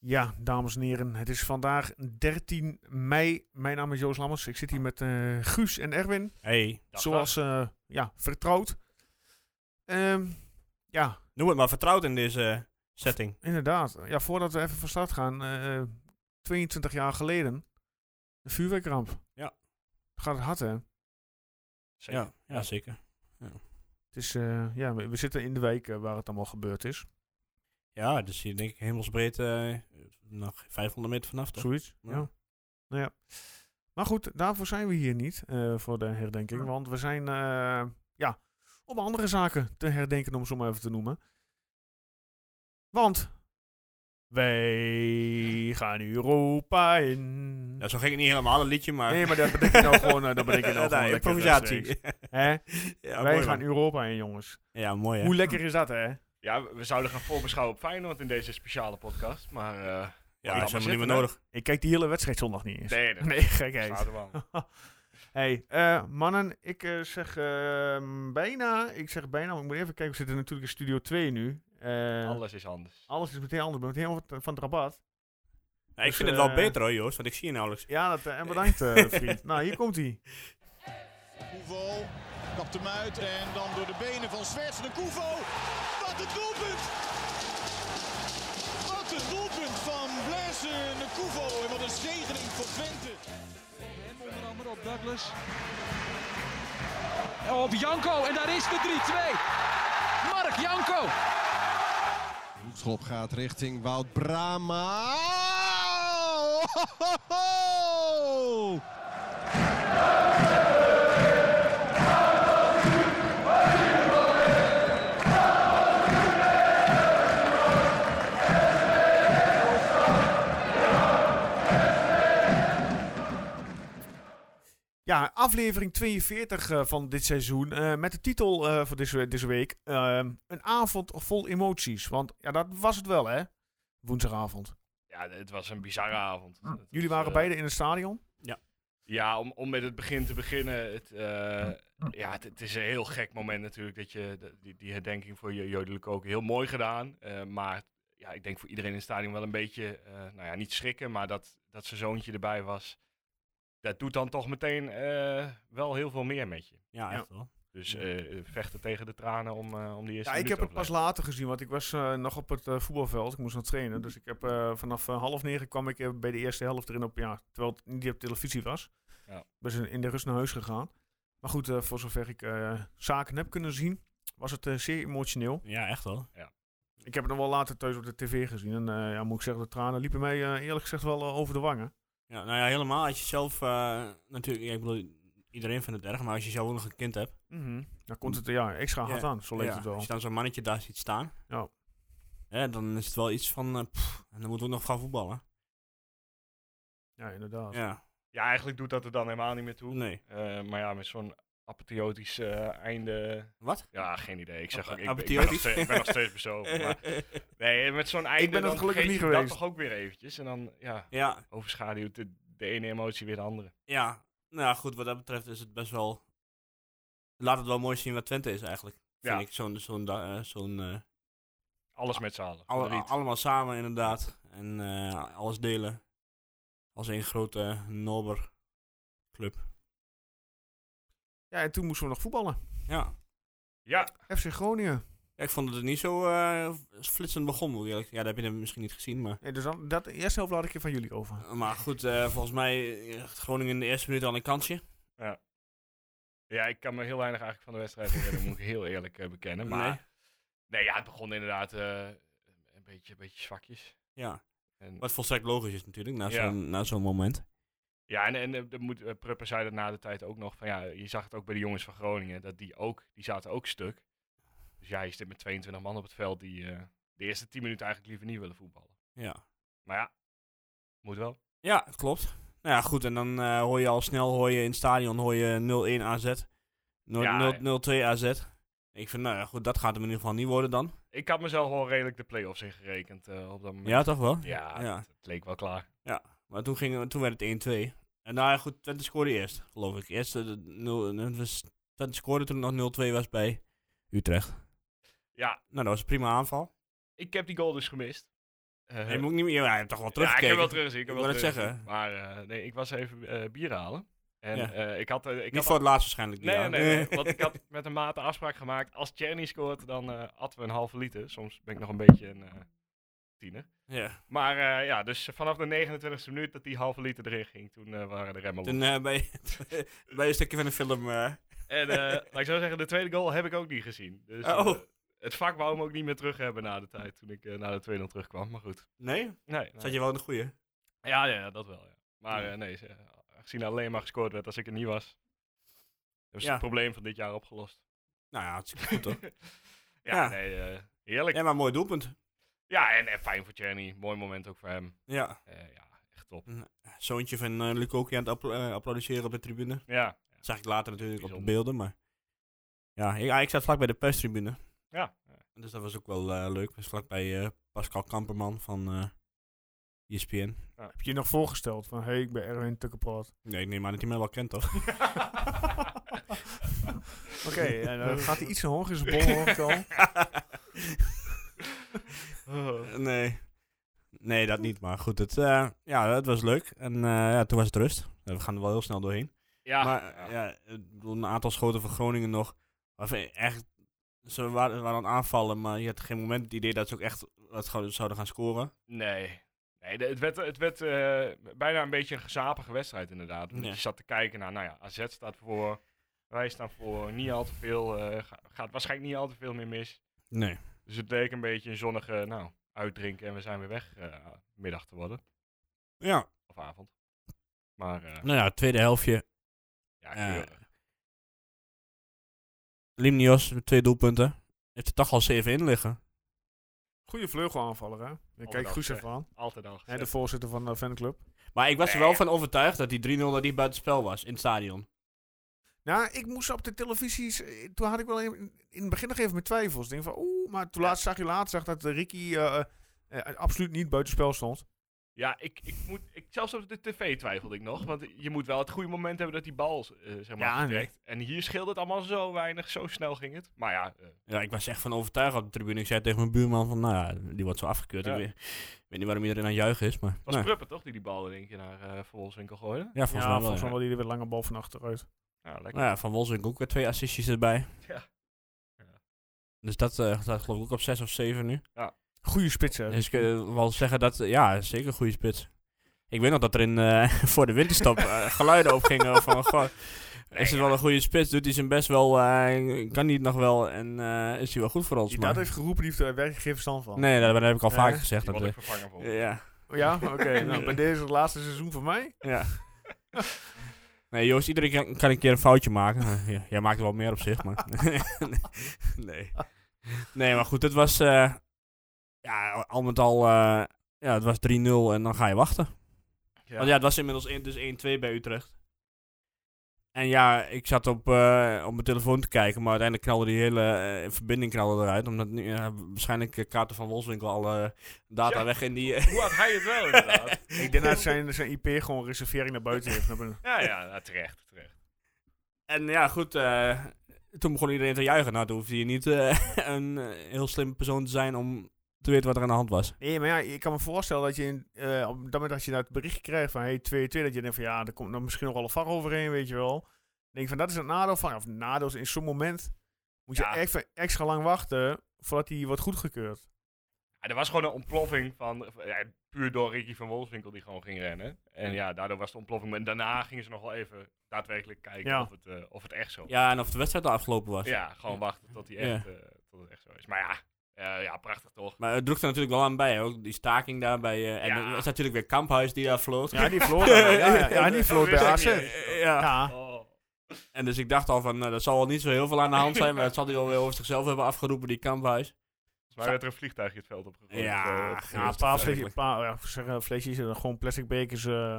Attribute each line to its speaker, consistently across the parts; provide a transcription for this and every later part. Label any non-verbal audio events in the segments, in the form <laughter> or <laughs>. Speaker 1: Ja, dames en heren, het is vandaag 13 mei. Mijn naam is Joost Lammers. Ik zit hier met eh, Guus en Erwin,
Speaker 2: Hey,
Speaker 1: zoals eh, ja, vertrouwd. Ehm, ja,
Speaker 2: noem het maar vertrouwd in deze setting.
Speaker 1: inderdaad. Ja, voordat we even van start gaan, eh, 22 jaar geleden, een vuurwerkramp.
Speaker 2: Ja.
Speaker 1: Gaat het hard, hè? Het
Speaker 3: Zeker.
Speaker 2: Ja, ja, zeker.
Speaker 1: is, eh, ja, we, we zitten in de week eh, waar het allemaal gebeurd is.
Speaker 2: Ja, dus hier denk ik hemelsbreed eh, nog 500 meter vanaf, toch?
Speaker 1: Zoiets, ja.
Speaker 2: Ja.
Speaker 1: Nou ja. Maar goed, daarvoor zijn we hier niet, eh, voor de herdenking. Want we zijn, eh, ja, om andere zaken te herdenken, om ze maar even te noemen. Want wij gaan Europa in.
Speaker 2: Ja, zo ging het niet helemaal, een liedje, maar...
Speaker 1: Nee, maar dat bedenk je nou gewoon, eh, dat
Speaker 2: <laughs>
Speaker 1: bedenk je nou gewoon
Speaker 2: Nee,
Speaker 1: lekker, dat
Speaker 2: improvisatie.
Speaker 1: Hè?
Speaker 2: <laughs> ja,
Speaker 1: wij
Speaker 2: mooi,
Speaker 1: gaan
Speaker 2: man.
Speaker 1: Europa in, jongens.
Speaker 2: Ja, mooi, hè?
Speaker 1: Hoe lekker is dat, hè?
Speaker 3: Ja, we- we zouden gaan voorbeschouwen op Feyenoord in deze speciale podcast, maar... eh,
Speaker 2: Ja,
Speaker 3: Ja,
Speaker 2: dat is helemaal
Speaker 3: maar
Speaker 2: niet meer
Speaker 3: zitten, hè?
Speaker 2: nodig.
Speaker 1: Ik kijk die hele wedstrijd zondag niet eens.
Speaker 3: nee,
Speaker 1: <laughs>
Speaker 3: dat
Speaker 1: Nee, gekheid.
Speaker 3: staat er wel.
Speaker 1: <laughs> hey, eh, mannen, ik eh, zeg ehm, bijna, ik zeg bijna, maar ik moet even kijken, we zitten natuurlijk in Studio 2 nu. Eh,
Speaker 3: Alles is anders.
Speaker 1: alles is meteen anders, we meteen wat van het rabat.
Speaker 2: Ja, ik
Speaker 1: Dus,
Speaker 2: vind het wel
Speaker 1: eh,
Speaker 2: beter, hoor, Joost, want ik zie je nauwelijks.
Speaker 1: Ja, dat, eh, en bedankt eh, vriend. nou, hier komt hij.
Speaker 4: Koevo kapt hem uit en dan door de benen van Zwerts de Koevo. Wat een doelpunt! Wat een doelpunt van Blaise de Koevo en wat een zegening voor Twente.
Speaker 5: Hem onder andere op Douglas. En Op Janko en daar is de 3-2. Mark Janko.
Speaker 4: Hoekschop gaat richting Wout Brama.
Speaker 1: Ja, aflevering 42 eh, van dit seizoen. eh, met de titel eh voor deze, deze week: ehm, Een avond vol emoties. Want ja, dat was het wel, hè? Woensdagavond.
Speaker 3: Ja, het was een bizarre avond. Het
Speaker 1: Mm, Jullie
Speaker 3: was,
Speaker 1: waren
Speaker 3: eh,
Speaker 1: beiden in het stadion.
Speaker 3: Ja, om, om met het begin te beginnen. Het, eh, ja, het, het is een heel gek moment natuurlijk. Dat je, dat- die, die herdenking voor Jo- Jodelijk ook heel mooi gedaan. eh, maar ja, ik denk voor iedereen in het stadion wel een beetje, eh, nou ja, niet schrikken. Maar dat, dat zijn zoontje erbij was, dat doet dan toch meteen eh, wel heel veel meer met je.
Speaker 2: Ja, echt wel.
Speaker 3: Dus
Speaker 2: Ja.
Speaker 3: eh, vechten tegen de tranen om, eh, om die eerste
Speaker 1: Ja, ik heb
Speaker 3: minuut
Speaker 1: het
Speaker 3: af
Speaker 1: pas
Speaker 3: te
Speaker 1: later gezien, want ik was eh, nog op het eh, voetbalveld. Ik moest nog trainen. Dus ik heb eh, vanaf eh, half negen kwam ik eh, bij de eerste helft erin op. Ja, terwijl het niet op televisie was.
Speaker 3: Ja.
Speaker 1: Dus in, in de rust naar huis gegaan. Maar goed, eh, voor zover ik eh, zaken heb kunnen zien, was het eh, zeer emotioneel.
Speaker 2: Ja, echt wel.
Speaker 1: Ik heb het nog wel later thuis op de tv gezien. En eh, ja, moet ik zeggen, de tranen liepen mij eh, eerlijk gezegd wel eh, over de wangen.
Speaker 2: Ja, nou ja, helemaal. Als je zelf, eh, natuurlijk, ja, ik bedoel, iedereen vindt het erg, maar als je zelf ook nog een kind hebt,
Speaker 1: Dan komt het eh, ja, extra hard
Speaker 2: Mhm. Ja,
Speaker 1: aan, zo leek
Speaker 2: ja,
Speaker 1: het wel.
Speaker 2: als je dan zo'n mannetje daar ziet staan,
Speaker 1: Ja.
Speaker 2: hè, dan is het wel iets van, eh, pff, en dan moeten we ook nog gaan voetballen.
Speaker 1: Ja, inderdaad.
Speaker 2: Ja,
Speaker 3: Ja, eigenlijk doet dat er dan helemaal niet meer toe.
Speaker 2: nee.
Speaker 3: Eh, maar ja, met zo'n apotheotisch eh, einde.
Speaker 2: Wat?
Speaker 3: Ja, geen idee. Ik zeg
Speaker 2: Ap-
Speaker 3: ook, ik, ben- ik ben, nog
Speaker 2: apotheotisch?
Speaker 3: steeds, ik ben nog steeds
Speaker 2: Oh,
Speaker 3: bezopen. maar- <laughs> nee, met zo'n einde.
Speaker 1: ben dat
Speaker 3: dan
Speaker 1: gelukkig
Speaker 3: vergeet
Speaker 1: niet
Speaker 3: je
Speaker 1: geweest.
Speaker 3: Dat toch ook weer eventjes. En dan ja,
Speaker 2: <laughs> ja,
Speaker 3: overschaduwt de, de ene emotie weer de andere.
Speaker 2: ja. Nou ja, goed, wat dat betreft is het best wel, laat het wel mooi zien wat Twente is eigenlijk.
Speaker 3: Ja.
Speaker 2: Vind ik zo'n, zo'n, da- eh, zo'n eh,
Speaker 3: Alles met z'n allen.
Speaker 2: alle-
Speaker 3: Verdriet.
Speaker 2: allemaal samen inderdaad. En eh, alles delen. Als één grote eh, nober club.
Speaker 1: Ja, en toen moesten we nog voetballen.
Speaker 2: Ja.
Speaker 3: Ja,
Speaker 1: FC Groningen.
Speaker 2: Ja, Ik vond dat het niet zo eh, flitsend begon, moet ik eerlijk. Ja, dat heb je dan misschien niet gezien, maar...
Speaker 1: Nee, dus dan, dat eerste helft laat ik je van jullie over.
Speaker 2: Maar goed, eh, volgens mij eh, Groningen in de eerste minuut al een kansje.
Speaker 3: ja, ik kan me heel weinig eigenlijk van de wedstrijd herinneren. moet ik heel eerlijk eh, bekennen. Maar nee. ja, het begon inderdaad eh, een, beetje, een beetje zwakjes.
Speaker 2: Ja.
Speaker 3: En,
Speaker 2: Wat volstrekt logisch is natuurlijk, na
Speaker 3: Ja.
Speaker 2: zo'n na zo'n moment.
Speaker 3: Ja, en, en eh, er moet, eh, Prupper zei dat na de tijd ook nog. Van, ja, je zag het ook bij de jongens van Groningen, dat die ook, die zaten ook stuk. Dus ja, je zit met 22 man op het veld die eh, de eerste 10 minuten eigenlijk liever niet willen voetballen.
Speaker 2: Ja.
Speaker 3: Maar ja, moet wel.
Speaker 2: Ja, klopt. Nou ja, goed, en dan eh, hoor je al snel, hoor je in het stadion, hoor je 0-1 AZ. nul-
Speaker 3: Ja, eh.
Speaker 2: nul-
Speaker 3: ja.
Speaker 2: 0-2 AZ. Ik vind, nou ja, goed, dat gaat hem in ieder geval niet worden dan.
Speaker 3: Ik had mezelf wel redelijk de play-offs ingerekend eh, op dat moment.
Speaker 2: Ja, toch wel?
Speaker 3: Ja,
Speaker 2: Ja.
Speaker 3: Het, het leek wel klaar.
Speaker 2: Maar toen, ging, toen werd het 1-2. En nou ja, goed, Twente scoorde eerst, geloof ik. Eerst eh, de nul- het was- Twente scoorde toen het nog 0-2 was bij Utrecht.
Speaker 3: Ja,
Speaker 2: Nou, dat was een prima aanval.
Speaker 3: ik heb die goal dus gemist. Eh,
Speaker 2: je moet ook niet meer, ja, je hebt toch wel
Speaker 3: ja, ik
Speaker 2: teruggekeken?
Speaker 3: heb wel teruggezien. Ik, heb
Speaker 2: Ik
Speaker 3: wel
Speaker 2: wil het
Speaker 3: teruggezien.
Speaker 2: zeggen.
Speaker 3: Maar eh, nee, ik was even eh, bier halen. En
Speaker 2: Ja.
Speaker 3: eh, ik had... eh, ik
Speaker 2: Niet
Speaker 3: had
Speaker 2: voor het laatst waarschijnlijk. die
Speaker 3: Nee, nee,
Speaker 2: jaar. <laughs>
Speaker 3: nee, Want ik had met een maat een afspraak gemaakt. Als Cherny scoort, dan eh atten we een halve liter. Soms ben ik nog een beetje een eh, tiener.
Speaker 2: Ja.
Speaker 3: Maar eh, ja, dus vanaf de 29e minuut dat die halve liter erin ging, toen eh, waren de remmen los.
Speaker 2: Toen eh, bij, <laughs> bij een stukje van de film. eh, <laughs>
Speaker 3: En eh, laat ik zo zeggen, de tweede goal heb ik ook niet gezien. Dus eh,
Speaker 2: Oh.
Speaker 3: het vak wou me ook niet meer terug hebben na de tijd, toen ik eh, na de 2-0 terugkwam. Maar goed.
Speaker 2: nee?
Speaker 3: Nee, nee.
Speaker 2: Zat je wel in de goede?
Speaker 3: Ja, ja, ja, dat wel. Ja. Maar
Speaker 2: Ja.
Speaker 3: eh, nee, ze- aangezien alleen maar gescoord werd als ik er niet was, hebben ze
Speaker 2: Ja.
Speaker 3: het probleem van dit jaar opgelost.
Speaker 2: Nou ja, hartstikke goed toch?
Speaker 3: <laughs> Ja,
Speaker 2: Ja.
Speaker 3: nee, eh, heerlijk.
Speaker 2: ja, maar mooi doelpunt.
Speaker 3: Ja, en, en fijn voor Cherny. Mooi moment ook voor hem.
Speaker 2: Ja.
Speaker 3: Eh, ja, echt top.
Speaker 2: Zoontje van eh Lukoki aan het apl- eh, applaudisseren op de tribune.
Speaker 3: Ja,
Speaker 2: Dat zag ik later natuurlijk op de
Speaker 3: Bijzonder.
Speaker 2: beelden, maar... Ja, ik, ah, ik zat vlak bij de perstribune.
Speaker 3: ja.
Speaker 2: Dus dat was ook wel eh, leuk. Dus vlak bij eh, Pascal Kamperman van eh E ESPN.
Speaker 1: Heb je je nog voorgesteld van, hey, ik ben Erwin Tukkenproot.
Speaker 2: Nee, ik neem aan dat hij mij wel kent, toch?
Speaker 1: Oké, <laughs>
Speaker 3: <laughs>
Speaker 1: nou, en eh, dan gaat hij iets naar hoog in zijn bol, hoor ik <laughs> al.
Speaker 2: Oh. nee. Nee, dat niet. Maar goed, het, eh, ja, het was leuk. En eh, ja, toen was het rust. Eh, we gaan er wel heel snel doorheen.
Speaker 3: ja,
Speaker 2: maar eh, ja. ik bedoel, een aantal schoten van Groningen nog. waarvan je echt, ze waren, waren aan het aanvallen, maar je had geen moment het idee dat ze ook echt wat gou- zouden gaan scoren.
Speaker 3: Nee. Nee, de- het werd, het werd eh, bijna een beetje een gezapige wedstrijd inderdaad. Want
Speaker 2: Ja.
Speaker 3: Je zat te kijken naar, nou ja, AZ staat voor, wij staan voor, niet al te veel, eh, ga- gaat waarschijnlijk niet al te veel meer mis.
Speaker 2: Nee.
Speaker 3: Dus het leek een beetje een zonnige, nou, uitdrinken en we zijn weer weg eh, middag te worden.
Speaker 2: Ja,
Speaker 3: Of avond. Maar eh,
Speaker 2: nou ja, het tweede helftje.
Speaker 3: ja,
Speaker 2: eh,
Speaker 3: keurig.
Speaker 2: Limnios met twee doelpunten. Heeft er toch al zeven in liggen.
Speaker 1: Goede vleugelaanvaller, hè? Ik kijk
Speaker 3: Altijd
Speaker 1: Guus
Speaker 3: al
Speaker 1: even aan.
Speaker 3: altijd al
Speaker 1: Hè,
Speaker 3: gezegd.
Speaker 1: de voorzitter van de fanclub.
Speaker 2: Maar ik was er
Speaker 3: Nee.
Speaker 2: wel van overtuigd dat die 3-0 dat die buitenspel was in het stadion.
Speaker 1: Nou, ik moest op de televisies... eh, Toen had ik wel even- in het begin nog even mijn twijfels. Ik Denk van, oeh, maar toen laatst zag je laatst zag dat eh, Ricky eh, eh, eh, absoluut niet buitenspel stond.
Speaker 3: Ja, ik, ik moet, ik, zelfs op de tv twijfelde ik nog. Want je moet wel het goede moment hebben dat die bal, eh, zeg maar,
Speaker 1: Ja, nee.
Speaker 3: vertrekt. En hier scheelde het allemaal zo weinig, zo snel ging het. Maar ja, eh,
Speaker 2: Ja, ik was echt van overtuigd op de tribune. Ik zei tegen mijn buurman van, nou ja, die wordt zo afgekeurd.
Speaker 3: Ja.
Speaker 2: Ik, weet, ik weet niet waarom iedereen aan het juichen is, maar...
Speaker 3: Het was
Speaker 2: nou,
Speaker 3: Pruppen toch die die bal in één keer naar eh Van Wolfswinkel gooide?
Speaker 2: ja, volgens
Speaker 1: ja,
Speaker 2: mij wel.
Speaker 1: volgens
Speaker 2: ja.
Speaker 1: mij wel die er weer lange bal van achteruit.
Speaker 3: Ja, lekker.
Speaker 2: Nou ja, van Wolfswinkel ook weer twee assistjes erbij.
Speaker 3: Ja. Ja.
Speaker 2: Dus dat eh, staat geloof ik ook op 6 of 7 nu.
Speaker 1: Goede spits, hè?
Speaker 2: Dus ik wil wel zeggen dat, eh, ja, zeker een goede spits. Ik weet nog dat er in, eh, <laughs> voor de winterstop eh, geluiden opgingen van, goh, is het wel een goede spits? Doet hij zijn best wel, eh, kan hij het nog wel en eh, is hij wel goed voor ons?
Speaker 1: Die
Speaker 2: maar-
Speaker 1: dat heeft geroepen, die heeft er werkelijk geen verstand van.
Speaker 2: Nee, dat, dat heb ik al
Speaker 1: Ja,
Speaker 2: vaker
Speaker 1: hè?
Speaker 2: gezegd.
Speaker 3: Die
Speaker 2: Dat,
Speaker 3: wil ik
Speaker 2: eh,
Speaker 3: vervangen voor.
Speaker 2: ja,
Speaker 1: <laughs> Ja, oké. nou, bij deze het laatste seizoen voor mij.
Speaker 2: ja. <laughs> Nee, Joost, iedereen kan, kan een keer een foutje maken. <laughs> Eh, ja, jij maakt er wel meer op zich, maar... <laughs> nee. Nee, maar goed, het was... eh, ja, al met al... eh, ja, het was 3-0 en dan ga je wachten.
Speaker 3: Ja.
Speaker 2: Want ja, het was inmiddels één- dus 1-2 bij Utrecht. En ja, ik zat op, eh, op mijn telefoon te kijken, maar uiteindelijk knalde die hele eh, verbinding knalde eruit. Omdat nu, ja, waarschijnlijk eh, kaarten van Wolfswinkel al eh, data
Speaker 3: Ja.
Speaker 2: weg in die...
Speaker 3: Hoe
Speaker 2: <laughs>
Speaker 3: had hij het wel inderdaad?
Speaker 1: Ik denk dat zijn, zijn IP gewoon reservering naar buiten heeft.
Speaker 3: ja, ja, nou, terecht, terecht.
Speaker 2: En ja, goed. eh, toen begon iedereen te juichen. Nou, toen hoefde je niet eh, <laughs> een eh, heel slim persoon te zijn om te weten wat er aan de hand was.
Speaker 1: Nee, maar ja, ik kan me voorstellen dat je in, eh, op dat moment dat je dat bericht krijgt van hey, 2-2, dat je denkt van ja, er komt nog misschien nog wel een var overheen, weet je wel. Dan denk ik van dat is een nadeel van, of nadeel is in zo'n moment moet je
Speaker 3: Ja.
Speaker 1: even extra lang wachten voordat die wordt goedgekeurd.
Speaker 3: Ja, er was gewoon een ontploffing van, ja, puur door Ricky van Wolfswinkel die gewoon ging rennen. En ja, daardoor was de ontploffing. En daarna gingen ze nog wel even daadwerkelijk kijken
Speaker 1: Ja.
Speaker 3: of, het, eh, of het echt zo was.
Speaker 2: Ja, en of de wedstrijd al afgelopen was. <laughs>
Speaker 3: Ja, gewoon wachten tot, die
Speaker 2: Ja.
Speaker 3: echt, eh, tot het echt zo is. Maar ja, eh, ja prachtig toch?
Speaker 2: Maar het droeg er natuurlijk wel aan bij. hè, Ook die staking daarbij. eh, en
Speaker 3: Ja.
Speaker 2: er was natuurlijk weer Kamphuis die daar floot. <laughs>
Speaker 1: Ja, die vloot, ja, ja, ja, <laughs> die vloot bij
Speaker 3: Ja.
Speaker 1: AZ.
Speaker 2: Eh, ja.
Speaker 1: Ja,
Speaker 3: Oh.
Speaker 2: En dus ik dacht al van, nou, dat zal wel niet zo heel veel aan de hand zijn. Maar dat zal hij wel weer over zichzelf hebben afgeroepen, die Kamphuis.
Speaker 3: Volgens mij werd er een vliegtuigje het veld opgegooid.
Speaker 2: Ja,
Speaker 3: eh, op-
Speaker 1: ja, een
Speaker 2: dat
Speaker 1: paar
Speaker 2: is
Speaker 1: flesjes,
Speaker 2: verschrikkelijk.
Speaker 1: paar, ja, zeg, eh, flesjes, eh, gewoon plastic bekers. eh,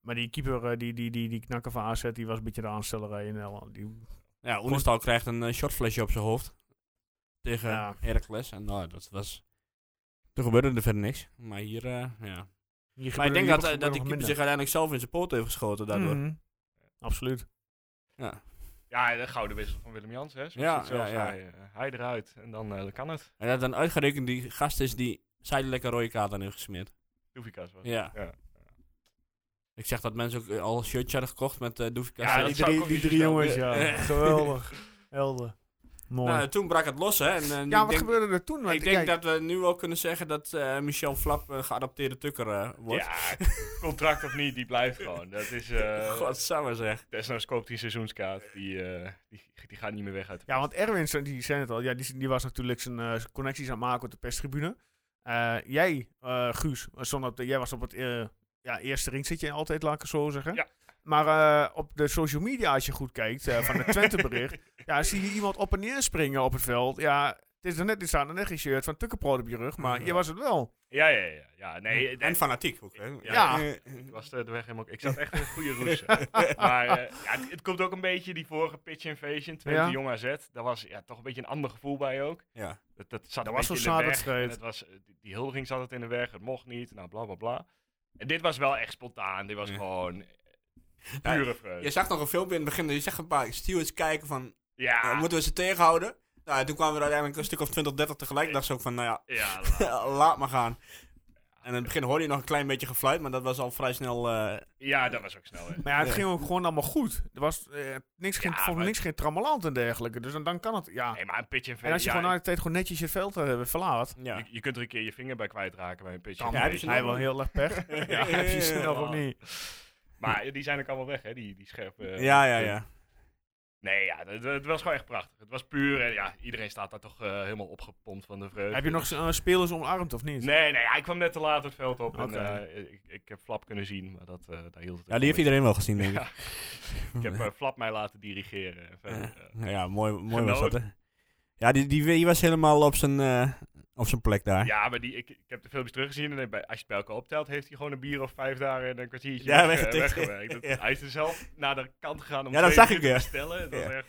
Speaker 1: maar die keeper, eh, die, die, die, die knakker van AZ, die was een beetje de aanstellerij. in Nederland. Die,
Speaker 2: Ja, Oenestal krijgt een eh, shotflesje op zijn hoofd. Tegen
Speaker 1: Ja.
Speaker 2: Heracles. En nou, dat was... Toen gebeurde er verder niks. Maar hier, eh, ja.
Speaker 1: die
Speaker 2: Maar ik denk
Speaker 1: gebeurde- die
Speaker 2: dat, eh, dat die
Speaker 1: gebeurde
Speaker 2: keeper
Speaker 1: nog
Speaker 2: zich uiteindelijk zelf in zijn poot heeft geschoten
Speaker 1: minder.
Speaker 2: daardoor.
Speaker 1: Mhm. Absoluut.
Speaker 2: Ja.
Speaker 3: Ja, de gouden wissel van Willem Jans, hè? Zoals
Speaker 2: Ja,
Speaker 3: ja,
Speaker 2: ja,
Speaker 3: zelf
Speaker 2: ja.
Speaker 3: zei. eh, Hij eruit en dan eh, dan kan het.
Speaker 2: En dat dan uitgerekend die gast is die zijdelijk een rode kaart aan heeft gesmeerd.
Speaker 3: Doefikas was.
Speaker 2: Ja.
Speaker 3: Ja.
Speaker 2: Ik zeg dat mensen ook eh, al shirtjes hadden gekocht met eh Doefikas.
Speaker 3: Ja,
Speaker 1: Ja,
Speaker 3: dat
Speaker 1: die
Speaker 3: zou ik
Speaker 1: drie,
Speaker 3: ook
Speaker 1: die
Speaker 3: niet
Speaker 1: drie
Speaker 3: vertellen.
Speaker 1: jongens, ja.
Speaker 2: Ja.
Speaker 3: <laughs>
Speaker 1: Geweldig. Helder. Mooi.
Speaker 2: Nou, toen brak het los, hè. En, eh, ik
Speaker 1: ja, wat
Speaker 2: denk-
Speaker 1: gebeurde er toen? Want
Speaker 2: Ik denk
Speaker 1: kijk,
Speaker 2: dat we nu wel kunnen zeggen dat eh, Michel Flap een geadapteerde tukker eh, wordt.
Speaker 3: Ja, contract of niet, die blijft gewoon. Dat
Speaker 2: <laughs>
Speaker 3: is, eh
Speaker 2: Godsamme zeg.
Speaker 3: desnoods koopt hij een seizoenskaart. Die, eh, die, die gaat niet meer weg uit.
Speaker 1: Ja, want Erwin, zo- die zei het al, ja, die, die was natuurlijk zijn eh, zijn connecties aan het maken op de perstribune. Eh, jij, eh, Guus, stond op de- jij was op het eh, ja, eerste ring, zit je altijd, laat ik het zo zeggen.
Speaker 3: Ja.
Speaker 1: Maar eh, op de social media, als je goed kijkt, eh, van het Twente-bericht, ja, zie je iemand op en neer springen op het veld. Ja, het is er net, er staat er net geen shirt van Tukkenproot op je rug, maar je was het wel.
Speaker 3: Ja, ja, ja. ja nee, het-
Speaker 2: En fanatiek ook. Hè?
Speaker 1: Ja.
Speaker 3: Ik <laughs> was de, de weg helemaal... Ik zat echt in een
Speaker 1: <laughs>
Speaker 3: goede roes. maar eh, ja, het, het komt ook een beetje die vorige pitch invasion, Twente
Speaker 1: Ja.
Speaker 3: Jong AZ. Daar was ja, toch een beetje een ander gevoel bij ook.
Speaker 2: Ja.
Speaker 3: Dat, dat zat
Speaker 1: Dat
Speaker 3: een
Speaker 1: was
Speaker 3: beetje
Speaker 1: zo'n
Speaker 3: in de weg.
Speaker 1: zaadwedstrijd.
Speaker 3: En het was, eh, die, die huldiging zat het in de weg. Het mocht niet. Nou, bla, bla, bla. En dit was wel echt spontaan. Dit was
Speaker 2: Ja.
Speaker 3: gewoon
Speaker 2: Ja,
Speaker 3: pure vreugde.
Speaker 2: Je zag nog een filmpje in het begin. Je zag een paar stewards kijken van, eh,
Speaker 3: Ja,
Speaker 2: moeten we ze tegenhouden? Nou, en toen kwamen er uiteindelijk een stuk of 20, 30 tegelijk. dacht ze ook van, nou
Speaker 1: <laughs>
Speaker 3: ja,
Speaker 2: ja, <laughs> laat maar gaan. En in het begin hoorde je nog een klein beetje gefluit, maar dat was al vrij snel... eh,
Speaker 3: ja, dat was ook snel. hè.
Speaker 1: Maar ja, het
Speaker 2: Ja.
Speaker 1: ging ook gewoon allemaal goed. Er was eh, niks, geen,
Speaker 3: Ja,
Speaker 1: volgens mij
Speaker 3: maar-
Speaker 1: niks geen trammeland en dergelijke, dus dan, dan kan het, ja.
Speaker 3: Nee, maar een pitch
Speaker 1: En
Speaker 3: invasion...
Speaker 1: als je
Speaker 3: ja,
Speaker 1: gewoon na de tijd gewoon netjes je veld eh, verlaat,
Speaker 2: ja.
Speaker 3: je, je kunt er een keer je vinger bij kwijtraken bij een pitch
Speaker 1: dan
Speaker 2: Ja, heb je
Speaker 1: heb je
Speaker 2: ze nog?
Speaker 1: hij wel heel erg <laughs> pech. Ja, heb je ze nog of
Speaker 3: man.
Speaker 1: niet?
Speaker 3: Maar eh, die zijn ook allemaal weg, hè, die, die scherpe... eh,
Speaker 2: ja, ja, ja.
Speaker 3: Nee, ja, het, het was gewoon echt prachtig. Het was puur en ja, iedereen staat daar toch eh, helemaal opgepompt van de vreugde.
Speaker 1: Heb je nog z- eh, spelers omarmd of niet?
Speaker 3: Nee, nee, hij kwam net te laat het veld op.
Speaker 1: Oké.
Speaker 3: En, eh, ik, ik heb Flap kunnen zien, maar dat, eh, daar hield het
Speaker 2: Ja, die heeft
Speaker 3: ook
Speaker 2: iedereen wel gezien, denk
Speaker 3: mee.
Speaker 2: ik.
Speaker 3: Ja, ik heb eh, Flap mij laten dirigeren. En verder,
Speaker 2: <laughs>
Speaker 3: eh,
Speaker 2: Ja, ja, mooi, mooi was dat,
Speaker 3: Genoten.
Speaker 2: hè. Ja, die, die, die was helemaal op zijn, eh, op zijn plek daar.
Speaker 3: ja, maar die, ik, ik heb de filmpjes teruggezien. En eh, bij- als je het bij elkaar optelt, heeft hij gewoon een bier of vijf daar en een kwartiertje
Speaker 2: Ja,
Speaker 3: weg, eh,
Speaker 2: weggetikt.
Speaker 3: weggewerkt. Dat-
Speaker 2: <laughs> Ja.
Speaker 3: Hij is er zelf naar de kant gegaan om
Speaker 2: Ja, dat
Speaker 3: twee
Speaker 2: zag ik,
Speaker 3: minuten
Speaker 2: ja.
Speaker 3: te stellen. Dat
Speaker 2: Ja.
Speaker 3: was echt,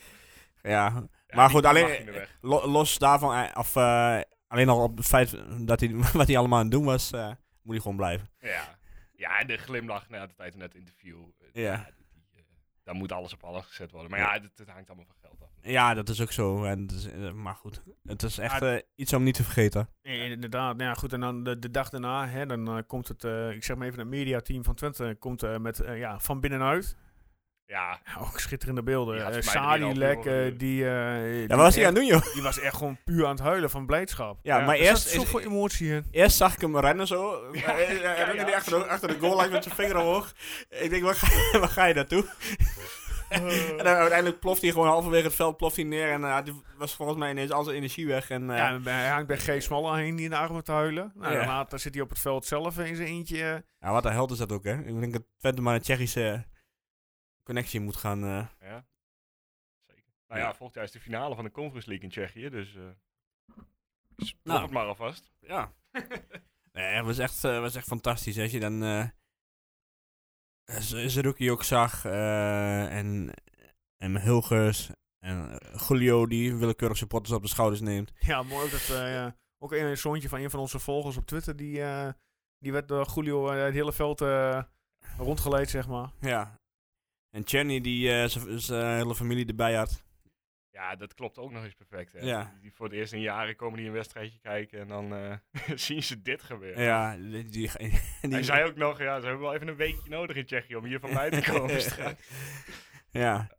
Speaker 2: Ja,
Speaker 3: ja,
Speaker 2: maar
Speaker 3: die
Speaker 2: goed,
Speaker 3: mag niet
Speaker 2: alleen,
Speaker 3: meer weg.
Speaker 2: lo- los daarvan, eh, of eh, alleen al op het feit dat hij, <laughs> wat hij allemaal aan het doen was, eh, moet hij gewoon blijven.
Speaker 3: Ja. ja, en de glimlach na de tijd in het interview. eh,
Speaker 2: Ja.
Speaker 3: die, eh, daar moet alles op alles gezet worden. Maar ja, het, het hangt allemaal van geld af.
Speaker 2: Ja, dat is ook zo. En het is, eh, maar goed, het is echt
Speaker 1: Maar-
Speaker 2: eh, iets om niet te vergeten.
Speaker 1: Nee, inderdaad. Nou ja, goed. En dan de, de dag daarna, hè, dan eh, komt het, eh, ik zeg maar even, het mediateam van Twente komt eh, met eh, ja, van binnenuit.
Speaker 3: Ja,
Speaker 1: Ja, ook schitterende beelden.
Speaker 3: Die had
Speaker 1: Eh,
Speaker 3: voor mij
Speaker 1: Sadi
Speaker 3: 3,5
Speaker 1: Lek,
Speaker 3: uur,
Speaker 1: eh,
Speaker 3: eh,
Speaker 1: die, eh, die,
Speaker 2: Ja, wat was hij
Speaker 1: echt-
Speaker 2: aan het doen, joh?
Speaker 1: die was echt gewoon puur aan het huilen van blijdschap.
Speaker 2: Ja,
Speaker 3: Ja,
Speaker 2: maar
Speaker 1: Er
Speaker 2: eerst,
Speaker 1: zat zoveel emotie in.
Speaker 2: eerst zag ik hem rennen zo. Eh, eh, eh,
Speaker 3: ja,
Speaker 2: rende
Speaker 3: ja.
Speaker 2: hij achter de, achter de goal line met zijn vinger omhoog. Ik denk, waar ga, waar ga je naartoe? <laughs> en dan uiteindelijk ploft hij gewoon halverwege het veld ploft hij neer. En eh, die was volgens mij ineens al zijn energie weg. En, eh,
Speaker 1: Ja, en hij hangt bij G. Smalle heen die in de armen te huilen. Nou,
Speaker 2: Ja.
Speaker 1: dan later zit hij op het veld zelf in zijn eentje. eh.
Speaker 2: Ja, wat de held is dat ook, hè? Ik denk dat Twente maar een Tsjechische connectie moet gaan. eh.
Speaker 3: ja. Zeker. Nou ja, volgend jaar is de finale van de Conference League in Tsjechië, dus... eh dus plop
Speaker 2: Nou.
Speaker 3: het maar
Speaker 2: <laughs>
Speaker 3: alvast.
Speaker 2: Ja. nee, het was echt, eh, was echt fantastisch. hè. Als je dan eh Z- Zerouki ook zag eh, en, en Hilgers en eh, Julio die willekeurig supporters op de schouders neemt.
Speaker 1: Ja, mooi ook dat eh, ja, ook een, een zoontje van een van onze volgers op Twitter, die, eh, die werd door Julio eh, het hele veld eh, rondgeleid, zeg maar.
Speaker 2: Ja. En Chenny die eh, z- zijn hele familie erbij had.
Speaker 3: Ja, dat klopt ook nog eens perfect. Hè?
Speaker 2: Ja.
Speaker 3: Die- Die voor het eerst in jaren komen die een wedstrijdje kijken en dan eh, <laughs> zien ze dit gebeuren.
Speaker 2: Ja, die, die, <laughs> die-
Speaker 3: Hij zei ook nog, ja, ze hebben wel even een weekje nodig in Tsjechië om hier van mij
Speaker 2: <laughs>
Speaker 3: te komen straks.
Speaker 2: ja.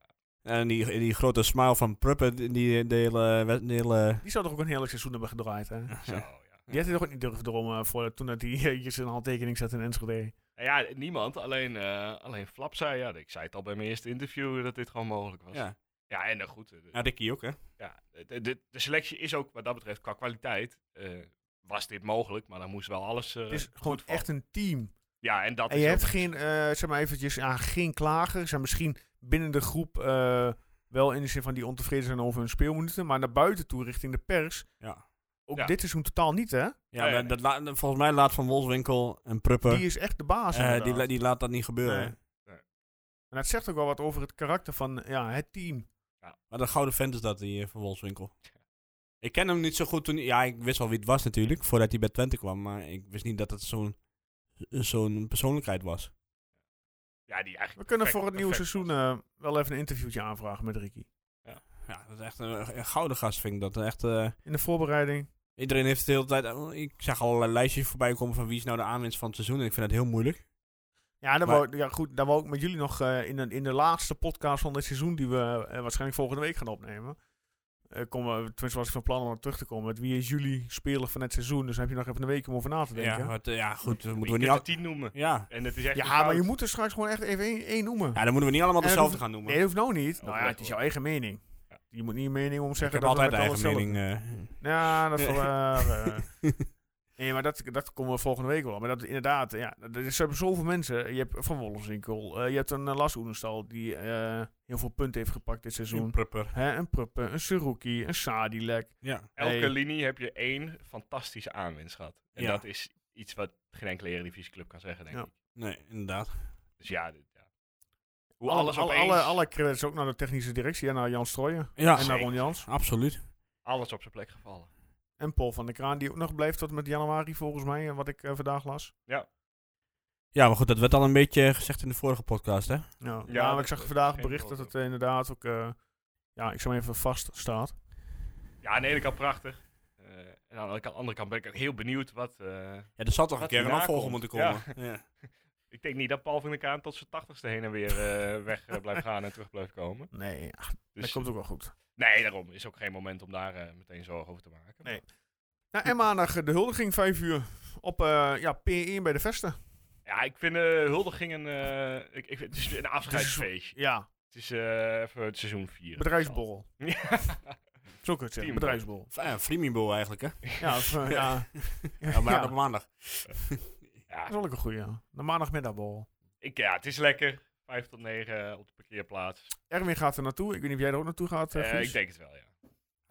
Speaker 2: En die, die grote smile van Pruppen, die- die de hele... wed- De hele
Speaker 1: Die zou toch ook een heerlijk seizoen hebben gedraaid, hè?
Speaker 3: Zo, ja.
Speaker 1: Die had hij toch ook niet durven dromen voor toen dat hij eh, zijn handtekening zette in Enschede.
Speaker 3: Nou Ja, niemand. Alleen, eh, alleen Flap zei, ja, ik zei het al bij mijn eerste interview, dat dit gewoon mogelijk was. Ja,
Speaker 2: ja.
Speaker 3: en eh, goed. eh,
Speaker 2: ja, Ricky ook, hè?
Speaker 3: ja, de, de, de selectie is ook wat dat betreft qua kwaliteit eh, was dit mogelijk, maar dan moest wel alles. eh,
Speaker 1: Het is
Speaker 3: goed
Speaker 1: gewoon
Speaker 3: vallen.
Speaker 1: echt een team.
Speaker 3: Ja, en dat
Speaker 1: En
Speaker 3: is
Speaker 1: je
Speaker 3: ook-
Speaker 1: hebt geen, eh, zeg maar eventjes, ja, geen klagers. En misschien binnen de groep eh, wel in de zin van die ontevreden zijn over hun speelminuten. Maar naar buiten toe, richting de pers.
Speaker 2: Ja.
Speaker 1: Ook
Speaker 3: Ja.
Speaker 1: dit seizoen totaal niet, hè?
Speaker 2: Ja,
Speaker 3: Nee,
Speaker 2: maar
Speaker 3: nee.
Speaker 2: Dat laat- volgens mij laat Van Wolfswinkel en Pruppen,
Speaker 1: Die is echt de baas.
Speaker 2: eh, die,
Speaker 1: inderdaad.
Speaker 2: la- die laat dat niet gebeuren.
Speaker 1: Nee. En dat zegt ook wel wat over het karakter van ja, het team.
Speaker 2: Maar de gouden vent is dat, die eh, Van Wolfswinkel. Ik ken hem niet zo goed toen... Ja, ik wist wel wie het was natuurlijk, voordat hij bij Twente kwam. Maar ik wist niet dat het zo'n zo'n persoonlijkheid was.
Speaker 3: ja, die eigenlijk
Speaker 1: We kunnen
Speaker 3: perfect-
Speaker 1: voor het nieuwe
Speaker 3: perfect
Speaker 1: seizoen
Speaker 3: was.
Speaker 1: eh, wel even een interviewtje aanvragen met Ricky.
Speaker 2: Ja, dat is echt een, een gouden gast, vind ik dat. Echt, eh,
Speaker 1: In de voorbereiding.
Speaker 2: Iedereen heeft de hele tijd... eh, Ik zag allerlei lijstjes voorbij komen van wie is nou de aanwinst van het seizoen. En ik vind dat heel moeilijk.
Speaker 1: Ja, daar
Speaker 2: Maar-
Speaker 1: wou, ja, goed, daar wou ik met jullie nog eh, in, de, in de laatste podcast van dit seizoen, die we eh, waarschijnlijk volgende week gaan opnemen. Eh komen, we- tenminste, was ik van plan om er terug te komen. Met wie is jullie speler van het seizoen? Dus dan heb je nog even een week om over na te denken.
Speaker 2: Ja,
Speaker 1: Ja, maar,
Speaker 2: wat, eh, ja goed. We
Speaker 3: Moet
Speaker 2: moeten
Speaker 3: je
Speaker 2: we niet...
Speaker 3: kunt er
Speaker 2: al-
Speaker 3: tien noemen.
Speaker 2: Ja.
Speaker 3: En het is echt
Speaker 1: je moet er straks gewoon echt even één, één noemen.
Speaker 2: ja, dan moeten we niet allemaal
Speaker 1: En dat
Speaker 2: dezelfde
Speaker 1: hoeft-
Speaker 2: gaan noemen.
Speaker 1: Nee, dat hoeft nou niet.
Speaker 3: Oh,
Speaker 1: nou ja,
Speaker 3: leuk,
Speaker 1: het is jouw eigen mening.
Speaker 3: Ja.
Speaker 1: Je moet niet een mening om
Speaker 2: ik
Speaker 1: zeggen
Speaker 2: heb
Speaker 1: dat we
Speaker 2: altijd
Speaker 1: met
Speaker 2: eigen
Speaker 1: alles zelf-
Speaker 2: mening. eh.
Speaker 1: Ja, dat is wel waar, eh. Nee, maar dat, dat komen we volgende week wel. Maar dat inderdaad, ja, er er zijn zoveel mensen. Je hebt Van Wollenswinkel, eh, je hebt een eh, Lars Oenestal die eh, heel veel punten heeft gepakt dit
Speaker 2: Een
Speaker 1: seizoen.
Speaker 2: prepper.
Speaker 1: Hè, een Pruppe, een Suruki, een Sadilek.
Speaker 2: Ja.
Speaker 3: Elke
Speaker 1: Hey.
Speaker 3: linie heb je één fantastische aanwinst gehad. En
Speaker 2: Ja.
Speaker 3: dat is iets wat geen enkele Eredivisieclub kan zeggen, denk
Speaker 1: Ja.
Speaker 3: ik.
Speaker 2: Nee, inderdaad.
Speaker 3: Dus ja, dit- ja. hoe
Speaker 1: Alle,
Speaker 3: alles
Speaker 1: alle,
Speaker 3: opeens, Ah,
Speaker 1: alle, alle credits ook naar de technische directie en naar Jan Strooijen.
Speaker 2: Ja,
Speaker 1: en naar
Speaker 3: zeker.
Speaker 1: Ron Jans.
Speaker 2: absoluut.
Speaker 3: alles op zijn plek gevallen.
Speaker 1: En Paul van der Kraan, die ook nog blijft tot met januari volgens mij, eh, wat ik eh, vandaag las.
Speaker 2: Ja, maar goed, dat werd al een beetje eh, gezegd in de vorige podcast, hè?
Speaker 1: Ja,
Speaker 3: Ja,
Speaker 1: ja, maar
Speaker 3: dat-
Speaker 1: ik zag
Speaker 3: dat-
Speaker 1: vandaag
Speaker 3: geen
Speaker 1: bericht dat
Speaker 3: foto.
Speaker 1: het eh, inderdaad ook, eh, ja, ik zal even vast staat.
Speaker 3: Ja, aan de ene kant prachtig. Eh, en aan de andere kant- andere kant ben ik ook heel benieuwd wat... eh,
Speaker 2: Ja, er zal toch
Speaker 3: Wat
Speaker 2: een keer een
Speaker 3: hierna
Speaker 2: afvolger
Speaker 3: komt.
Speaker 2: moeten komen. Ja.
Speaker 3: ik denk niet dat Paul van der Kaan tot zijn tachtigste heen en weer eh, weg eh, blijft gaan en terug blijft komen.
Speaker 1: Nee, ja, dat
Speaker 3: Dus
Speaker 1: komt ook wel goed.
Speaker 3: nee, daarom is ook geen moment om daar eh, meteen zorgen over te maken.
Speaker 1: Nee. Nou, en maandag eh, de huldiging, 5 uur. Op eh, ja, P1 bij de Vesten.
Speaker 3: Ja, ik vind eh huldigingen... eh, ik, ik, het is een afscheidsfeestje.
Speaker 1: Ja,
Speaker 3: Het is eh, even het seizoen 4.
Speaker 1: bedrijfsborrel.
Speaker 3: Ja.
Speaker 1: <laughs> Zo kun je het zeggen,
Speaker 3: Team.
Speaker 1: bedrijfsborrel.
Speaker 2: F- Ja, Freemium Bowl eh, eigenlijk, hè?
Speaker 1: Ja, of, eh, ja.
Speaker 2: Ja, maar
Speaker 1: Ja,
Speaker 2: op maandag.
Speaker 3: Ja,
Speaker 1: dat is wel ook een goeie. ja. De maandagmiddagborrel.
Speaker 3: ik, ja, het is lekker. Vijf tot negen eh, op de parkeerplaats.
Speaker 1: Erwin gaat er naartoe. Ik weet niet of jij er ook naartoe gaat, eh,
Speaker 3: Eh,
Speaker 1: Guus.
Speaker 3: ik denk het wel, ja.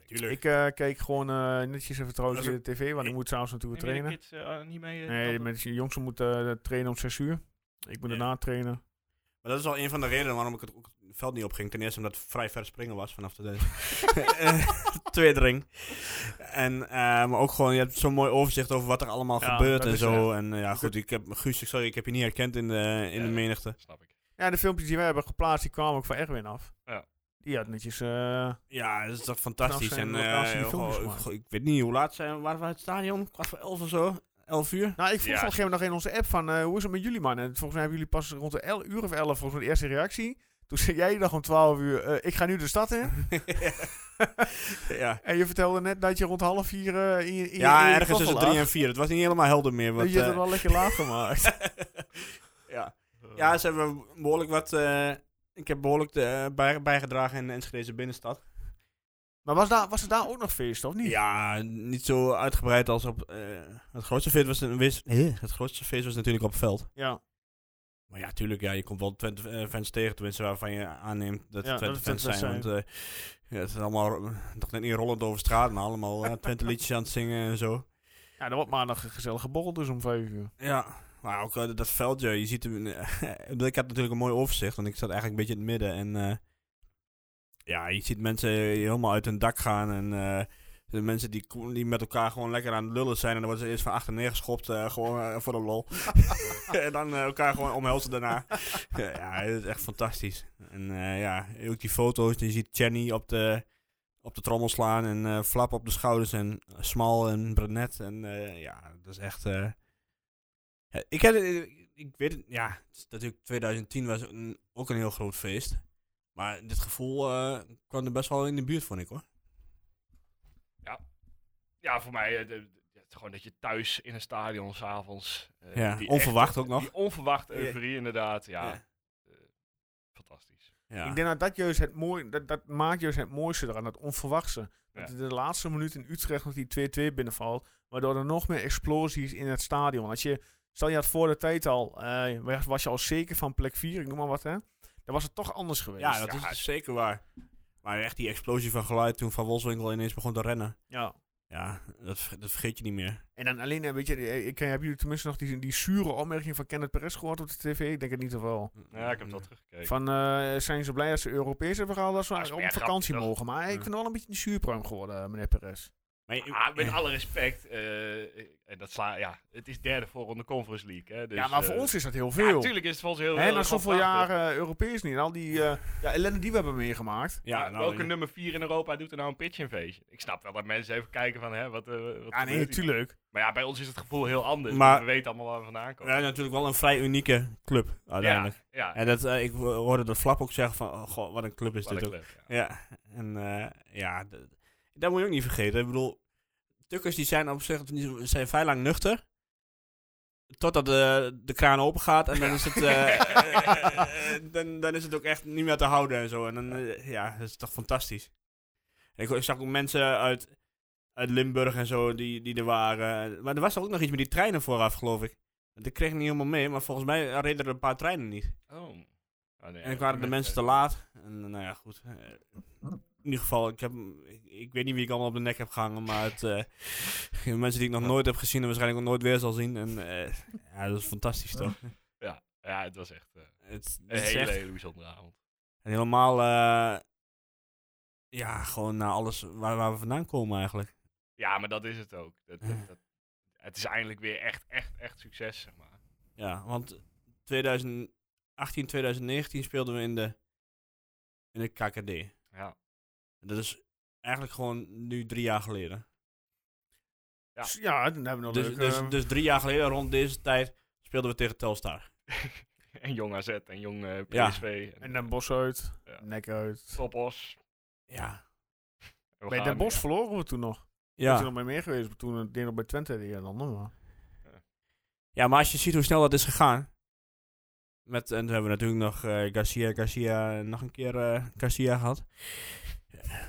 Speaker 2: Tuurlijk.
Speaker 1: Ik, eh, keek gewoon eh, netjes even trouwens
Speaker 2: Dat
Speaker 1: via
Speaker 2: is
Speaker 1: de tv, want ik
Speaker 2: ik-
Speaker 1: moet s'avonds natuurlijk weer trainen.
Speaker 3: Kids, eh, niet mee, eh,
Speaker 1: Nee,
Speaker 3: dat-
Speaker 1: mensen, de jongste moet eh, trainen om 6 uur. Ik moet
Speaker 2: Ja.
Speaker 1: daarna trainen.
Speaker 2: Maar dat is al een van de redenen waarom ik het, ook het veld niet opging. Ten eerste omdat het vrij ver springen was vanaf <laughs> de eh, <laughs> tweede ring. En, eh, maar ook gewoon, je hebt zo'n mooi overzicht over wat er allemaal
Speaker 1: Ja,
Speaker 2: gebeurt
Speaker 1: dat
Speaker 2: en
Speaker 1: is
Speaker 2: zo.
Speaker 1: het.
Speaker 2: En eh, ja, goed, ik heb, Guus, ik- sorry, ik heb je niet herkend in de, in
Speaker 3: Ja.
Speaker 2: de menigte.
Speaker 3: Eh, Snap ik.
Speaker 1: Ja, de filmpjes die wij hebben geplaatst, die kwamen ook van Erwin af.
Speaker 3: Ja.
Speaker 1: Die had netjes... eh,
Speaker 2: Ja, dat is toch
Speaker 1: Nou,
Speaker 2: fantastisch.
Speaker 1: zijn
Speaker 2: en
Speaker 1: we elkaar
Speaker 2: eh,
Speaker 1: zien die
Speaker 2: goh,
Speaker 1: filmpjes
Speaker 2: ik-
Speaker 1: maken.
Speaker 2: goh, ik weet niet hoe laat zijn, waren we uit het stadion? Kwart voor elf of zo? Elf uur?
Speaker 1: Nou, ik vroeg
Speaker 3: Ja,
Speaker 1: op een gegeven moment nog in onze app van, eh, hoe is het met jullie man? En volgens mij hebben jullie pas rond de el- uur of elf volgens mij de eerste reactie. Toen zei jij nog om 12 uur, eh, ik ga nu de stad in.
Speaker 2: <laughs> ja.
Speaker 1: en je vertelde net dat je rond half vier eh, in, je- in,
Speaker 2: Ja,
Speaker 1: je- in je
Speaker 2: ergens tussen
Speaker 1: koffel
Speaker 2: drie
Speaker 1: lag.
Speaker 2: en vier. Het was niet helemaal helder meer. Want,
Speaker 1: Dat je het
Speaker 2: eh,
Speaker 1: wel lekker laag gemaakt. <laughs>
Speaker 2: ja.
Speaker 1: Eh.
Speaker 2: ja, ze hebben behoorlijk wat... eh, ik heb behoorlijk eh, bij, bijgedragen in de Enschedeze binnenstad.
Speaker 1: maar was, daar, was er daar ook nog feest, of niet?
Speaker 2: Ja, niet zo uitgebreid als op... eh, het, grootste feest was, een- wis- eh, het grootste feest was natuurlijk op het veld.
Speaker 1: Ja,
Speaker 2: Maar ja, tuurlijk, ja, je komt wel Twente eh, fans tegen. Tenminste, waarvan je aanneemt dat
Speaker 1: Ja,
Speaker 2: het Twente
Speaker 1: dat het
Speaker 2: fans zijn.
Speaker 1: Twente
Speaker 2: Want eh, ja, het is allemaal ro- toch net niet rollend over straat, maar allemaal eh, Twente liedjes aan het zingen en zo.
Speaker 1: ja dan wordt maandag een gezellige borrel dus om vijf uur.
Speaker 2: Ja, maar ook eh, dat veldje, je ziet hem... eh, <laughs> ik had natuurlijk een mooi overzicht, want ik zat eigenlijk een beetje in het midden. En eh, ja, je ziet mensen helemaal uit hun dak gaan en... eh, de mensen die, ko- die met elkaar gewoon lekker aan het lullen zijn. En dan worden ze eerst van achter neergeschopt. eh, gewoon eh, voor de lol. <laughs> en dan eh, elkaar gewoon omhelzen daarna. ja, dat is echt fantastisch. En eh, ja, ook die foto's. Je ziet Jenny op de, op de trommel slaan. En eh, Flap op de schouders. En Smal en Brenet. En eh, ja, dat is echt... eh, eh, ik, heb, eh, ik weet het, ja, het is natuurlijk 2010 was een- ook een heel groot feest. Maar dit gevoel eh, kwam er best wel in de buurt, vond ik hoor.
Speaker 3: Ja, voor mij eh, de- de- ja, het gewoon dat je thuis in een stadion s'avonds... eh,
Speaker 2: Ja,
Speaker 3: die
Speaker 2: onverwacht
Speaker 3: echte-
Speaker 2: ook nog.
Speaker 3: Die onverwacht
Speaker 2: Oh. Ja.
Speaker 3: euforie, inderdaad. Ja, Eh, fantastisch.
Speaker 2: Ja.
Speaker 1: Ik denk dat dat, juist het mooi, dat dat maakt juist het mooiste eraan, dat onverwachtse. Dat
Speaker 3: Ja.
Speaker 1: in de laatste minuut in Utrecht nog die 2-2 binnenvalt, waardoor er nog meer explosies in het stadion. Als je, stel je had voor de tijd al, eh, was- was je al zeker van plek 4, ik noem maar wat hè, dan was het toch anders geweest.
Speaker 2: ja, dat
Speaker 3: ja,
Speaker 2: is
Speaker 3: het-
Speaker 2: zeker waar. Maar echt die explosie van geluid toen Van Wolfswinkel ineens begon te rennen.
Speaker 1: Ja.
Speaker 2: Ja, dat, ver- dat vergeet je niet meer.
Speaker 1: En dan alleen, eh, weet je, eh, ik, hebben jullie tenminste nog die, die zure opmerking van Kenneth Perez gehoord op de tv? Ik denk het niet of wel.
Speaker 3: Nou Ja, ik heb dat teruggekeken.
Speaker 1: Van, eh, zijn ze blij dat ze Europees hebben gehaald, dat ze
Speaker 3: Ja, is
Speaker 1: op
Speaker 3: meer
Speaker 1: vakantie
Speaker 3: grappig,
Speaker 1: mogen. Maar ik
Speaker 2: Ja.
Speaker 1: vind het wel een beetje een zuurpruim geworden, eh, meneer Perez.
Speaker 2: Maar je-
Speaker 3: Ah, met alle respect, eh, en dat sla, ja, het is derde voorronde Conference League. Hè, dus,
Speaker 1: ja, maar voor
Speaker 3: eh,
Speaker 1: ons is dat heel
Speaker 3: ja,
Speaker 1: veel.
Speaker 3: natuurlijk is het voor ons heel
Speaker 1: Hè,
Speaker 3: heel
Speaker 1: na zoveel
Speaker 3: prachtig.
Speaker 1: jaren eh, Europees niet. En al die eh, ja, ellende die we hebben meegemaakt.
Speaker 2: ja,
Speaker 3: Maar
Speaker 2: nou,
Speaker 3: welke nummer 4 in Europa doet er nou een pitch invasion? Ik snap wel dat mensen even kijken van, hè, wat, eh wat
Speaker 1: Ja,
Speaker 3: gebeurt
Speaker 1: nee,
Speaker 3: hier?
Speaker 1: natuurlijk.
Speaker 3: Maar ja, bij ons is het gevoel heel anders.
Speaker 2: Maar-
Speaker 3: want we weten allemaal waar we vandaan komen.
Speaker 2: ja, natuurlijk wel een vrij unieke club uiteindelijk.
Speaker 3: ja,
Speaker 2: En dat, eh, ik hoorde dat Flap ook zeggen van, oh, god, wat een club is
Speaker 3: wat
Speaker 2: dit
Speaker 3: een
Speaker 2: ook.
Speaker 3: club, ja.
Speaker 2: Ja, en eh, ja, d- dat moet je ook niet vergeten. Ik bedoel, Tukkers die zijn op zich die zijn vrij lang nuchter. Totdat de, de kraan open gaat en dan is het, eh, eh, eh, dan, dan is het ook echt niet meer te houden en zo. En dan, eh, ja, dat is toch fantastisch. Ik, ik zag ook mensen uit, uit Limburg en zo die, die er waren. Maar er was ook nog iets met die treinen vooraf, geloof ik. Dat kreeg ik niet helemaal mee, maar volgens mij reden er een paar treinen niet.
Speaker 3: Oh. Ah, nee,
Speaker 2: En dan waren de mensen te laat. En eh, nou ja, goed. Eh, in ieder geval, ik, heb, ik, ik weet niet wie ik allemaal op de nek heb gehangen. Maar het, eh, <laughs> de mensen die ik nog nooit heb gezien en waarschijnlijk ook nooit weer zal zien. En eh, ja, dat is fantastisch toch?
Speaker 3: Ja, het was echt eh,
Speaker 2: Het,
Speaker 3: een
Speaker 2: het is
Speaker 3: hele,
Speaker 2: echt-
Speaker 3: hele bijzondere avond.
Speaker 2: en helemaal, eh, ja, gewoon naar alles waar, waar we vandaan komen eigenlijk.
Speaker 3: Ja, maar dat is het ook. Dat,
Speaker 2: Hm.
Speaker 3: dat, dat- het is eindelijk weer echt, echt, echt succes, zeg maar.
Speaker 2: Ja, want 2018, 2019 speelden we in de, in de KKD.
Speaker 3: Ja. <laughs>
Speaker 2: Dat is eigenlijk gewoon nu drie jaar geleden.
Speaker 3: Ja.
Speaker 1: Dus Ja, dan hebben we nog
Speaker 2: Dus,
Speaker 1: leuk,
Speaker 2: dus,
Speaker 1: eh,
Speaker 2: dus drie jaar geleden, rond deze tijd, speelden we tegen Telstar.
Speaker 3: en jong AZ en jong eh,
Speaker 2: Ja.
Speaker 3: PSV.
Speaker 1: en Den Bosch uit,
Speaker 3: Ja.
Speaker 1: Nek uit.
Speaker 3: Topos.
Speaker 2: Ja.
Speaker 3: En we
Speaker 1: Bij
Speaker 3: gaan
Speaker 1: Den Bosch
Speaker 3: weer.
Speaker 1: verloren we toen nog. Ja. Toen
Speaker 2: Ja.
Speaker 1: nog bij meer geweest. maar Toen eh, ik denk nog bij Twente die en ander. Maar.
Speaker 2: ja, maar als je ziet hoe snel dat is gegaan. Met, en toen hebben we natuurlijk nog eh, Garcia, Garcia en nog een keer eh, Garcia gehad.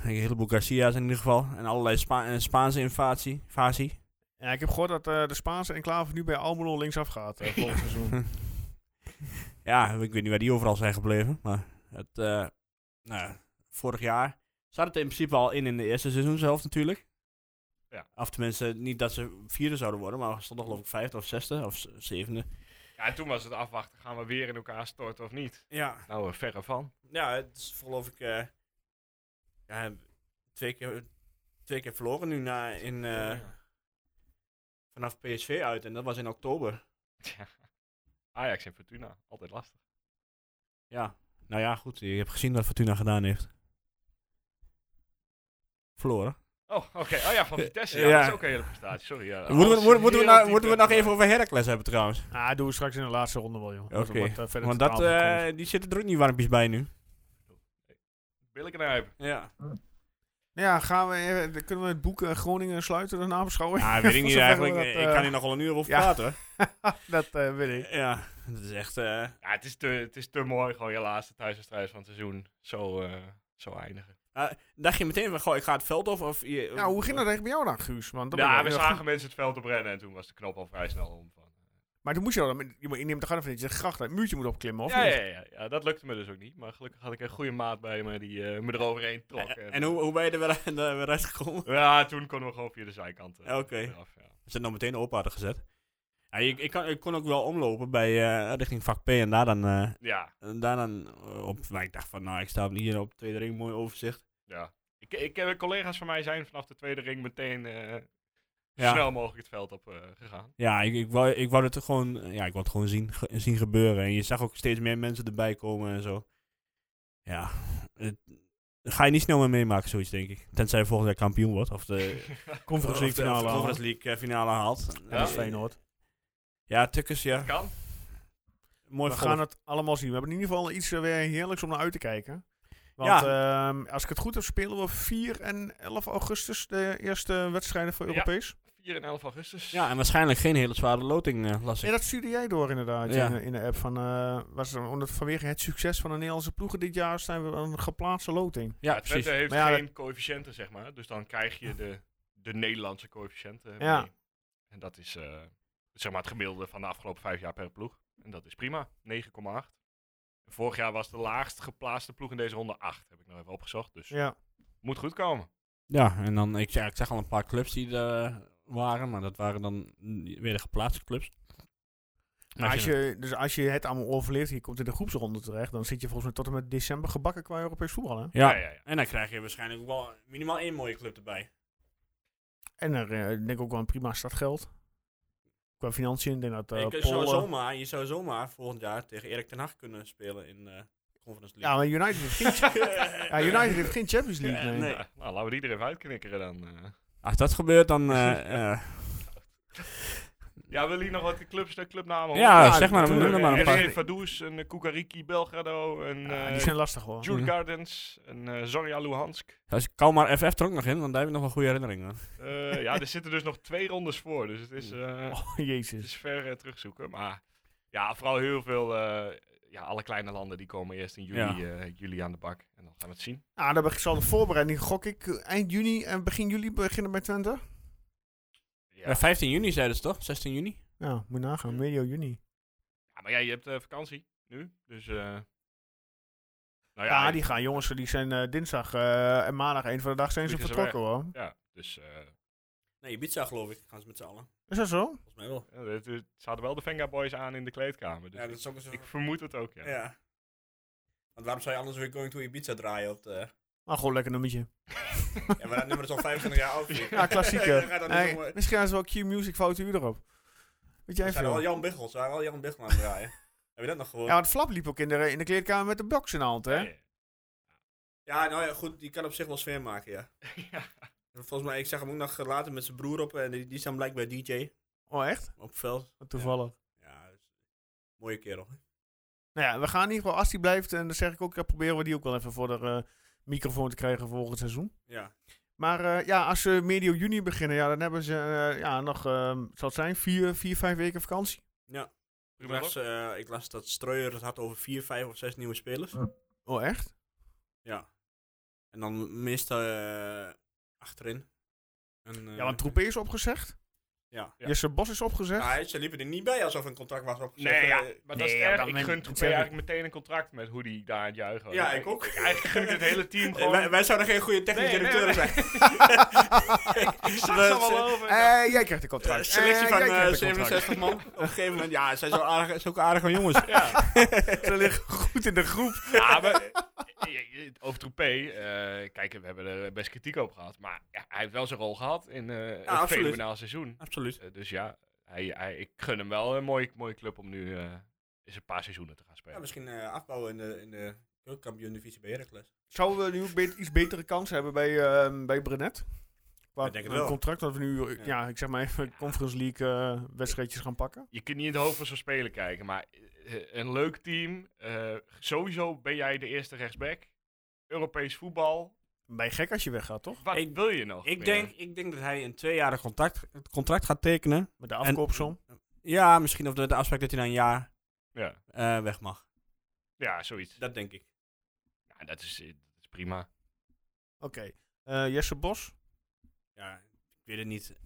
Speaker 2: Een heleboel Garcia's in ieder geval. En allerlei Spa- en Spaanse invasie. Fasie.
Speaker 1: Ja, ik heb gehoord dat eh, de Spaanse enclave nu bij Almelo linksaf gaat eh,
Speaker 2: <laughs>
Speaker 1: volgend seizoen.
Speaker 2: Ja, ik weet niet waar die overal zijn gebleven. Maar het, eh, nou, ja, vorig jaar zat het in principe al in in de eerste seizoenshelft natuurlijk.
Speaker 3: Ja.
Speaker 2: Of tenminste, niet dat ze vierde zouden worden, maar ze stonden geloof ik vijfde of zesde of z- zevende.
Speaker 3: Ja, en toen was het afwachten. Gaan we weer in elkaar storten of niet?
Speaker 2: Ja,
Speaker 3: Nou, eh, verre van.
Speaker 2: ja het is geloof ik eh, ja, twee, keer, twee keer verloren nu na, in, eh, vanaf PSV uit. En dat was in oktober.
Speaker 3: Ajax en Fortuna. Altijd lastig.
Speaker 2: Ja, nou ja, goed. Je hebt gezien wat Fortuna gedaan heeft. Verloren.
Speaker 3: Oh, oké. Oh ja, van Vitesse. Ja,
Speaker 2: Eh, Ja.
Speaker 3: dat is ook een hele prestatie. Sorry. Ja.
Speaker 2: Moeten we,
Speaker 3: Alles eh,
Speaker 2: moeten, moeten we,
Speaker 3: heel
Speaker 2: nou,
Speaker 3: diep
Speaker 2: moeten we
Speaker 3: weg.
Speaker 2: nog even over Heracles hebben trouwens?
Speaker 1: ah, doen we straks in de laatste ronde wel, joh.
Speaker 2: Oké,
Speaker 1: Wordt, eh, verder
Speaker 2: Want
Speaker 1: te
Speaker 2: dat,
Speaker 1: tafel gekomen.
Speaker 2: eh, die zitten er ook niet warmpjes bij nu.
Speaker 3: Billen knijpen.
Speaker 1: <laughs>
Speaker 2: Ja,
Speaker 1: Nou Ja, gaan we, eh, dan kunnen we het boek eh, Groningen sluiten, de nabeschouwing?
Speaker 2: ah, weet ik niet
Speaker 1: Zover
Speaker 2: eigenlijk.
Speaker 1: we dat,
Speaker 2: ik
Speaker 1: eh,
Speaker 2: kan hier nog wel een uur over
Speaker 1: ja.
Speaker 2: praten. hoor.
Speaker 1: <laughs> dat eh <laughs> weet ik.
Speaker 2: Ja, dat is echt... eh,
Speaker 3: Ja, het is te, het is te mooi. Gewoon je laatste thuiswedstrijd van het seizoen. Zo, eh, zo eindigen.
Speaker 2: ah, dacht je meteen van, goh, ik ga het veld op? Of, je-
Speaker 1: Nou, hoe ging dat eigenlijk bij jou dan, Guus? Want dat ben
Speaker 3: Ja,
Speaker 1: ik
Speaker 3: we
Speaker 1: wel
Speaker 3: zagen
Speaker 1: goed.
Speaker 3: mensen het veld oprennen en toen was de knop al vrij snel om. Van.
Speaker 1: Maar toen moest je wel, dan- je moet- je neemt toch aan dat je gracht dat muurtje moet opklimmen, of
Speaker 3: Ja,
Speaker 1: niet?
Speaker 3: ja, ja, ja, dat lukte me dus ook niet. Maar gelukkig had ik een goede maat bij me die eh, me eroverheen trok. eh,
Speaker 2: En, en hoe, hoe ben je er weer, <laughs> er weer uitgekomen?
Speaker 3: Ja, toen konden we gewoon via de zijkant eh,
Speaker 2: Oké.
Speaker 3: eraf, ja.
Speaker 2: Ze nou meteen op hadden gezet. Ja, ik, ik, kan, ik kon ook wel omlopen bij, eh, richting vak P en daar dan, eh,
Speaker 3: ja,
Speaker 2: en daar dan eh, op. Maar ik dacht van, nou, ik sta hier op de tweede ring, mooi overzicht.
Speaker 3: ja. Ik, ik, eh, collega's van mij zijn vanaf de tweede ring meteen eh, zo
Speaker 2: Ja.
Speaker 3: snel mogelijk het veld op eh, gegaan.
Speaker 2: Ja, ik, ik, wou, ik wou het gewoon, ja, ik wou het gewoon zien, ge- zien gebeuren. En je zag ook steeds meer mensen erbij komen en zo. Ja, het, daar ga je niet snel mee meemaken, zoiets denk ik. Tenzij je volgend jaar kampioen wordt of
Speaker 3: <laughs>
Speaker 2: de
Speaker 1: Conference League
Speaker 2: of de- of de
Speaker 1: finale.
Speaker 2: Conference League eh, finale haalt.
Speaker 1: Ja, dat is Feyenoord.
Speaker 2: Ja, Tukkers, ja.
Speaker 3: Kan.
Speaker 2: Mooi
Speaker 1: We gaan het allemaal zien. We hebben in ieder geval iets eh, weer heerlijks om naar uit te kijken. Want ehm, als ik het goed heb, spelen we 4 en 11 augustus de eerste wedstrijden voor
Speaker 3: Ja.
Speaker 1: Europees.
Speaker 3: 4 en 11 augustus.
Speaker 2: Ja, en waarschijnlijk geen hele zware loting, eh las
Speaker 1: Ja,
Speaker 2: ik.
Speaker 1: dat stuurde jij door inderdaad
Speaker 2: Ja.
Speaker 1: in, de- in de app. Van, eh, was er, omdat vanwege het succes van de Nederlandse ploegen dit jaar zijn we een geplaatste loting.
Speaker 2: Ja,
Speaker 3: Twente
Speaker 2: precies.
Speaker 3: heeft
Speaker 1: Maar ja,
Speaker 3: geen coëfficiënten, zeg maar. Dus dan krijg je de, de Nederlandse coëfficiënten
Speaker 1: Ja.
Speaker 3: mee. En dat is eh, zeg maar het gemiddelde van de afgelopen vijf jaar per ploeg. En dat is prima. 9,8. Vorig jaar was de laagst geplaatste ploeg in deze ronde 8. Heb ik nog even opgezocht. Dus
Speaker 1: Ja.
Speaker 3: moet goed komen.
Speaker 2: Ja, en dan, ik, ja, ik zag al een paar clubs die er eh, waren, maar dat waren dan mm, weer de geplaatste clubs.
Speaker 1: Maar als je, dus als je het allemaal overleeft, je komt in de groepsronde terecht, dan zit je volgens mij tot en met december gebakken qua Europees voetbal. Hè?
Speaker 2: Ja,
Speaker 3: ja, ja.
Speaker 2: en dan krijg je waarschijnlijk ook wel minimaal één mooie club erbij.
Speaker 1: En er, eh, ik denk ook wel een prima startgeld. Qua financiën, ik denk dat eh
Speaker 2: je, zou
Speaker 1: Polen-
Speaker 2: zomaar, je zou zomaar volgend jaar tegen Erik ten Hag kunnen spelen in eh de Conference
Speaker 1: Ja,
Speaker 2: League. <laughs>
Speaker 1: maar United heeft geen, ja, United heeft geen Champions League. Nee.
Speaker 2: nee.
Speaker 3: Ja, nou, laten we die er even uitknikkeren dan. eh.
Speaker 2: Als dat gebeurt, dan... eh,
Speaker 3: <laughs>
Speaker 2: eh,
Speaker 3: Ja, wil je nog wat clubs, de clubnamen?
Speaker 2: ja,
Speaker 1: Ja,
Speaker 2: zeg maar,
Speaker 1: tuurlijk.
Speaker 2: noem er maar een
Speaker 1: Ja,
Speaker 2: paar.
Speaker 3: <laughs> RV Vaduz, een eh, Kukariki Belgrado, een
Speaker 1: Ja,
Speaker 3: eh
Speaker 1: die zijn lastig hoor.
Speaker 3: <laughs> Jule Gardens, een eh Zorya Luhansk.
Speaker 2: Als ik maar FF er ook nog in, want daar heb ik nog wel goede herinneringen aan.
Speaker 3: Eh, ja, er zitten dus nog twee rondes voor, dus het is, eh,
Speaker 1: Oh,
Speaker 3: het
Speaker 1: jezus.
Speaker 3: is ver eh, terugzoeken. Maar ja, vooral heel veel, eh, ja, alle kleine landen die komen eerst in juli, eh, juli aan de bak. En dan gaan we het zien.
Speaker 1: Ah, dan zal de voorbereiding, gok ik, eh, eind juni en begin juli beginnen bij Twente.
Speaker 3: Ja.
Speaker 2: Ja. 15 Eh, juni zeiden ze toch? 16 juni?
Speaker 1: Ja, moet je nagaan, medio juni.
Speaker 3: Ja, maar ja, je hebt eh, vakantie nu, dus... eh, nou
Speaker 1: Ja,
Speaker 3: ik-
Speaker 1: Ah, die gaan jongens, die zijn eh, dinsdag eh, en maandag, één van de dag zijn ze
Speaker 3: Vliegen ze
Speaker 1: vertrokken hoor.
Speaker 3: Ja, dus eh,
Speaker 2: Nee, Ibiza geloof ik. Gaan ze met z'n allen.
Speaker 1: Is dat zo?
Speaker 2: Volgens mij wel.
Speaker 3: ja, het, het zaten wel de Venga Boys aan in de kleedkamer. Dus
Speaker 2: Ja, dat is ook zo.
Speaker 3: ik vermoed het ook, ja.
Speaker 2: Ja. Want waarom zou je anders weer Going to Ibiza draaien? Op de...
Speaker 1: Maar Ah, gewoon lekker nummertje.
Speaker 2: ja, maar dat nummer is al 25 jaar oud.
Speaker 1: Ja, klassieker.
Speaker 2: <laughs> Dan gaat dat niet
Speaker 1: Hey,
Speaker 2: om, eh,
Speaker 1: misschien gaan ze wel Q-Music fouten uur erop. Weet jij
Speaker 2: Ze zijn al
Speaker 1: veel?
Speaker 2: Jan Biggel. Ze waren al Jan Biggel aan het
Speaker 3: <laughs>
Speaker 2: draaien. Heb je dat nog gehoord?
Speaker 1: Ja,
Speaker 2: Ja.
Speaker 1: want Flap liep ook in de, in de kleedkamer met de box in de hand, hè?
Speaker 3: Ja,
Speaker 2: nou ja, goed. Die kan op zich wel sfeer maken, ja.
Speaker 3: <laughs> ja.
Speaker 2: En Volgens mij, ik zag hem ook nog later met zijn broer op. En die, die staan blijkbaar DJ
Speaker 1: Oh, echt?
Speaker 2: op het veld.
Speaker 1: Wat toevallig.
Speaker 2: Ja, dus- mooie kerel.
Speaker 1: Nou ja, we gaan in ieder geval, als die blijft, en dan zeg ik ook, ja, proberen we die ook wel even voor de eh, microfoon te krijgen volgend seizoen.
Speaker 2: Ja.
Speaker 1: Maar eh, ja, als ze medio juni beginnen, ja, dan hebben ze eh, ja, nog, ehm zal het zijn, vier, vier, vijf weken vakantie.
Speaker 2: Ik
Speaker 3: Prima,
Speaker 2: las, eh, ik las dat Streuer het had over 4, 5 of 6 nieuwe spelers.
Speaker 1: Oh, echt?
Speaker 2: Ja. En dan miste eh, achterin. En, eh,
Speaker 1: Ja, want Troepé is opgezegd.
Speaker 2: Ja.
Speaker 3: Ja.
Speaker 1: Jesse Bos is opgezegd.
Speaker 2: Maar ze liepen er niet bij alsof een contract was opgezegd.
Speaker 3: Nee, ja,
Speaker 2: Eh,
Speaker 3: maar dat is
Speaker 1: nee,
Speaker 3: erg.
Speaker 1: dat
Speaker 3: Ik
Speaker 1: men-
Speaker 3: gun
Speaker 1: dat
Speaker 3: Troepé
Speaker 1: zeg ik.
Speaker 3: eigenlijk meteen een contract met hoe die daar aan het juichen was.
Speaker 2: Ja, ik ook.
Speaker 3: Eigenlijk gun Oh, ik het hele team
Speaker 2: eh,
Speaker 3: gewoon.
Speaker 2: <laughs> wij, wij zouden geen goede technisch
Speaker 3: Nee, nee,
Speaker 2: directeuren
Speaker 3: nee.
Speaker 2: <laughs> zijn.
Speaker 1: Eh,
Speaker 2: Ik
Speaker 3: Zag ze wel over. Ja.
Speaker 1: jij krijgt de contract.
Speaker 2: selectie
Speaker 1: Eh,
Speaker 2: van
Speaker 1: jij
Speaker 2: eh,
Speaker 1: krijgt de contract.
Speaker 2: 67 man. Op een gegeven moment, ja, ze zijn zo aardig, zulke aardige jongens.
Speaker 3: Ja.
Speaker 1: <laughs> Ze liggen goed in de groep.
Speaker 3: <laughs> Ja, maar, eh, eh, eh, over Troepé, eh, kijk, we hebben er best kritiek op gehad. Maar ja, hij heeft wel zijn rol gehad in eh een
Speaker 2: Nou, absoluut.
Speaker 3: fenomenaal seizoen.
Speaker 2: <laughs> Absoluut.
Speaker 3: Eh, dus ja, hij, hij, ik gun hem wel een mooie, mooie club om nu eh, eens een paar seizoenen te gaan
Speaker 2: Ja,
Speaker 3: spelen.
Speaker 2: misschien eh, afbouwen in de, in de keukenkampioen divisie bij Heracles.
Speaker 1: Zouden we nu ook bet- iets betere kans hebben bij, ehm bij Brenet? Qua
Speaker 2: Ik denk het wel.
Speaker 1: contract dat we nu, eh,
Speaker 2: Ja.
Speaker 1: ja. ik zeg maar even, Conference League eh, wedstrijdjes gaan pakken.
Speaker 3: je kunt niet in het hoofd van zo'n speler kijken, maar eh, een leuk team. eh, sowieso ben jij de eerste rechtsback. Europees voetbal.
Speaker 1: Ben je gek als je weggaat, toch?
Speaker 3: Wat
Speaker 2: Ik-
Speaker 3: wil je nog?
Speaker 2: Ik
Speaker 3: meer?
Speaker 2: denk, ik denk dat hij een tweejarig contract, contract gaat tekenen.
Speaker 1: Met de afkoopsom.
Speaker 2: Ja, misschien of de, de afspraak dat hij na een jaar
Speaker 3: Ja,
Speaker 2: eh, weg mag.
Speaker 3: ja zoiets.
Speaker 2: Dat denk ik.
Speaker 3: Ja, dat, is, eh, dat is prima.
Speaker 1: Oké. Eh, Jesse Bos.
Speaker 2: Ja, ik weet het niet.
Speaker 3: Ja,
Speaker 2: ik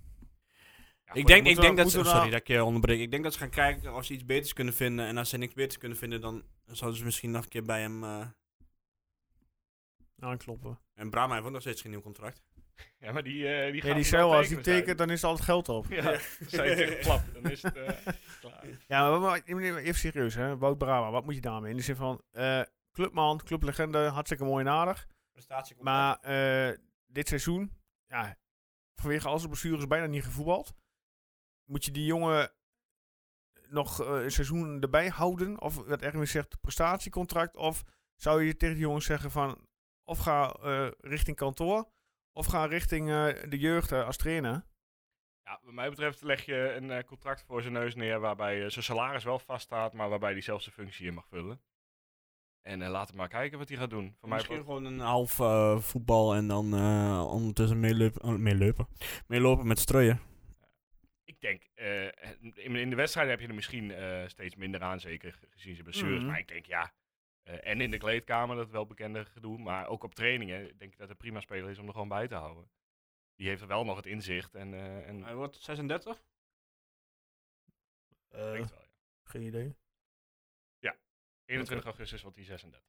Speaker 3: goed,
Speaker 2: denk,
Speaker 1: moeten
Speaker 2: ik
Speaker 1: we-
Speaker 2: denk dat
Speaker 1: moeten
Speaker 2: ze...
Speaker 1: we
Speaker 2: Sorry
Speaker 1: nou-
Speaker 2: dat ik je onderbreek. Ik denk dat ze gaan kijken of ze iets beters kunnen vinden. En als ze niks beters kunnen vinden, dan zouden ze misschien nog een keer bij hem... eh,
Speaker 1: Nou, Aankloppen.
Speaker 2: en Brahma heeft ook nog steeds geen nieuw contract.
Speaker 3: Ja, maar die, eh die,
Speaker 1: Ja,
Speaker 3: gaat
Speaker 1: die
Speaker 3: er
Speaker 1: cel,
Speaker 3: wel
Speaker 1: als die
Speaker 3: tekenen
Speaker 1: tekent, dan is er al het geld op.
Speaker 3: zijn. Ja, dan zijn het echt klap. Dan is het eh, klaar.
Speaker 1: Ja, maar, maar- maar even serieus, hè. Wout Brama, wat moet je daarmee? In de zin van, eh, clubman, clublegende, hartstikke mooi en aardig.
Speaker 2: Prestatiecontract.
Speaker 1: Maar eh, dit seizoen, ja, vanwege al zijn blessures bijna niet gevoetbald. Moet je die jongen nog eh, een seizoen erbij houden? Of wat Erwin zegt, prestatiecontract? Of zou je tegen die jongens zeggen van, of ga eh, richting kantoor, of ga richting eh, de jeugd eh, als trainer?
Speaker 3: Ja, wat mij betreft leg je een eh, contract voor zijn neus neer waarbij eh, zijn salaris wel vaststaat, maar waarbij hij zelf zijn functie in mag vullen. En eh laten we maar kijken wat hij gaat doen. Voor mij
Speaker 2: Misschien gewoon een half eh, voetbal en dan eh, ondertussen meeleupen, oh, meeleupen. meelopen met strooien.
Speaker 3: Ik denk, eh, in, in de wedstrijden heb je er misschien eh, steeds minder aan, zeker ge- gezien zijn blessures.
Speaker 1: Mhm.
Speaker 3: Maar ik denk ja, eh, en in de kleedkamer, dat wel bekende gedoe. Maar ook op trainingen denk ik dat het prima speler is om er gewoon bij te houden. Die heeft wel nog het inzicht en... eh, en
Speaker 2: Hij wordt 36?
Speaker 3: ik denk het wel, ja.
Speaker 1: Eh, Geen idee.
Speaker 3: 21 augustus wordt hij 36.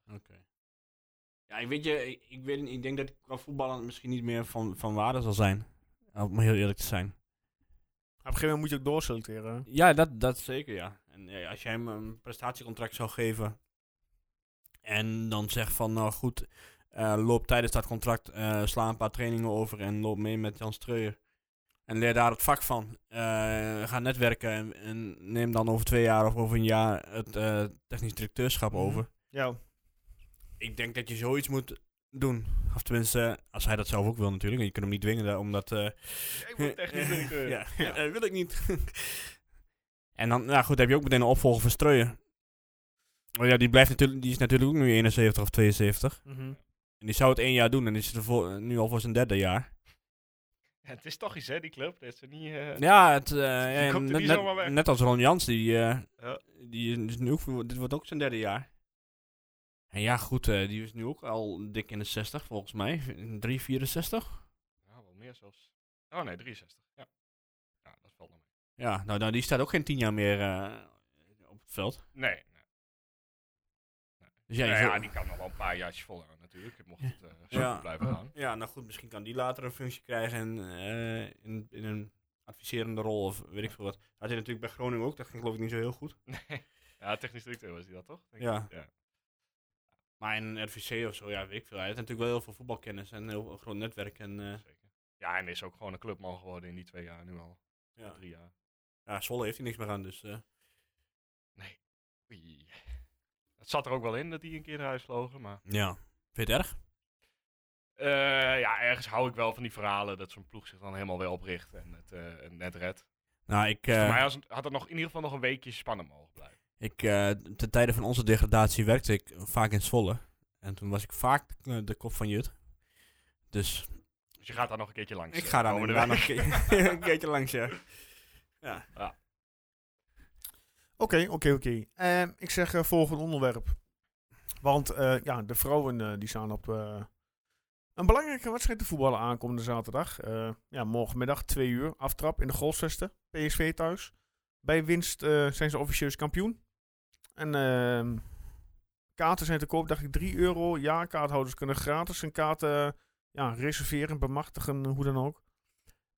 Speaker 2: Ja, ik weet je, ik, ik weet, niet, ik denk dat ik qua voetballen misschien niet meer van, van waarde zal zijn. Om heel eerlijk te zijn.
Speaker 1: Op een gegeven moment moet je ook doorselecteren. hè.
Speaker 2: Ja, dat, dat zeker, ja. En eh, als jij hem een prestatiecontract zou geven en dan zegt van, nou goed, eh, loop tijdens dat contract, eh, sla een paar trainingen over en loop mee met Jan Streuer. En leer daar het vak van. Eh, ga netwerken en, en neem dan over twee jaar of over een jaar het eh, technisch directeurschap
Speaker 1: Mhm.
Speaker 2: over.
Speaker 1: Ja.
Speaker 2: Ik denk dat je zoiets moet doen. Of tenminste, eh, als hij dat zelf ook wil natuurlijk. Je kunt hem niet dwingen daar, omdat... eh,
Speaker 3: <laughs> <laughs> Ik
Speaker 2: <laughs>
Speaker 3: word technisch directeur.
Speaker 2: ja, eh, wil ik niet. <laughs> en dan, nou goed, dan heb je ook meteen een opvolger voor Streuer. Maar ja, die, blijft natuurlijk, die is natuurlijk ook nu 71 of 72.
Speaker 1: Mhm.
Speaker 2: En die zou het één jaar doen en die is er voor, eh, nu al voor zijn derde jaar.
Speaker 3: Ja, het is toch iets, hè, die club. Dat is er niet... eh,
Speaker 2: Ja, het, eh,
Speaker 3: Die
Speaker 2: ja,
Speaker 3: komt er
Speaker 2: net,
Speaker 3: niet zomaar
Speaker 2: net,
Speaker 3: weg.
Speaker 2: net als Ron Jans, die, eh,
Speaker 3: Ja.
Speaker 2: die is nu ook, voor- dit wordt ook zijn derde jaar. En ja, goed, eh, die is nu ook al dik in de 60 volgens mij. 3, 64.
Speaker 3: Nou, wel meer zelfs. Oh nee, 63. Ja, ja dat valt nog
Speaker 2: Ja, nou, nou die staat ook geen tien jaar meer eh, op het veld.
Speaker 3: mee. Nee, nee.
Speaker 2: Dus ja, je
Speaker 3: Nou
Speaker 2: zult-
Speaker 3: ja, die kan nog wel een paar jaartjes volhouden natuurlijk. Mocht het eh, zo
Speaker 2: Ja.
Speaker 3: goed blijven gaan.
Speaker 2: Ja, nou goed, misschien kan die later een functie krijgen en, eh, in, in een adviserende rol of weet ik veel wat. Had hij natuurlijk bij Groningen ook, dat ging geloof ik niet zo heel goed.
Speaker 3: Nee. Ja, technisch directeur was hij dat toch? Denk ik.
Speaker 2: Ja.
Speaker 3: ja.
Speaker 2: Maar in een RVC of zo, ja, weet ik veel. Hij had natuurlijk wel heel veel voetbalkennis en een heel groot netwerk. En, eh,
Speaker 3: Zeker. Ja, en is ook gewoon een clubman geworden in die twee jaar nu al.
Speaker 2: ja.
Speaker 3: Drie jaar.
Speaker 2: ja, Zwolle heeft hij niks meer aan, dus... eh,
Speaker 3: Oei. Het zat er ook wel in dat die een keer naar huis vlogen, maar...
Speaker 2: ja, vind je het erg?
Speaker 3: Eh, ja, ergens hou ik wel van die verhalen dat zo'n ploeg zich dan helemaal weer opricht en het eh, en net redt.
Speaker 2: Nou, ik, eh,
Speaker 3: Voor mij was het- had het nog in ieder geval nog een weekje spannend mogen blijven.
Speaker 2: ik eh, ten tijde van onze degradatie werkte ik vaak in Zwolle. En toen was ik vaak de, de kop van Jut. Dus
Speaker 3: Dus je gaat daar nog een keertje langs.
Speaker 2: ik
Speaker 3: eh,
Speaker 2: ga daar
Speaker 3: komende
Speaker 2: inderdaad nog
Speaker 3: week.
Speaker 2: een, keer- <laughs> een keertje langs, ja. Ja.
Speaker 1: Oké, oké, oké. Ehm, Ik zeg eh, volgend onderwerp. Want eh, ja, de vrouwen eh, die staan op eh, een belangrijke wedstrijd te voetballen aankomende zaterdag. Eh, ja, morgenmiddag 2 uur aftrap in de Golfzeste. PSV thuis. Bij winst eh, zijn ze officieus kampioen. En ehm, kaarten zijn te koop, dacht ik 3 euro. Ja, kaarthouders kunnen gratis een kaart eh, ja, reserveren, bemachtigen, hoe dan ook.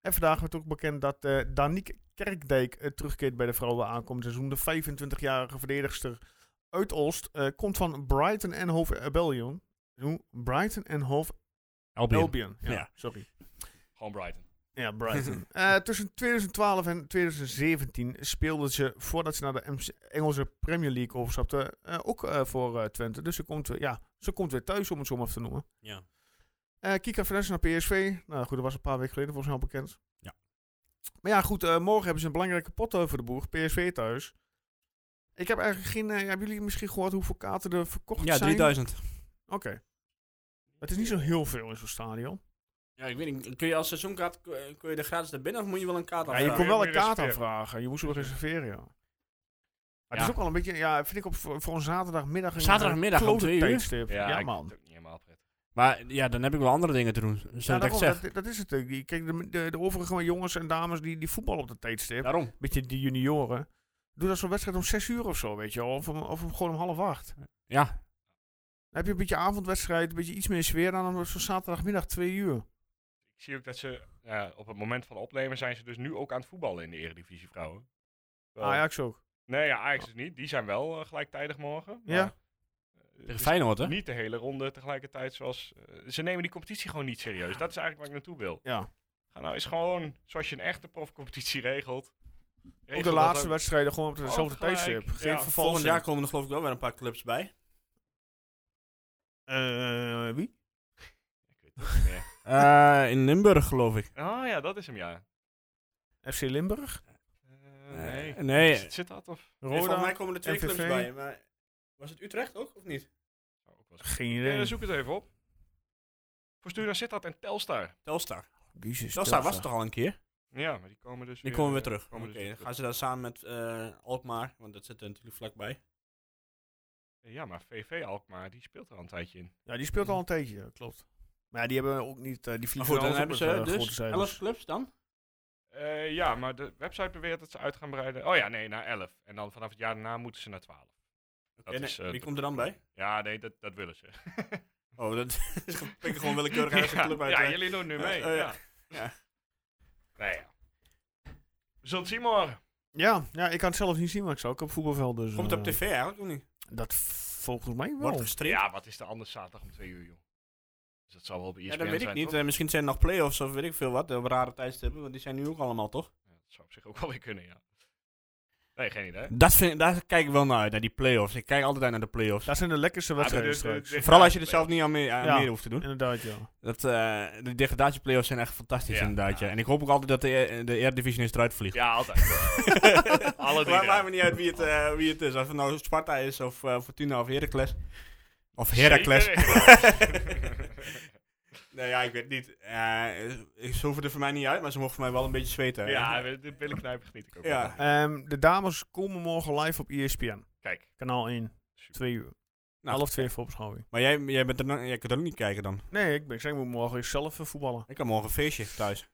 Speaker 1: En vandaag werd ook bekend dat eh Danique Kerkdijk eh, terugkeert bij de vrouwen aankomend seizoen. De 25-jarige verdedigster uit Oost eh, komt van Brighton en Hove Albion. Hoe? Brighton en Hove
Speaker 2: Albion.
Speaker 1: Albion. Ja,
Speaker 2: Ja.
Speaker 1: sorry.
Speaker 3: <laughs> Gewoon Brighton.
Speaker 1: Ja, Brighton. Eh, tussen 2012 en 2017 speelde ze, voordat ze naar de Ems- Engelse Premier League overstapte, eh, ook eh, voor eh, Twente. Dus ze komt, eh, ja, ze komt weer thuis, om het zo maar even te noemen.
Speaker 2: Ja.
Speaker 1: Eh, Kika Finesse naar PSV. Nou goed, dat was een paar weken geleden volgens mij al bekend.
Speaker 2: Ja.
Speaker 1: Maar ja, goed, eh, morgen hebben ze een belangrijke pot eh, voor de boeg. PSV thuis. Ik heb eigenlijk geen... eh, hebben jullie misschien gehoord hoeveel kaarten er verkocht
Speaker 2: Ja,
Speaker 1: zijn?
Speaker 2: 3000.
Speaker 1: Oké. Het is niet zo heel veel in zo'n stadion.
Speaker 2: Ja, ik weet niet. Kun je als seizoenkaart kun kun je er gratis naar binnen of moet je wel een kaart
Speaker 1: Ja,
Speaker 2: aanvragen?
Speaker 1: je
Speaker 3: vragen.
Speaker 1: kon wel een
Speaker 3: Meer
Speaker 1: kaart
Speaker 3: reserveren.
Speaker 1: aanvragen. Je moest wel reserveren, ja. Maar het
Speaker 2: Ja.
Speaker 1: is ook wel een beetje... Ja, vind ik op, voor voor een zaterdagmiddag... Een
Speaker 2: Zaterdagmiddag om
Speaker 1: klote
Speaker 2: twee uur?
Speaker 1: tijdstip. Ja,
Speaker 3: ik
Speaker 1: man.
Speaker 3: vind het ook niet helemaal prettig.
Speaker 2: Maar ja, dan heb ik wel andere dingen te doen. Zo
Speaker 1: Ja,
Speaker 2: dat ik
Speaker 1: daarom,
Speaker 2: zeg.
Speaker 1: dat, dat is het. eh. Kijk, de, de, de overige jongens en dames die, die voetballen op dat tijdstip.
Speaker 2: Daarom.
Speaker 1: beetje die junioren. Doe dat zo'n wedstrijd om 6 uur of zo, weet je wel. Of, om, of om gewoon om half acht.
Speaker 2: Ja.
Speaker 1: Dan heb je een beetje avondwedstrijd, een beetje iets meer sfeer dan om zo'n zaterdagmiddag 2 uur.
Speaker 3: Ik zie ook dat ze ja, op het moment van opnemen zijn ze dus nu ook aan het voetballen in de Eredivisie vrouwen. Terwijl-
Speaker 1: Ajax ook.
Speaker 3: Nee, ja, Ajax is niet. Die zijn wel eh, gelijktijdig morgen. maar,
Speaker 1: Ja.
Speaker 3: eh, het
Speaker 2: Tegen
Speaker 3: is
Speaker 2: Feyenoord, hè?
Speaker 3: Niet de hele ronde tegelijkertijd zoals... eh, ze nemen die competitie gewoon niet serieus. Dat is eigenlijk waar ik naartoe wil.
Speaker 1: Ja.
Speaker 3: Ga nou eens gewoon zoals je een echte profcompetitie regelt.
Speaker 1: Ook
Speaker 3: regel
Speaker 1: de
Speaker 3: dat
Speaker 1: laatste
Speaker 3: ook.
Speaker 1: wedstrijden gewoon op dezelfde
Speaker 3: gelijk.
Speaker 1: tijdstip.
Speaker 3: Ja,
Speaker 1: Geen vervolg.
Speaker 2: Volgend jaar komen er geloof ik wel weer een paar clubs bij.
Speaker 1: Eh, wie?
Speaker 3: Ik weet het niet meer.
Speaker 2: Eh, in Limburg, geloof ik.
Speaker 3: Oh ja, dat is hem, ja.
Speaker 1: FC Limburg?
Speaker 3: Eh, nee.
Speaker 2: nee.
Speaker 3: Zit, zit dat of?
Speaker 2: volgens mij
Speaker 1: Roda?
Speaker 2: komen er twee
Speaker 1: MVV.
Speaker 2: clubs bij. Maar was het Utrecht ook, of niet?
Speaker 3: Oh, ook wel eens-
Speaker 1: Geen
Speaker 3: Eh,
Speaker 1: idee.
Speaker 3: zoek het even op. Fortuna zit dat en Telstar.
Speaker 2: Telstar.
Speaker 1: Jezus,
Speaker 2: Telstar was het toch al een keer?
Speaker 3: Ja, maar die komen dus
Speaker 2: Die komen weer terug. Oké,
Speaker 3: komen dus weer
Speaker 2: dan
Speaker 3: terug.
Speaker 2: gaan ze daar samen met eh, Alkmaar, want dat zit er natuurlijk vlakbij.
Speaker 3: Ja, maar VV Alkmaar, die speelt er al een tijdje in.
Speaker 1: Ja, die speelt al een tijdje, ja, klopt. Maar ja, die hebben ook niet... eh, die
Speaker 2: Maar
Speaker 1: vliegen
Speaker 2: goed, dan
Speaker 1: alles op
Speaker 2: hebben
Speaker 1: met,
Speaker 2: ze
Speaker 1: eh, grote
Speaker 2: dus
Speaker 1: cijfers.
Speaker 2: 11 clubs dan?
Speaker 3: Eh, ja, maar de website beweert dat ze uit gaan breiden. Oh ja, nee, naar 11. En dan vanaf het jaar daarna moeten ze naar 12. Dat
Speaker 2: Oké, nee,
Speaker 3: is, eh,
Speaker 2: Wie komt er dan bij?
Speaker 3: Ja, nee, dat, dat willen ze.
Speaker 2: Oh, dat <laughs> is pikken gewoon <laughs>
Speaker 3: <laughs>
Speaker 2: willekeurig uit
Speaker 3: ja,
Speaker 2: een club uit.
Speaker 3: ja,
Speaker 2: eh.
Speaker 3: jullie doen nu
Speaker 2: eh,
Speaker 3: mee.
Speaker 2: eh,
Speaker 3: ja.
Speaker 2: <laughs> ja.
Speaker 3: Nee, ja. We zullen het zien morgen.
Speaker 1: Ja, ja, ik kan het zelf niet zien, maar ik zou ook op voetbalveld. Dus,
Speaker 2: Komt het op
Speaker 1: eh,
Speaker 2: tv eigenlijk of niet?
Speaker 1: Dat volgens mij wel.
Speaker 2: Wordt gestreamd?
Speaker 3: Ja, wat is er anders zaterdag om twee uur, joh? Dus dat zou wel op ESPN
Speaker 2: Ja,
Speaker 3: zijn,
Speaker 2: dat weet ik niet.
Speaker 3: toch?
Speaker 2: Eh, misschien zijn er nog play-offs of weet ik veel wat. eh, Op rare tijdstippen, want die zijn nu ook allemaal, toch?
Speaker 3: Ja, dat zou op zich ook wel weer kunnen, ja. Nee, geen idee.
Speaker 2: Dat vind, ik- daar kijk ik wel naar uit, naar die play-offs. Ik kijk altijd uit naar de play-offs.
Speaker 1: Dat zijn de lekkerste
Speaker 3: Ah,
Speaker 1: wedstrijden
Speaker 3: dus-
Speaker 1: straks.
Speaker 3: dus-
Speaker 2: Vooral als je er zelf niet aan mee, aan
Speaker 1: Ja.
Speaker 2: meer hoeft te doen.
Speaker 1: Inderdaad, ja.
Speaker 2: Dat, eh, de degradatieplay-offs zijn echt fantastisch
Speaker 3: Ja.
Speaker 2: inderdaad. Ja.
Speaker 3: Ja.
Speaker 2: En ik hoop ook altijd dat de, eh, de Eredivisie eens eruit vliegt.
Speaker 3: Ja,
Speaker 2: <laughs>
Speaker 3: altijd. Alle drie
Speaker 2: Maar maakt
Speaker 3: eruit.
Speaker 2: me niet uit wie het, eh, wie het is. Of het nou Sparta is, of eh, Fortuna, of Heracles. Of Heracles. nee, ja, ik weet het niet. Eh, ik- ze hoeven er voor mij niet uit, maar ze mogen voor mij wel een beetje zweten. hè.
Speaker 3: <laughs> ja, de billenknijpen geniet ik ook.
Speaker 2: Ja.
Speaker 3: wel van.
Speaker 1: Ehm, de dames komen morgen live op E ESPN.
Speaker 3: Kijk.
Speaker 1: Kanaal 1.
Speaker 3: Super.
Speaker 1: Twee uur.
Speaker 2: Nou,
Speaker 1: Half twee voor beschouwing.
Speaker 2: Maar jij, jij, bent er, nog- jij kunt er ook niet kijken dan.
Speaker 1: Nee, ik, ben- ik zeg, ik moet morgen eens zelf eh, voetballen.
Speaker 2: Ik heb morgen een feestje thuis.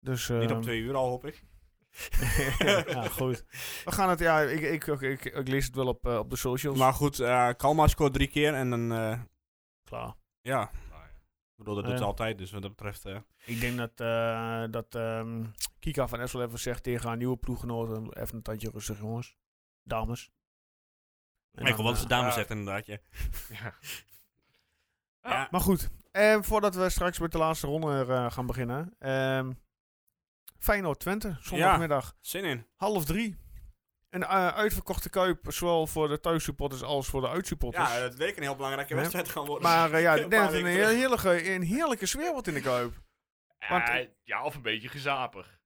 Speaker 1: Dus, ehm,
Speaker 2: Niet op twee uur al, hoop ik.
Speaker 1: <laughs> ja, goed. We gaan het, ja, ik, ik, ik, ik, ik lees het wel op, eh, op de socials.
Speaker 2: Maar goed, eh Kalmar scoort drie keer en dan... eh,
Speaker 1: Klaar.
Speaker 2: ja,
Speaker 3: Nou ja.
Speaker 2: ik bedoel, dat
Speaker 1: Ja.
Speaker 2: doet ze altijd. Dus wat dat betreft... eh,
Speaker 1: Ik denk dat, eh, dat ehm, Kika van Essel even zegt tegen haar nieuwe ploeggenoten, even een tandje rustig jongens. Dames. En
Speaker 2: Michael,
Speaker 1: dan,
Speaker 2: wat is
Speaker 1: eh,
Speaker 2: de dame
Speaker 3: ja.
Speaker 2: zegt inderdaad, ja.
Speaker 3: Ja.
Speaker 2: Ja.
Speaker 1: Maar goed, en voordat we straks met de laatste ronde eh, gaan beginnen. ehm Feyenoord Twente, zondagmiddag.
Speaker 2: Zin in.
Speaker 1: half drie. Een eh, uitverkochte kuip, zowel voor de thuissupporters als voor de uitsupporters.
Speaker 2: Ja, het leek een heel belangrijke
Speaker 1: dus. Ja.
Speaker 2: wedstrijd gaan worden.
Speaker 1: maar eh, <laughs> ja, ik
Speaker 2: Een
Speaker 1: denk
Speaker 2: paar
Speaker 1: dat er een,
Speaker 2: weken
Speaker 1: heel- heerlijke, een heerlijke sfeer wordt in de kuip. Want-
Speaker 3: Eh, ja, of een beetje gezapig.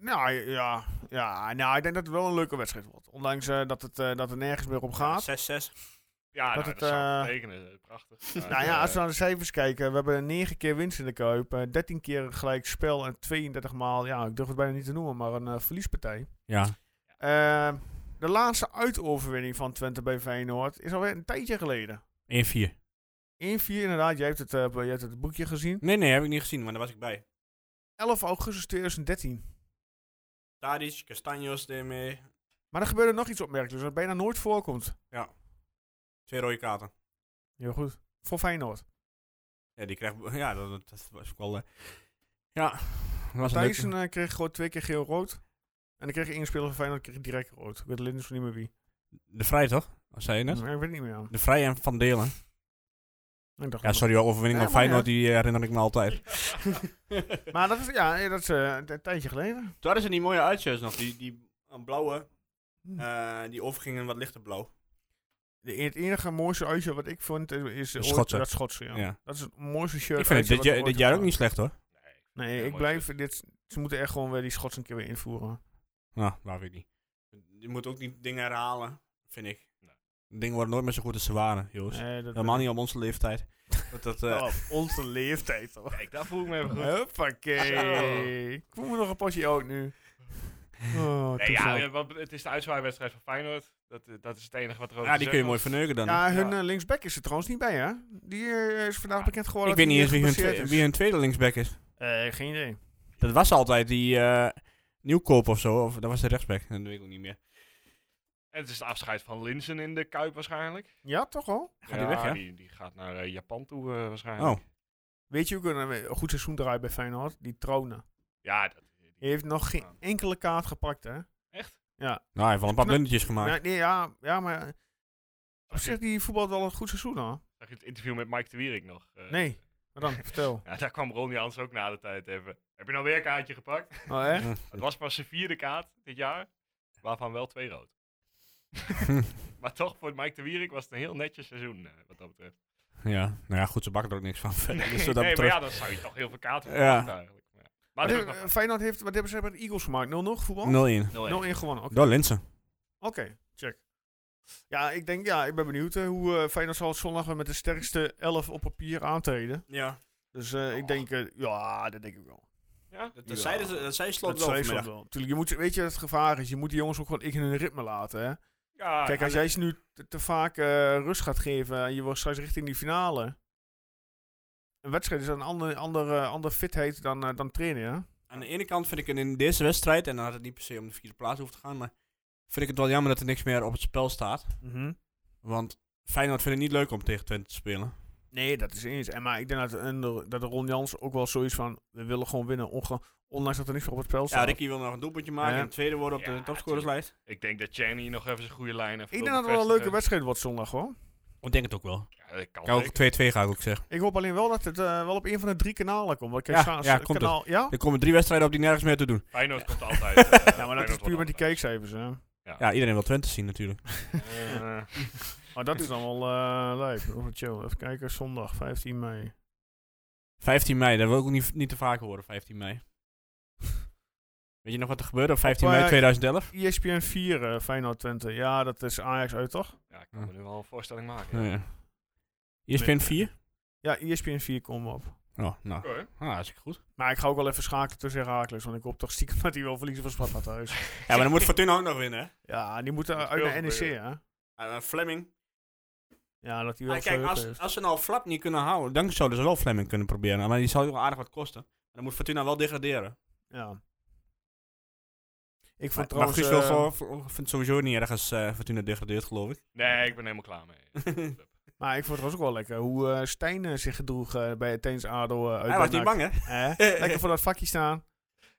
Speaker 1: Nou ja, ja nou, ik denk dat het wel een leuke wedstrijd wordt. Ondanks eh, dat, het, eh, dat het nergens meer op gaat.
Speaker 2: 6-6.
Speaker 3: Ja,
Speaker 1: Dat
Speaker 3: dat,
Speaker 1: het,
Speaker 3: nou, dat zou
Speaker 1: eh,
Speaker 3: het betekenen.
Speaker 2: <laughs>
Speaker 3: Prachtig. Maar,
Speaker 1: Nou ja, als
Speaker 3: eh,
Speaker 1: we naar de cijfers kijken, we hebben 9 keer winst in de kuip, eh, 13 keer gelijk spel en 32 maal, ja, ik durf het bijna niet te noemen, maar een eh, verliespartij.
Speaker 2: Ja.
Speaker 1: Eh, de laatste uitoverwinning van Twente bij Feyenoord is alweer een tijdje geleden.
Speaker 2: 1-4.
Speaker 1: 1-4 inderdaad, jij hebt het, eh, jij hebt het boekje gezien.
Speaker 2: Nee, nee, heb ik niet gezien, maar daar was ik bij.
Speaker 1: 11 augustus 2013.
Speaker 2: Tadic, Castanjos ermee.
Speaker 1: Maar er gebeurde nog iets opmerkelijks, wat bijna nooit voorkomt.
Speaker 2: Twee rode kaarten.
Speaker 1: Heel goed. Voor Feyenoord.
Speaker 2: Ja, die krijgt... <laughs> Ja, dat, dat- dat was ook wel... eh, ja, dat was een leuke-
Speaker 1: Thijssen eh, kreeg gewoon twee keer geel-rood. En dan kreeg één speler van Feyenoord kreeg direct rood. Ik weet links niet meer wie.
Speaker 2: De Vrij, toch? Wat zei je net?
Speaker 1: Maar ik weet het niet meer aan.
Speaker 2: De Vrij en Van Delen.
Speaker 1: Ik dacht
Speaker 2: Ja,
Speaker 1: dat-
Speaker 2: sorry, hoor, overwinning
Speaker 1: Ja,
Speaker 2: van
Speaker 1: maar
Speaker 2: Feyenoord, die eh, herinner ik me altijd.
Speaker 1: Maar dat is, ja, eh, dat is eh, een tijdje geleden.
Speaker 2: Toen hadden ze die mooie uitjes nog. Die, die een blauwe,
Speaker 1: Hm.
Speaker 2: eh, die overging in wat lichter blauw.
Speaker 1: De, het enige mooiste uitje wat ik vond eh, is eh, ooit
Speaker 2: Schotse.
Speaker 1: dat Schotse. Ja.
Speaker 2: Ja.
Speaker 1: Dat is het mooiste shirt.
Speaker 2: ik vind het
Speaker 1: uitje
Speaker 2: dit,
Speaker 1: wat
Speaker 2: jaar-
Speaker 1: ik
Speaker 2: dit
Speaker 1: ooit
Speaker 2: jaar
Speaker 1: heb
Speaker 2: ook niet slecht, hoor.
Speaker 3: nee.
Speaker 1: Nee,
Speaker 3: Ja,
Speaker 1: ik
Speaker 3: mooi
Speaker 1: blijf dit. Ze moeten echt gewoon weer die Schots een keer weer invoeren.
Speaker 2: Nou, dat weet ik niet. Je moet ook niet dingen herhalen, vind ik. Dingen worden nooit meer zo goed als ze waren, Joost.
Speaker 1: Nee, dat
Speaker 2: Helemaal
Speaker 1: <laughs>
Speaker 2: niet op onze leeftijd. Dat, dat, eh,
Speaker 1: Oh, onze leeftijd. hoor.
Speaker 3: Kijk, daar voel ik me even goed.
Speaker 1: Huppakee. Ik voel me nog een potje ook nu. Oh,
Speaker 3: Nee, ja,
Speaker 1: toeval.
Speaker 3: ja, want het is de uitzwaaiwedstrijd van Feyenoord. Dat, eh, dat is het enige wat er over
Speaker 2: ja,
Speaker 3: te
Speaker 2: die kun je
Speaker 3: zeggen
Speaker 2: mooi
Speaker 3: was.
Speaker 2: verneuken dan.
Speaker 1: Ja, hun
Speaker 3: Ja.
Speaker 1: eh, linksback is er trouwens niet bij, hè? Die eh, is vandaag
Speaker 3: Ja.
Speaker 1: bekend geworden.
Speaker 2: ik weet
Speaker 1: dat
Speaker 2: niet eens
Speaker 1: die,
Speaker 2: wie
Speaker 1: eh,
Speaker 2: hun,
Speaker 1: geblesseerd
Speaker 2: twe-
Speaker 1: is.
Speaker 2: wie hun tweede linksback is.
Speaker 1: Eh, geen idee.
Speaker 2: Dat was altijd die eh, Nieuwkoop of zo. Of dat was de rechtsback. Dat weet ik ook niet meer.
Speaker 3: En het is de afscheid van Linsen in de Kuip waarschijnlijk.
Speaker 1: Ja, toch wel?
Speaker 2: Gaat die weg, ja?
Speaker 3: Die, die gaat naar eh, Japan toe eh, waarschijnlijk.
Speaker 2: Oh.
Speaker 1: Weet je ook een, eh, een goed seizoen draait bij Feyenoord? Die Trone.
Speaker 3: Ja, dat,
Speaker 1: Die heeft nog geen
Speaker 3: Ja.
Speaker 1: enkele kaart gepakt, hè?
Speaker 3: echt.
Speaker 2: Nou, hij heeft wel een paar
Speaker 1: Nou,
Speaker 2: blundertjes gemaakt.
Speaker 1: Ja, nee, ja, ja, maar... eh, Op
Speaker 3: Zag
Speaker 1: zich,
Speaker 3: je,
Speaker 1: die voetbalt wel een goed seizoen, hoor.
Speaker 3: zag je het interview met Mike de Wierik nog? Eh,
Speaker 1: Nee, maar dan, <laughs> vertel.
Speaker 3: Ja, daar kwam Ronnie Hans ook na de tijd even. Heb je nou weer een kaartje gepakt?
Speaker 1: Oh, echt?
Speaker 3: Het was pas zijn vierde kaart dit jaar, waarvan wel twee rood. maar toch, voor Mike de Wierik was het een heel netjes seizoen, eh, wat dat betreft.
Speaker 2: ja, nou ja, goed, ze bakken er ook niks van. verder. dus
Speaker 3: Nee,
Speaker 2: wat dat
Speaker 3: nee, maar
Speaker 2: betreft...
Speaker 3: ja, dan zou je toch heel veel kaarten
Speaker 2: Ja.
Speaker 3: moeten hebben eigenlijk. Maar, ja. maar
Speaker 1: Wat
Speaker 3: dat is
Speaker 1: hebben-
Speaker 3: ook nog-
Speaker 1: eh, Feyenoord heeft... Wat hebben ze bij de Eagles gemaakt? 0-0 voetbal? 0-1
Speaker 2: 0-1.
Speaker 3: nul één.
Speaker 1: gewonnen, oké.
Speaker 2: Door Linsen.
Speaker 1: Oké, check. Ja, ik denk, ja, ik ben benieuwd eh, hoe eh Feyenoord zal zondag weer met de sterkste 11 op papier aantreden.
Speaker 2: Ja.
Speaker 1: Dus eh, ik
Speaker 3: Oh.
Speaker 1: denk, eh, ja, dat denk ik wel.
Speaker 3: Ja?
Speaker 1: dat zeiden ze-
Speaker 2: dat zij
Speaker 1: Dat zij zal wel. Tuurlijk, je moet, ze- weet je wat het gevaar is? Je moet die jongens ook gewoon in hun ritme laten. Hè?
Speaker 2: Ah,
Speaker 3: Ja,
Speaker 1: Kijk, als jij ze nu te, te vaak eh, rust gaat geven en je wordt straks richting die finale. Een wedstrijd is dan een andere, andere, andere fitheid dan, eh, dan trainen, hè?
Speaker 2: Aan de ene kant vind ik het in deze wedstrijd, en dan had het niet per se om de vierde plaats hoeven te gaan, maar vind ik het wel jammer dat er niks meer op het spel staat. Want Feyenoord vindt het niet leuk om tegen Twente te spelen.
Speaker 1: Nee, dat is eens. En maar ik denk dat, en de- dat de Ron Jans ook wel zoiets van, we willen gewoon winnen, onge- ondanks dat er niks meer op het spel staat.
Speaker 2: Ja, Ricky wil nog een doelpuntje maken
Speaker 1: Ja.
Speaker 2: en tweede worden op de
Speaker 3: Ja,
Speaker 2: topscorerslijst.
Speaker 3: Ik denk dat Chaney nog even zijn goede lijn heeft.
Speaker 2: eh.
Speaker 1: Ik denk dat het wel een leuke wedstrijd wordt zondag hoor.
Speaker 2: Ik denk het ook wel.
Speaker 3: Ja, dat kan
Speaker 2: Ja, ook
Speaker 3: zeker.
Speaker 2: 2-2 ga ik ook zeggen.
Speaker 1: Ik hoop alleen wel dat het eh, wel op een van de drie kanalen komt. Want ik heb
Speaker 2: Ja,
Speaker 1: scha-
Speaker 2: ja, komt
Speaker 1: kanaal, ja?
Speaker 2: Er komen drie wedstrijden op die nergens meer te doen.
Speaker 3: Feyenoord komt altijd. eh,
Speaker 1: ja, maar dat
Speaker 3: Feyenoord
Speaker 1: is
Speaker 3: wordt
Speaker 1: puur met die
Speaker 3: altijd.
Speaker 1: kijkcijfers. Hè.
Speaker 2: Ja, iedereen wil Twente zien natuurlijk.
Speaker 1: Eh, maar dat is dan wel eh leuk. Of chill. Even kijken, zondag 15 mei.
Speaker 2: 15 mei, dat wil ik ook niet, niet te vaak horen, 15 mei. <laughs> Weet je nog wat er gebeurde op 15
Speaker 1: Op,
Speaker 2: mei
Speaker 1: eh,
Speaker 2: 2011?
Speaker 1: ESPN 4, eh, Feyenoord Twente. Ja, dat is Ajax uit, toch?
Speaker 3: Ja, ik kan me nu wel een voorstelling maken.
Speaker 2: Oh, ja. E ESPN 4?
Speaker 1: Ja, E ESPN 4 komt op.
Speaker 2: Oh, <laughs> nou.
Speaker 3: Oké.
Speaker 2: Ah, hartstikke goed.
Speaker 1: Maar ik ga ook wel even schakelen tussen Herakles. Want ik hoop toch stiekem <laughs> dat die wel verliezen van Sparta thuis.
Speaker 2: Ja, maar dan moet Fortuna ook nog winnen, hè?
Speaker 1: ja, die moeten
Speaker 3: Dat
Speaker 1: uit naar
Speaker 3: speelt
Speaker 1: NEC,
Speaker 3: weer.
Speaker 1: hè?
Speaker 2: Ah, eh, Fleming.
Speaker 1: Ja, dat die wel
Speaker 2: Ah, kijk,
Speaker 1: sleutel
Speaker 2: als,
Speaker 1: heeft.
Speaker 2: als ze nou Flap niet kunnen houden, dan zouden ze wel Fleming kunnen proberen. Maar die zal wel aardig wat kosten. Maar dan moet Fortuna wel degraderen.
Speaker 1: Ja. Ik
Speaker 2: Maar,
Speaker 1: vond
Speaker 2: maar
Speaker 1: trouwens...
Speaker 2: Guus wil
Speaker 1: eh,
Speaker 2: gewoon- v- vindt het sowieso niet erg als eh, Fortuna degradeert, geloof ik. <laughs>
Speaker 3: Nee, ik ben helemaal klaar mee.
Speaker 1: <laughs> Maar ik vond het was ook wel lekker hoe eh, Stijn eh, zich gedroeg eh, bij Athens ADO eh, uit
Speaker 2: Hij was
Speaker 1: bij
Speaker 2: niet
Speaker 1: NAC.
Speaker 2: bang, hè?
Speaker 1: Hè? Lekker voor dat vakje staan.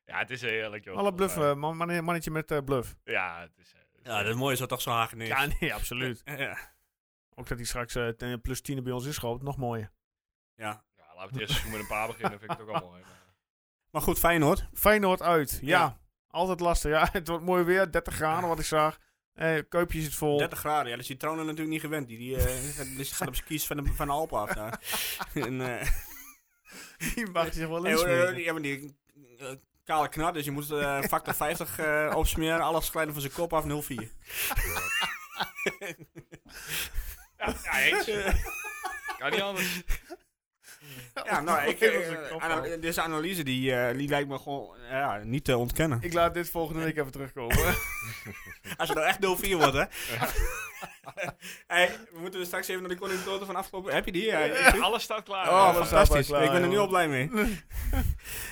Speaker 3: Ja, het is heerlijk, joh.
Speaker 1: Alle bluffen. eh, man- man- mannetje met eh, bluff.
Speaker 3: Ja, het is... eh,
Speaker 2: Ja, dat is mooi, is dat toch zo hageneerd.
Speaker 1: Ja, nee, absoluut.
Speaker 2: Ja.
Speaker 1: Ook dat hij straks eh, ten- plus 10 bij ons is schoot. Nog mooier.
Speaker 2: ja.
Speaker 3: ja, laten we het eerst seizoen met een paar beginnen, vind ik het ook allemaal mooi. maar-
Speaker 2: Maar goed, Feyenoord.
Speaker 1: Feyenoord uit. Ja.
Speaker 2: Ja.
Speaker 1: Altijd lastig. Ja, <laughs> het wordt mooi weer. 30 graden wat ik zag. Eh kuipje zit vol.
Speaker 2: 30 graden. Ja, dat is die Trouwen natuurlijk niet gewend. Die, die, eh, die gaat op zijn kies van de, van de Alpen
Speaker 1: <laughs>
Speaker 2: af daar. en, eh,
Speaker 1: <laughs> Die mag zich wel
Speaker 2: hey, hoor, hoor,
Speaker 1: insmeren.
Speaker 2: die hebben die eh, kale knar, dus je moet eh, factor 50 eh, opsmeren. Alles glijden van zijn kop af,
Speaker 1: <laughs>
Speaker 2: 0-4.
Speaker 3: Ja, ja eens. <laughs> kan niet anders.
Speaker 2: Ja, nou, ik,
Speaker 1: Even zijn
Speaker 2: eh,
Speaker 1: kop
Speaker 2: ana-
Speaker 1: af.
Speaker 2: deze analyse die, eh, die lijkt me gewoon eh, ja, niet te ontkennen.
Speaker 1: Ik laat dit volgende week even
Speaker 2: <laughs>
Speaker 1: terugkomen.
Speaker 2: Als het nou echt 0-4 wordt, hè.
Speaker 1: <laughs>
Speaker 2: <laughs> hey, we moeten straks even naar de conjunctoren van afgelopen... Heb je die? Ja,
Speaker 3: Ja, alles staat klaar.
Speaker 2: Oh,
Speaker 1: alles staat Ah,
Speaker 2: fantastisch.
Speaker 1: klaar,
Speaker 2: ik ben er nu
Speaker 1: joh.
Speaker 2: al blij mee.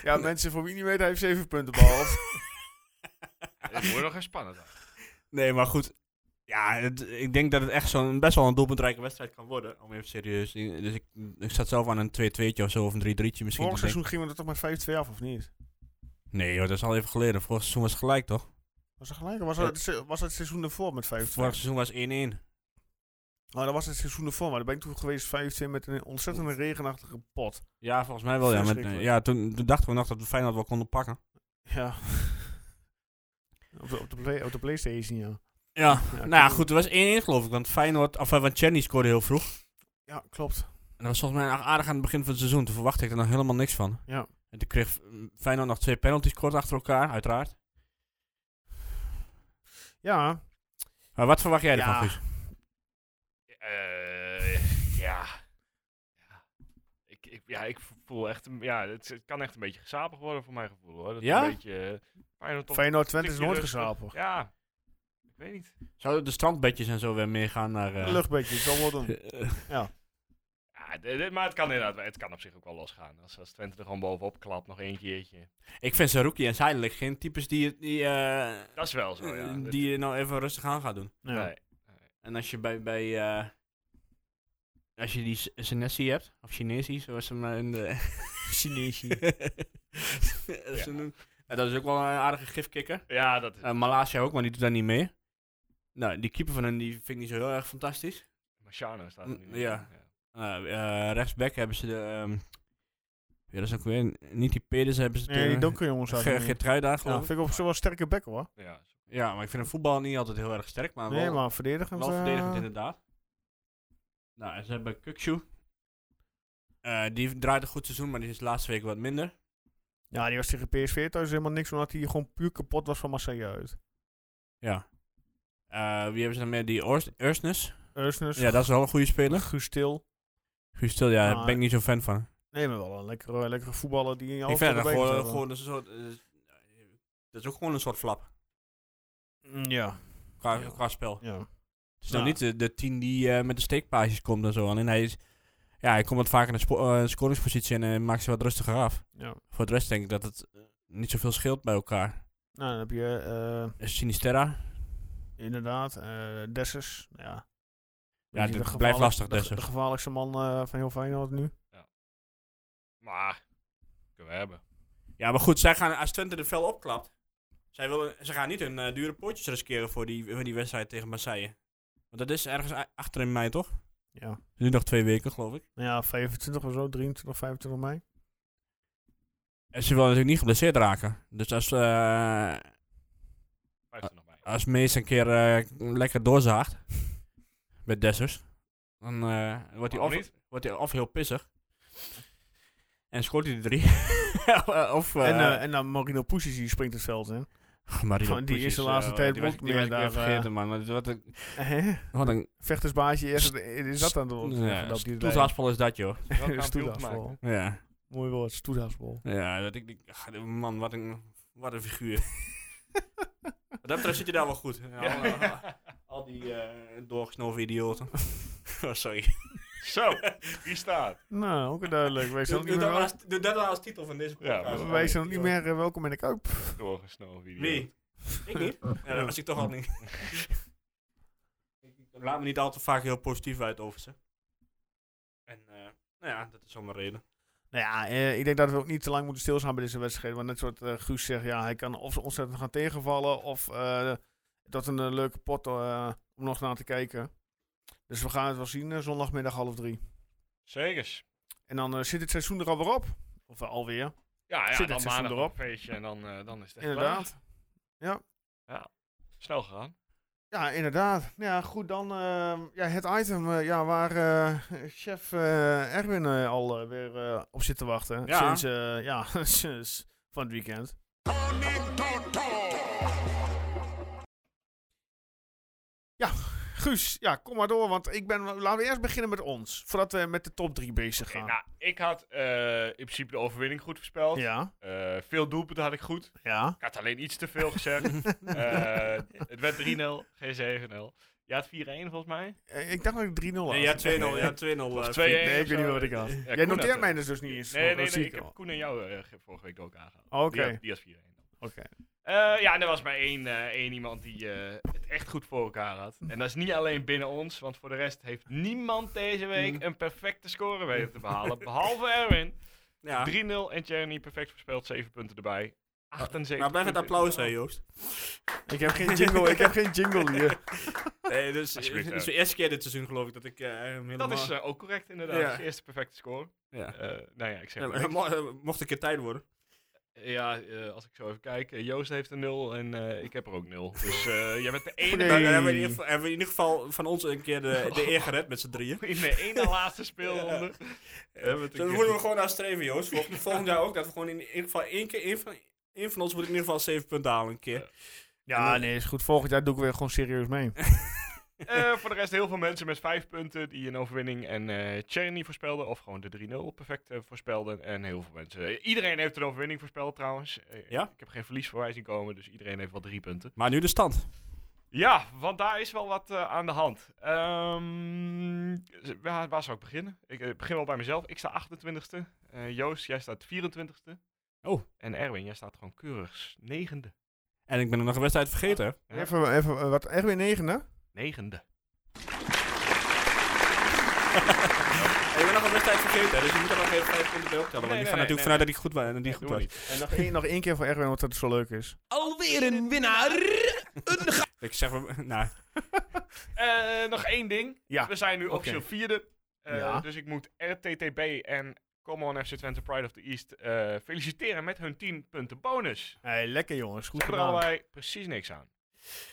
Speaker 1: ja, mensen, voor wie niet weet, hij heeft 7 punten
Speaker 2: <laughs>
Speaker 1: behaald.
Speaker 3: Het wordt nog eens spannend. dan.
Speaker 2: Nee, maar goed. Ja, het- ik denk dat het echt zo'n best wel een doelpuntrijke wedstrijd kan worden. Om even serieus. te- Dus ik, ik zat zelf aan een 2-2'tje of zo, of een 3-3'tje misschien.
Speaker 1: Vorig
Speaker 2: te denken.
Speaker 1: seizoen gingen we er toch met 5-2 af, of niet?
Speaker 2: Nee joh, dat is al even geleden. Vorig seizoen was het gelijk toch?
Speaker 1: Was dat gelijk? Of Was, dat, het se- was dat het seizoen ervoor met 5-2?
Speaker 2: Vorig seizoen was 1-1.
Speaker 1: Nou, dat was het seizoen ervoor. Maar daar ben ik toen geweest 5-2 met een ontzettende regenachtige pot.
Speaker 2: Ja, volgens mij wel ja. Met,
Speaker 1: Verschrikkelijk.
Speaker 2: ja toen, toen dachten we nog dat we Feyenoord wel konden pakken.
Speaker 1: Ja. <laughs> op, de, op, de play, op de Playstation, ja.
Speaker 2: Ja,
Speaker 1: Ja,
Speaker 2: nou ja,
Speaker 1: klopt.
Speaker 2: goed. Het was 1-1 geloof ik. Want Feyenoord, of eh, want Chenny scoorde heel vroeg.
Speaker 1: Ja, klopt.
Speaker 2: En dat was volgens mij aardig aan het begin van het seizoen. Toen verwachtte ik er nog helemaal niks van.
Speaker 1: Ja.
Speaker 2: En toen kreeg mm, Feyenoord nog twee penalties kort achter elkaar, uiteraard.
Speaker 1: Ja,
Speaker 2: Maar wat verwacht jij
Speaker 1: Ja.
Speaker 2: ervan, Guus?
Speaker 3: Eh, ja. Ja. Ik, ik, ja, ik voel echt... een- Ja, het, het kan echt een beetje gezapig worden voor mijn gevoel, hoor. Dat het
Speaker 2: Ja?
Speaker 3: Een beetje... eh, Feyenoord toch-
Speaker 1: Feyenoord Twente is
Speaker 3: tikje
Speaker 1: nooit
Speaker 3: rustig.
Speaker 1: gezapig.
Speaker 3: Ja. Ik weet niet.
Speaker 2: Zouden de strandbedjes en zo weer meegaan naar... eh,
Speaker 1: Luchtbeetje, dat zal worden.
Speaker 2: eh,
Speaker 3: Ja, d- d- maar het kan inderdaad... Het kan op zich ook wel losgaan. Als, als Twente er gewoon bovenop klapt, nog één keertje.
Speaker 2: <laughs> ik vind Saruki en Seidelijk geen types die, die, eh,
Speaker 3: Dat is wel zo, Oh ja.
Speaker 2: eh,
Speaker 3: Dat-
Speaker 2: die je nou even rustig aan gaat doen.
Speaker 1: Ja.
Speaker 3: Nee.
Speaker 2: En als je bij... bij eh, als je die S- Senesi hebt, of Chinesi, zoals ze hem eh, in de...
Speaker 1: Chinesie.
Speaker 2: ze noemen. Eh, dat is ook wel een aardige gifkikker.
Speaker 3: Ja, dat is...
Speaker 1: Ehm,
Speaker 2: Eh, Malaysia ook, maar die doet daar niet mee. Nou, die keeper van hen die vind ik niet zo heel erg fantastisch.
Speaker 3: Marciano staat er nu.
Speaker 2: Mm, ja. Nou, eh, rechtsback hebben ze de... ehm, ja, dat is ook weer... Niet die Pedersen hebben ze...
Speaker 1: Nee,
Speaker 2: de-
Speaker 1: die donkere jongens
Speaker 2: <laughs> Ge-
Speaker 1: hadden niet.
Speaker 2: Geertruida,
Speaker 1: Ja,
Speaker 2: geloof
Speaker 1: vind ik op zich wel sterke bekken hoor.
Speaker 3: ja. ja.
Speaker 2: ik. Ja, maar ik vind een voetbal niet altijd heel erg sterk, maar
Speaker 1: Nee,
Speaker 2: wel,
Speaker 1: maar verdedigend.
Speaker 2: wel
Speaker 1: eh,
Speaker 2: verdedigend inderdaad. Nou, en ze hebben Kukshoe. Eh, die draait een goed seizoen, maar die is de laatste week wat minder.
Speaker 1: Ja, die was tegen PSV thuis helemaal niks, omdat hij gewoon puur kapot was van Marseille uit.
Speaker 2: Ja. Eh, wie hebben ze dan meer? Die Ors- Ursnes.
Speaker 1: Eusnes,
Speaker 2: Ja, dat is wel een goede speler.
Speaker 1: Guus Til.
Speaker 2: Guus Til, ja, daar
Speaker 1: Maar-
Speaker 2: ben ik niet zo'n fan van.
Speaker 1: Nee, maar wel een lekkere, lekkere voetballer die in je
Speaker 2: ik vind dat
Speaker 1: erbij moet
Speaker 2: gewoon,
Speaker 1: hebben.
Speaker 2: gewoon een soort... eh, dat is ook gewoon een soort flap.
Speaker 1: Mm, Ja,
Speaker 2: Qua,
Speaker 1: Ja.
Speaker 2: qua spel.
Speaker 1: ja.
Speaker 2: Het is nou
Speaker 1: Ja.
Speaker 2: niet de, de tien die eh, met de steekpaasjes komt en zo. Alleen hij is... Ja, hij komt wat vaker in de spo- eh, scoringspositie en eh, maakt ze wat rustiger af.
Speaker 1: ja.
Speaker 2: Voor de rest denk ik dat het eh, niet zoveel scheelt bij elkaar.
Speaker 1: Nou, dan heb je eh,
Speaker 2: Eh, Sinisterra.
Speaker 1: inderdaad eh Dessers. Ja,
Speaker 2: Ja,
Speaker 1: Die de
Speaker 2: dit
Speaker 1: gevaarlijk-
Speaker 2: blijft lastig,
Speaker 1: de, de
Speaker 2: Dessers.
Speaker 1: gevaarlijkste man eh, van heel Feyenoord nu.
Speaker 3: Maar, kunnen we hebben.
Speaker 2: Ja, maar goed, zij gaan, als Twente de vel opklapt... Zij willen, ze gaan niet hun eh, dure potjes riskeren voor die, voor die wedstrijd tegen Marseille. Want dat is ergens a- achter in mei, toch?
Speaker 1: Ja.
Speaker 2: Nu nog twee weken, geloof ik.
Speaker 1: Nou ja, 25 of zo, 23, 25 mei.
Speaker 2: En ze wil natuurlijk niet geblesseerd raken. Dus als, eh,
Speaker 3: 25 mei.
Speaker 1: Ah,
Speaker 2: als Mees een keer eh, lekker doorzaagt <laughs> met Dessers, dan eh, wordt hij
Speaker 3: Waarom
Speaker 2: of,
Speaker 3: niet?
Speaker 2: wordt hij of heel pissig. En scoort hij de drie. <laughs> of, eh
Speaker 1: en, eh, en dan Marino Pusic, die springt het veld in.
Speaker 2: <laughs> Mario
Speaker 1: van die
Speaker 2: Puig
Speaker 1: is de
Speaker 2: eh,
Speaker 1: laatste
Speaker 2: die
Speaker 1: tijd
Speaker 2: was-
Speaker 1: ook
Speaker 2: die was
Speaker 1: meer
Speaker 2: ik weer
Speaker 1: daar, eh,
Speaker 2: vergeten, man. Wat- Wat een,
Speaker 1: Hè?
Speaker 2: wat een
Speaker 1: Vechtersbaasje eerst, is dat aan de
Speaker 2: ja,
Speaker 1: dat die
Speaker 2: stoelzaspel is dat, joh.
Speaker 1: <laughs>
Speaker 3: Wel kampioen
Speaker 1: Stoedaasbol.
Speaker 3: gemaakt.
Speaker 2: Ja,
Speaker 1: Mooi woord, stoedaasbol.
Speaker 2: ja dat ik, ik- ach, man, wat een, wat een figuur. wat <laughs> dat betreft zit je daar wel goed. Al,
Speaker 3: Ja.
Speaker 2: al die eh doorgesnoven idioten. <laughs> oh, sorry.
Speaker 3: Zo, die staat.
Speaker 1: Nou, ook duidelijk. Wij <laughs> zijn nog
Speaker 2: Doe,
Speaker 1: niet
Speaker 2: doe dat
Speaker 1: meer,
Speaker 2: maar als, doe dat maar als titel van deze
Speaker 3: Ja,
Speaker 2: podcast.
Speaker 3: maar
Speaker 1: wij zijn nog niet meer eh, welkom in de Kuip.
Speaker 3: Doorgesnoven video.
Speaker 2: Wie? Ik niet. Ja, dat was ik toch al niet. <laughs> Ik- ik Laat me niet al te vaak heel positief uit over ze. En eh, nou ja, dat is allemaal reden.
Speaker 1: Nou ja, eh, ik denk dat we ook niet te lang moeten stilstaan bij deze wedstrijd. Want net zoals eh, Guus zegt, ja, hij kan of ontzettend gaan tegenvallen... of eh, dat een eh, leuke pot eh, om nog naar te kijken. Dus we gaan het wel zien eh, zondagmiddag half drie.
Speaker 3: Zekers.
Speaker 1: En dan eh, zit het seizoen er alweer op. Of eh, alweer,
Speaker 3: Ja, ja
Speaker 1: Zit het
Speaker 3: dan
Speaker 1: seizoen
Speaker 3: maandag
Speaker 1: erop?
Speaker 3: een feestje en dan, eh, dan is het echt
Speaker 1: inderdaad.
Speaker 3: klaar. Snel gegaan.
Speaker 1: Ja, inderdaad. Ja, goed, dan ehm, ja, het item eh, ja, waar eh, chef eh, Erwin eh, al eh, weer eh, op zit te wachten.
Speaker 2: Ja.
Speaker 1: Sinds, eh, ja, <laughs> sinds van het weekend. Ja, Guus, ja, kom maar door, want ik ben, laten we eerst beginnen met ons. Voordat we met de top 3 bezig
Speaker 3: Oké,
Speaker 1: gaan.
Speaker 3: nou, ik had eh, in principe de overwinning goed voorspeld.
Speaker 1: ja,
Speaker 3: Eh, veel doelpunten had ik goed.
Speaker 1: ja.
Speaker 3: Ik had alleen iets te veel gezegd.
Speaker 1: <laughs>
Speaker 3: Eh, het werd 3-0, geen 7-0. Je had 4-1 volgens mij.
Speaker 1: Eh, Ik dacht dat ik 3-0 had.
Speaker 2: Nee, ja, 2-0. <laughs> Ja, 2-0. eh,
Speaker 3: twee-
Speaker 2: vriend.
Speaker 1: <laughs> Nee, ik weet niet
Speaker 3: Zo.
Speaker 1: meer wat ik had.
Speaker 3: Ja, Koen
Speaker 1: Jij
Speaker 3: had
Speaker 1: noteert
Speaker 3: het.
Speaker 1: mij dus, dus niet eens.
Speaker 3: Nee, nee,
Speaker 1: Dat
Speaker 3: nee,
Speaker 1: zie
Speaker 3: ik
Speaker 1: al.
Speaker 3: heb
Speaker 1: Oké,
Speaker 3: Koen en jou eh, ge- vorige week ook aangehaald.
Speaker 1: Oké.
Speaker 3: Die had- Die was 4-1. Eh, ja, en er was maar één, eh, één iemand die eh, het echt goed voor elkaar had. En dat is niet alleen binnen ons, want voor de rest heeft niemand deze
Speaker 2: Mm.
Speaker 3: week een perfecte score weten te
Speaker 2: <laughs>
Speaker 3: behalen. Behalve Erwin.
Speaker 2: Ja.
Speaker 3: 3-0 en Jeremy perfect verspeeld, 7 punten erbij. 78
Speaker 2: Maar blijf het
Speaker 3: punten.
Speaker 2: applaus, hè, Joost.
Speaker 1: ik heb geen jingle, ik heb geen <laughs> jingle hier.
Speaker 2: <laughs> Nee, dus <laughs> het
Speaker 3: Alsjeblieft,
Speaker 2: is
Speaker 3: hè.
Speaker 2: de eerste keer dit seizoen, geloof ik, dat ik eh, hem helemaal...
Speaker 3: Dat is eh, ook correct, inderdaad.
Speaker 2: Ja.
Speaker 3: Dat is de eerste perfecte score.
Speaker 2: ja.
Speaker 3: Eh, nou ja, ik zeg
Speaker 2: Ja,
Speaker 3: maar.
Speaker 2: maar
Speaker 3: niks.
Speaker 2: mo- eh, mocht een keer tijd worden.
Speaker 3: Ja, eh, als ik zo even kijk. eh, Joost heeft een 0 en eh, ik heb er ook 0. Dus eh,
Speaker 2: <laughs>
Speaker 3: jij bent de ene,
Speaker 1: Nee.
Speaker 2: Nou, Dan, dan hebben, we in ieder geval, hebben we in ieder geval van ons een keer de, de eer gered met z'n <laughs> drieën.
Speaker 3: in de ene laatste speelronde. hebben we het
Speaker 2: Dus dat
Speaker 3: een
Speaker 2: moeten
Speaker 3: keer
Speaker 2: we gewoon naar streven, Joost. Vol- volgend jaar ook. Dat we gewoon in ieder geval één keer... één van, één van ons moet in ieder geval zeven punten halen een keer.
Speaker 1: Ja,
Speaker 2: En-
Speaker 1: nee, is goed. Volgend jaar doe ik weer gewoon serieus <laughs> mee.
Speaker 3: Eh, voor de rest heel veel mensen met vijf punten die een overwinning en eh Cherny voorspelden. Of gewoon de 3-0 perfect eh, voorspelden. En heel veel mensen. eh, iedereen heeft een overwinning voorspeld trouwens. Eh,
Speaker 2: Ja?
Speaker 3: Ik heb geen verlies voor zien komen, dus iedereen heeft wel drie punten.
Speaker 2: Maar nu de stand.
Speaker 3: Ja, want daar is wel wat eh, aan de hand. Ehm, z- waar, waar zou ik beginnen? Ik eh, begin wel bij mezelf. Ik sta 28 e Joost, jij staat 24 e
Speaker 2: Oh.
Speaker 3: En Erwin, jij staat gewoon keurig negende.
Speaker 2: En ik ben er nog een wedstrijd vergeten, hè.
Speaker 3: Ja.
Speaker 1: Even, even eh, wat, Erwin negende?
Speaker 3: Negende.
Speaker 2: En ik ben nog een wedstrijd vergeten, hè. Dus je moet er nog even vijf punten bij optellen.
Speaker 3: Nee,
Speaker 2: want ik
Speaker 3: nee,
Speaker 2: ga natuurlijk
Speaker 3: nee,
Speaker 2: vanuit dat ik goed, wa- dat die
Speaker 3: Nee,
Speaker 2: goed was.
Speaker 3: doen we niet.
Speaker 1: En nog één, nog één keer voor Erwin, omdat het zo leuk is.
Speaker 5: Alweer een winnaar.
Speaker 2: Ik zeg maar... <laughs> Nou,
Speaker 3: Eh, nog één ding.
Speaker 1: Ja.
Speaker 3: We zijn nu officieel vierde. Eh,
Speaker 1: Ja.
Speaker 3: Dus ik moet RTTB en Come On FC Twente Pride of the East eh, feliciteren met hun 10 punten bonus.
Speaker 1: Hey, lekker jongens, goed
Speaker 3: Daar hebben
Speaker 1: gedaan.
Speaker 3: wij precies niks aan.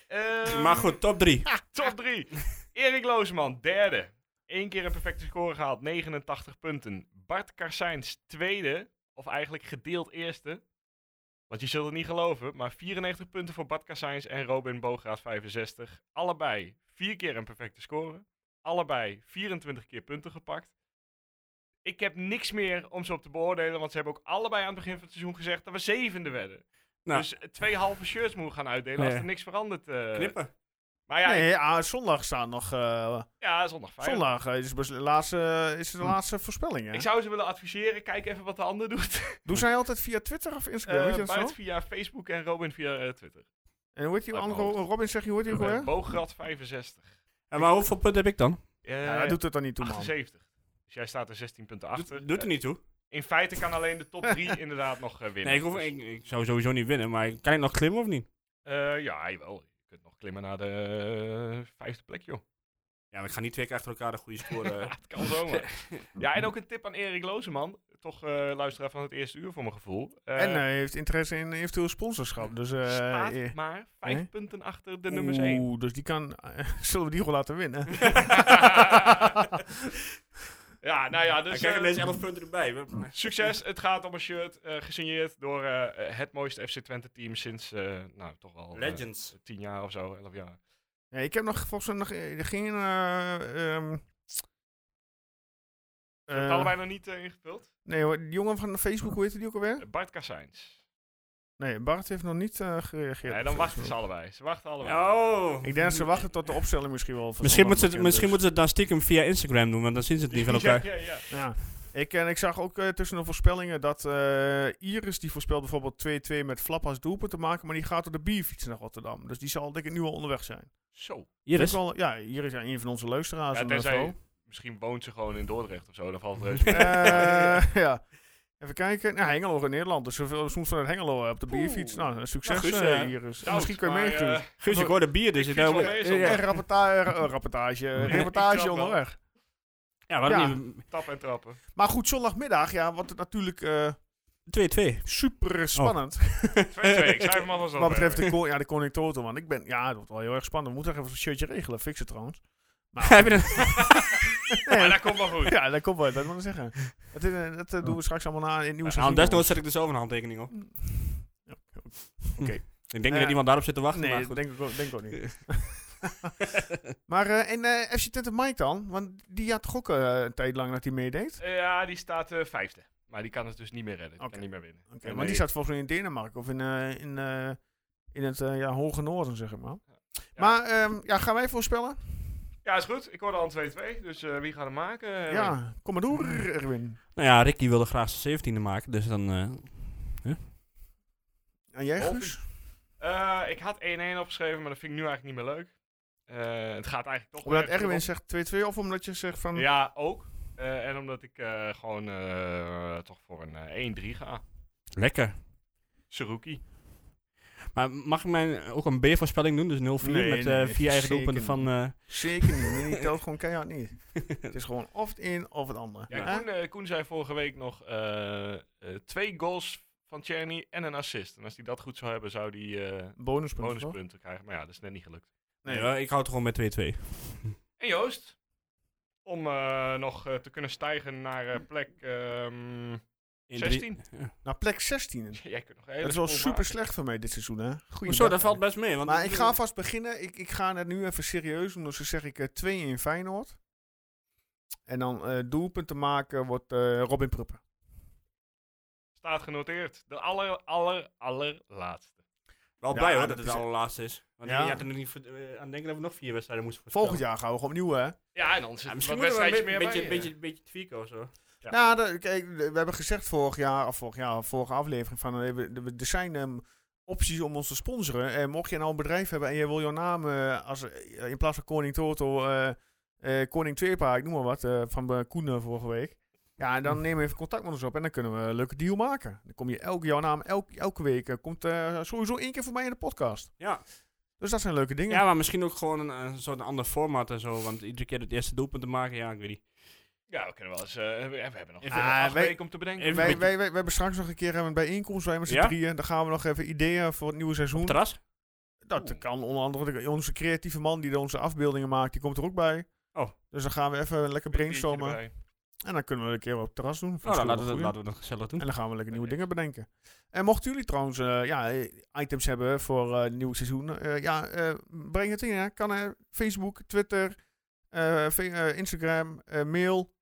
Speaker 3: Ehm,
Speaker 2: maar goed, top drie.
Speaker 3: <laughs> Top 3. Erik Loosman, derde. Eén keer een perfecte score gehaald, 89 punten. Bart Karsijns, tweede. Of eigenlijk gedeeld eerste. Want je zult het niet geloven, maar 94 punten voor Bart Karsijns en Robin Bograat 65. Allebei vier keer een perfecte score. Allebei 24 keer punten gepakt. Ik heb niks meer om ze op te beoordelen, want ze hebben ook allebei aan het begin van het seizoen gezegd dat we zevende werden.
Speaker 2: Nou.
Speaker 3: Dus eh, twee halve shirts moeten gaan uitdelen als
Speaker 2: Ja.
Speaker 3: er niks verandert. eh.
Speaker 2: Knippen.
Speaker 3: Maar ja, Ah,
Speaker 1: Nee, ah, zondag staan nog. eh,
Speaker 3: ja, zondag vijf.
Speaker 1: zondag eh, is, bes- de laatste, eh, is de laatste voorspelling. Hè?
Speaker 3: Ik zou ze willen adviseren, kijk even wat de
Speaker 1: <laughs>
Speaker 3: ander doet.
Speaker 1: Doen zij altijd via Twitter of Instagram? weet
Speaker 3: Eh,
Speaker 1: je dat
Speaker 3: Bart
Speaker 1: zo?
Speaker 3: via Facebook en Robin via eh, Twitter.
Speaker 1: En hoe heet die
Speaker 3: Uit mijn
Speaker 1: andere? Robin zegt je hoort die ook
Speaker 3: Eh,
Speaker 1: weer?
Speaker 3: Boograd 65.
Speaker 2: En maar hoeveel punten heb ik dan?
Speaker 3: Eh,
Speaker 1: Ja, hij doet het dan niet toe, man.
Speaker 3: 78. Dus jij staat er 16 punten
Speaker 2: Doet,
Speaker 3: achter.
Speaker 2: doet er niet toe.
Speaker 3: Eh, in feite kan alleen de
Speaker 1: <laughs>
Speaker 3: top 3 inderdaad nog eh, winnen.
Speaker 2: Nee, ik, hoef,
Speaker 3: Dus,
Speaker 2: ik, ik zou sowieso niet winnen, maar kan ik nog klimmen of niet?
Speaker 3: eh, ja, jawel. Je kunt nog klimmen naar de eh, vijfde plek, joh.
Speaker 2: Ja, we gaan niet twee keer achter elkaar een goede <laughs> score. eh.
Speaker 3: Het kan
Speaker 1: <laughs>
Speaker 3: zomaar. ja, en ook een tip aan Erik Lozeman. Toch eh, luisteraar van het eerste uur voor mijn gevoel. Eh,
Speaker 1: en hij heeft interesse in eventueel sponsorschap. Dus, eh,
Speaker 3: staat
Speaker 1: eh,
Speaker 3: maar vijf
Speaker 1: eh?
Speaker 3: punten achter de nummers één.
Speaker 1: Oeh, dus die kan. <laughs> zullen we die gewoon laten winnen?
Speaker 3: ja, nou ja,
Speaker 2: Dan
Speaker 3: dus
Speaker 2: krijgen
Speaker 3: eh,
Speaker 2: deze 11 punten erbij. We-
Speaker 3: succes. Het gaat om een shirt eh, gesigneerd door eh, het mooiste FC Twente team sinds, eh, nou toch al eh,
Speaker 2: Legends.
Speaker 3: tien jaar of zo, elf jaar.
Speaker 1: Ja, ik heb nog volgens mij nog eh, geen. eh, ehm, eh,
Speaker 3: Hebben het allebei nog niet eh, ingevuld?
Speaker 1: nee, hoor, die jongen van Facebook, hoe heette die ook alweer?
Speaker 3: Eh, Bart Kassijns.
Speaker 1: Nee, Bart heeft nog niet eh, gereageerd.
Speaker 3: Nee,
Speaker 1: op
Speaker 3: dan wachten
Speaker 1: Facebook.
Speaker 3: ze allebei. Ze wachten allebei.
Speaker 2: Oh.
Speaker 1: Ik denk dat ze wachten tot de opstelling misschien wel. van dus.
Speaker 2: Misschien
Speaker 1: zondag
Speaker 2: moeten, ze het,
Speaker 1: bekend
Speaker 2: misschien
Speaker 1: is.
Speaker 2: moeten ze het dan stiekem via Instagram doen, want dan zien ze het niet van
Speaker 3: Ja,
Speaker 2: elkaar.
Speaker 3: ja, ja.
Speaker 1: Ja. Ik, en ik zag ook eh, tussen de voorspellingen dat eh, Iris, die voorspelt bijvoorbeeld 2-2 met Flap als doelpunt te maken, maar die gaat op de bierfiets naar Rotterdam. Dus die zal denk ik nu al onderweg zijn.
Speaker 3: Zo.
Speaker 2: Hier is.
Speaker 1: Vind ik wel- ja, Iris is een van onze luisteraars.
Speaker 3: Ja,
Speaker 1: en,
Speaker 3: tenzij-
Speaker 1: eh, zo.
Speaker 3: Misschien woont ze gewoon in Dordrecht of zo. Dan
Speaker 1: <laughs>
Speaker 3: valt het reuze mee. <laughs>
Speaker 1: Eh, ja. Even kijken. Nou, Hengelo in Nederland. Dus zoveel soms vanuit Hengelo eh, op de bierfiets. Nou, succes
Speaker 2: Nou,
Speaker 1: eh
Speaker 2: Guus, eh,
Speaker 1: Iris.
Speaker 3: Koud,
Speaker 1: misschien kun je
Speaker 3: maar,
Speaker 1: meegedoen.
Speaker 3: eh,
Speaker 2: Guus, ik hoor de bier, dus ik
Speaker 3: fiets wel
Speaker 2: denk-
Speaker 3: mee.
Speaker 1: Eh, ja, rapporta- eh, eh, rapportage, eh,
Speaker 2: ik
Speaker 3: snap
Speaker 1: reportage
Speaker 3: wel.
Speaker 1: onderweg.
Speaker 2: Ja, waarom
Speaker 1: Ja.
Speaker 2: niet?
Speaker 3: eh, Tap en trappen.
Speaker 1: Maar goed, zondagmiddag, ja, wordt het natuurlijk eh,
Speaker 2: 2-2.
Speaker 3: Oh.
Speaker 1: super spannend.
Speaker 3: 2-2. Ik schrijf hem alvast op.
Speaker 1: Wat betreft de, ko- ja, de koning Toto, man. Ik ben, ja, dat wordt wel heel erg spannend. We moeten nog even een shirtje regelen, fixen trouwens.
Speaker 2: <laughs>
Speaker 3: <laughs>
Speaker 2: Heb je
Speaker 1: <laughs>
Speaker 2: een-
Speaker 3: Maar dat komt wel goed.
Speaker 1: Ja, dat komt wel, dat wil ik zeggen. Dat, is, eh, dat eh, doen we straks allemaal na in het nieuws.
Speaker 2: Nou, desnoods zet ik er zelf een handtekening op. Ik denk niet
Speaker 1: Eh,
Speaker 2: dat iemand daarop zit te wachten,
Speaker 1: Nee,
Speaker 2: maar
Speaker 1: dat
Speaker 2: goed. <laughs>
Speaker 1: denk ik ook, denk ik ook niet. maar eh, en eh, FC Twente Mike dan? Want die had toch ook eh, een tijd lang dat hij meedeed?
Speaker 3: Eh, Ja, die staat eh, vijfde. Maar die kan het dus niet meer redden. Die
Speaker 1: Oké.
Speaker 3: kan niet meer winnen.
Speaker 1: Oké,
Speaker 3: Nee,
Speaker 1: maar die zat volgens mij in Denemarken of in, eh, in, eh, in het eh, ja, hoge noorden, zeg maar. Maar ehm, ja, gaan wij voorspellen?
Speaker 3: Ja, is goed. Ik hoorde al 2-2. Dus eh, wie gaat hem maken? Eh,
Speaker 1: ja, kom maar door, Erwin.
Speaker 2: Nou ja, Ricky wilde graag zijn 17e maken, dus dan... eh,
Speaker 1: En jij,
Speaker 3: Of-
Speaker 1: Guus?
Speaker 3: eh, ik had 1-1 opgeschreven, maar dat vind ik nu eigenlijk niet meer leuk. Eh, het gaat eigenlijk toch...
Speaker 1: Omdat
Speaker 3: weer even
Speaker 1: Erwin zegt 2-2 of omdat je zegt van...
Speaker 3: op- Ja, ook. Eh, en omdat ik eh, gewoon eh, toch voor een eh, 1-3 ga.
Speaker 2: Lekker.
Speaker 3: Seruki.
Speaker 2: Maar mag ik mijn, ook een B-voorspelling doen? Dus 0-4
Speaker 1: Nee,
Speaker 2: met eh,
Speaker 1: nee,
Speaker 2: vier
Speaker 1: zeker
Speaker 2: eigen doelpunten van... eh,
Speaker 1: Zeker niet,
Speaker 3: <laughs>
Speaker 1: nee, die telt gewoon keihard niet. het is gewoon of het een of het ander.
Speaker 3: Ja,
Speaker 1: Hè?
Speaker 3: Koen, eh, Koen zei vorige week nog eh, eh, twee goals van Cherny en een assist. En als hij dat goed zou hebben, zou hij eh
Speaker 1: Bonuspunten, toch?
Speaker 3: bonuspunten krijgen. Maar ja, dat is net niet gelukt.
Speaker 1: Nee.
Speaker 2: ja, ik hou het gewoon met 2-2.
Speaker 3: En Joost, om eh, nog eh, te kunnen stijgen naar eh, plek ehm, <laughs>
Speaker 2: In drie-
Speaker 3: 16.
Speaker 1: Nou, plek 16.
Speaker 3: Jij kunt nog een hele
Speaker 1: Dat is wel
Speaker 3: school
Speaker 1: super
Speaker 3: maken.
Speaker 1: slecht voor mij dit seizoen, hè? Goeie
Speaker 2: Hoezo,
Speaker 1: dag.
Speaker 2: dat valt best mee. Want
Speaker 1: Maar ik ga vast beginnen. Ik, ik ga het nu even serieus doen. Dus dan zeg ik eh, 2 in Feyenoord. En dan eh doelpunten maken wordt eh, Robin Pruppen.
Speaker 3: Staat genoteerd. De aller, aller, allerlaatste.
Speaker 2: Wel
Speaker 1: Ja,
Speaker 2: blij hoor,
Speaker 1: dat
Speaker 2: dat het
Speaker 1: is-
Speaker 2: de allerlaatste is. Want
Speaker 1: Ja.
Speaker 2: je had er nog niet voor- eh, aan denken dat we nog vier wedstrijden moesten voorspellen.
Speaker 1: Volgend jaar gaan we gewoon opnieuw, hè?
Speaker 3: Ja, en ons
Speaker 2: Ja, misschien
Speaker 3: ja, misschien
Speaker 2: moeten we een
Speaker 3: wedstrijdjes
Speaker 2: beetje,
Speaker 3: meer
Speaker 2: beetje,
Speaker 3: bij,
Speaker 2: beetje, beetje tweaken of zo.
Speaker 3: Ja.
Speaker 1: Nou, dat- kijk, we hebben gezegd vorig jaar, of vorig jaar, vorige aflevering, van eh, we- we- er zijn ehm, opties om ons te sponsoren. En mocht je nou een bedrijf hebben en je wil jouw naam eh, als, eh, in plaats van Koning Toto, eh, eh, Koning Tweepa, ik noem maar wat, eh, van eh, Koen eh, vorige week. Ja,
Speaker 2: Hm.
Speaker 1: dan neem even contact met ons op en dan kunnen we een leuke deal maken. Dan kom je elke jouw naam, elk, elke week, eh, komt eh, sowieso één keer voor mij in de podcast.
Speaker 2: Ja.
Speaker 1: Dus dat zijn leuke dingen.
Speaker 2: ja, maar misschien ook gewoon een, een soort ander format en zo. Want iedere keer het eerste doelpunt te maken, ja, ik weet niet.
Speaker 3: Ja, we kunnen wel eens... eh, we, we hebben nog
Speaker 2: Even-
Speaker 3: ah, acht
Speaker 1: wij-
Speaker 3: weken om te bedenken.
Speaker 2: even-
Speaker 1: wij,
Speaker 2: een beetje-
Speaker 1: wij, wij, wij hebben straks nog een keer eh, een bijeenkomst, wij met z'n
Speaker 2: Ja?
Speaker 1: drieën. Dan gaan we nog even ideeën voor het nieuwe seizoen.
Speaker 2: Terras?
Speaker 1: Dat
Speaker 3: Oeh.
Speaker 1: kan onder andere. de- Onze creatieve man die onze afbeeldingen maakt, die komt er ook bij.
Speaker 2: Oh.
Speaker 1: Dus dan gaan we even lekker brainstormen.
Speaker 3: Erbij.
Speaker 1: En dan kunnen we een keer op het terras doen. Vind ik
Speaker 2: Nou, dan
Speaker 1: wel
Speaker 2: laten we,
Speaker 1: goed.
Speaker 2: laten we dat gezellig doen.
Speaker 1: En dan gaan we lekker nieuwe
Speaker 3: Oké.
Speaker 1: dingen bedenken. En mochten jullie trouwens eh, ja, eh, items hebben voor eh, het nieuwe seizoen, eh, ja, eh, breng het in. Hè. Kan eh, Facebook, Twitter, eh, fe- eh, Instagram, eh, mail,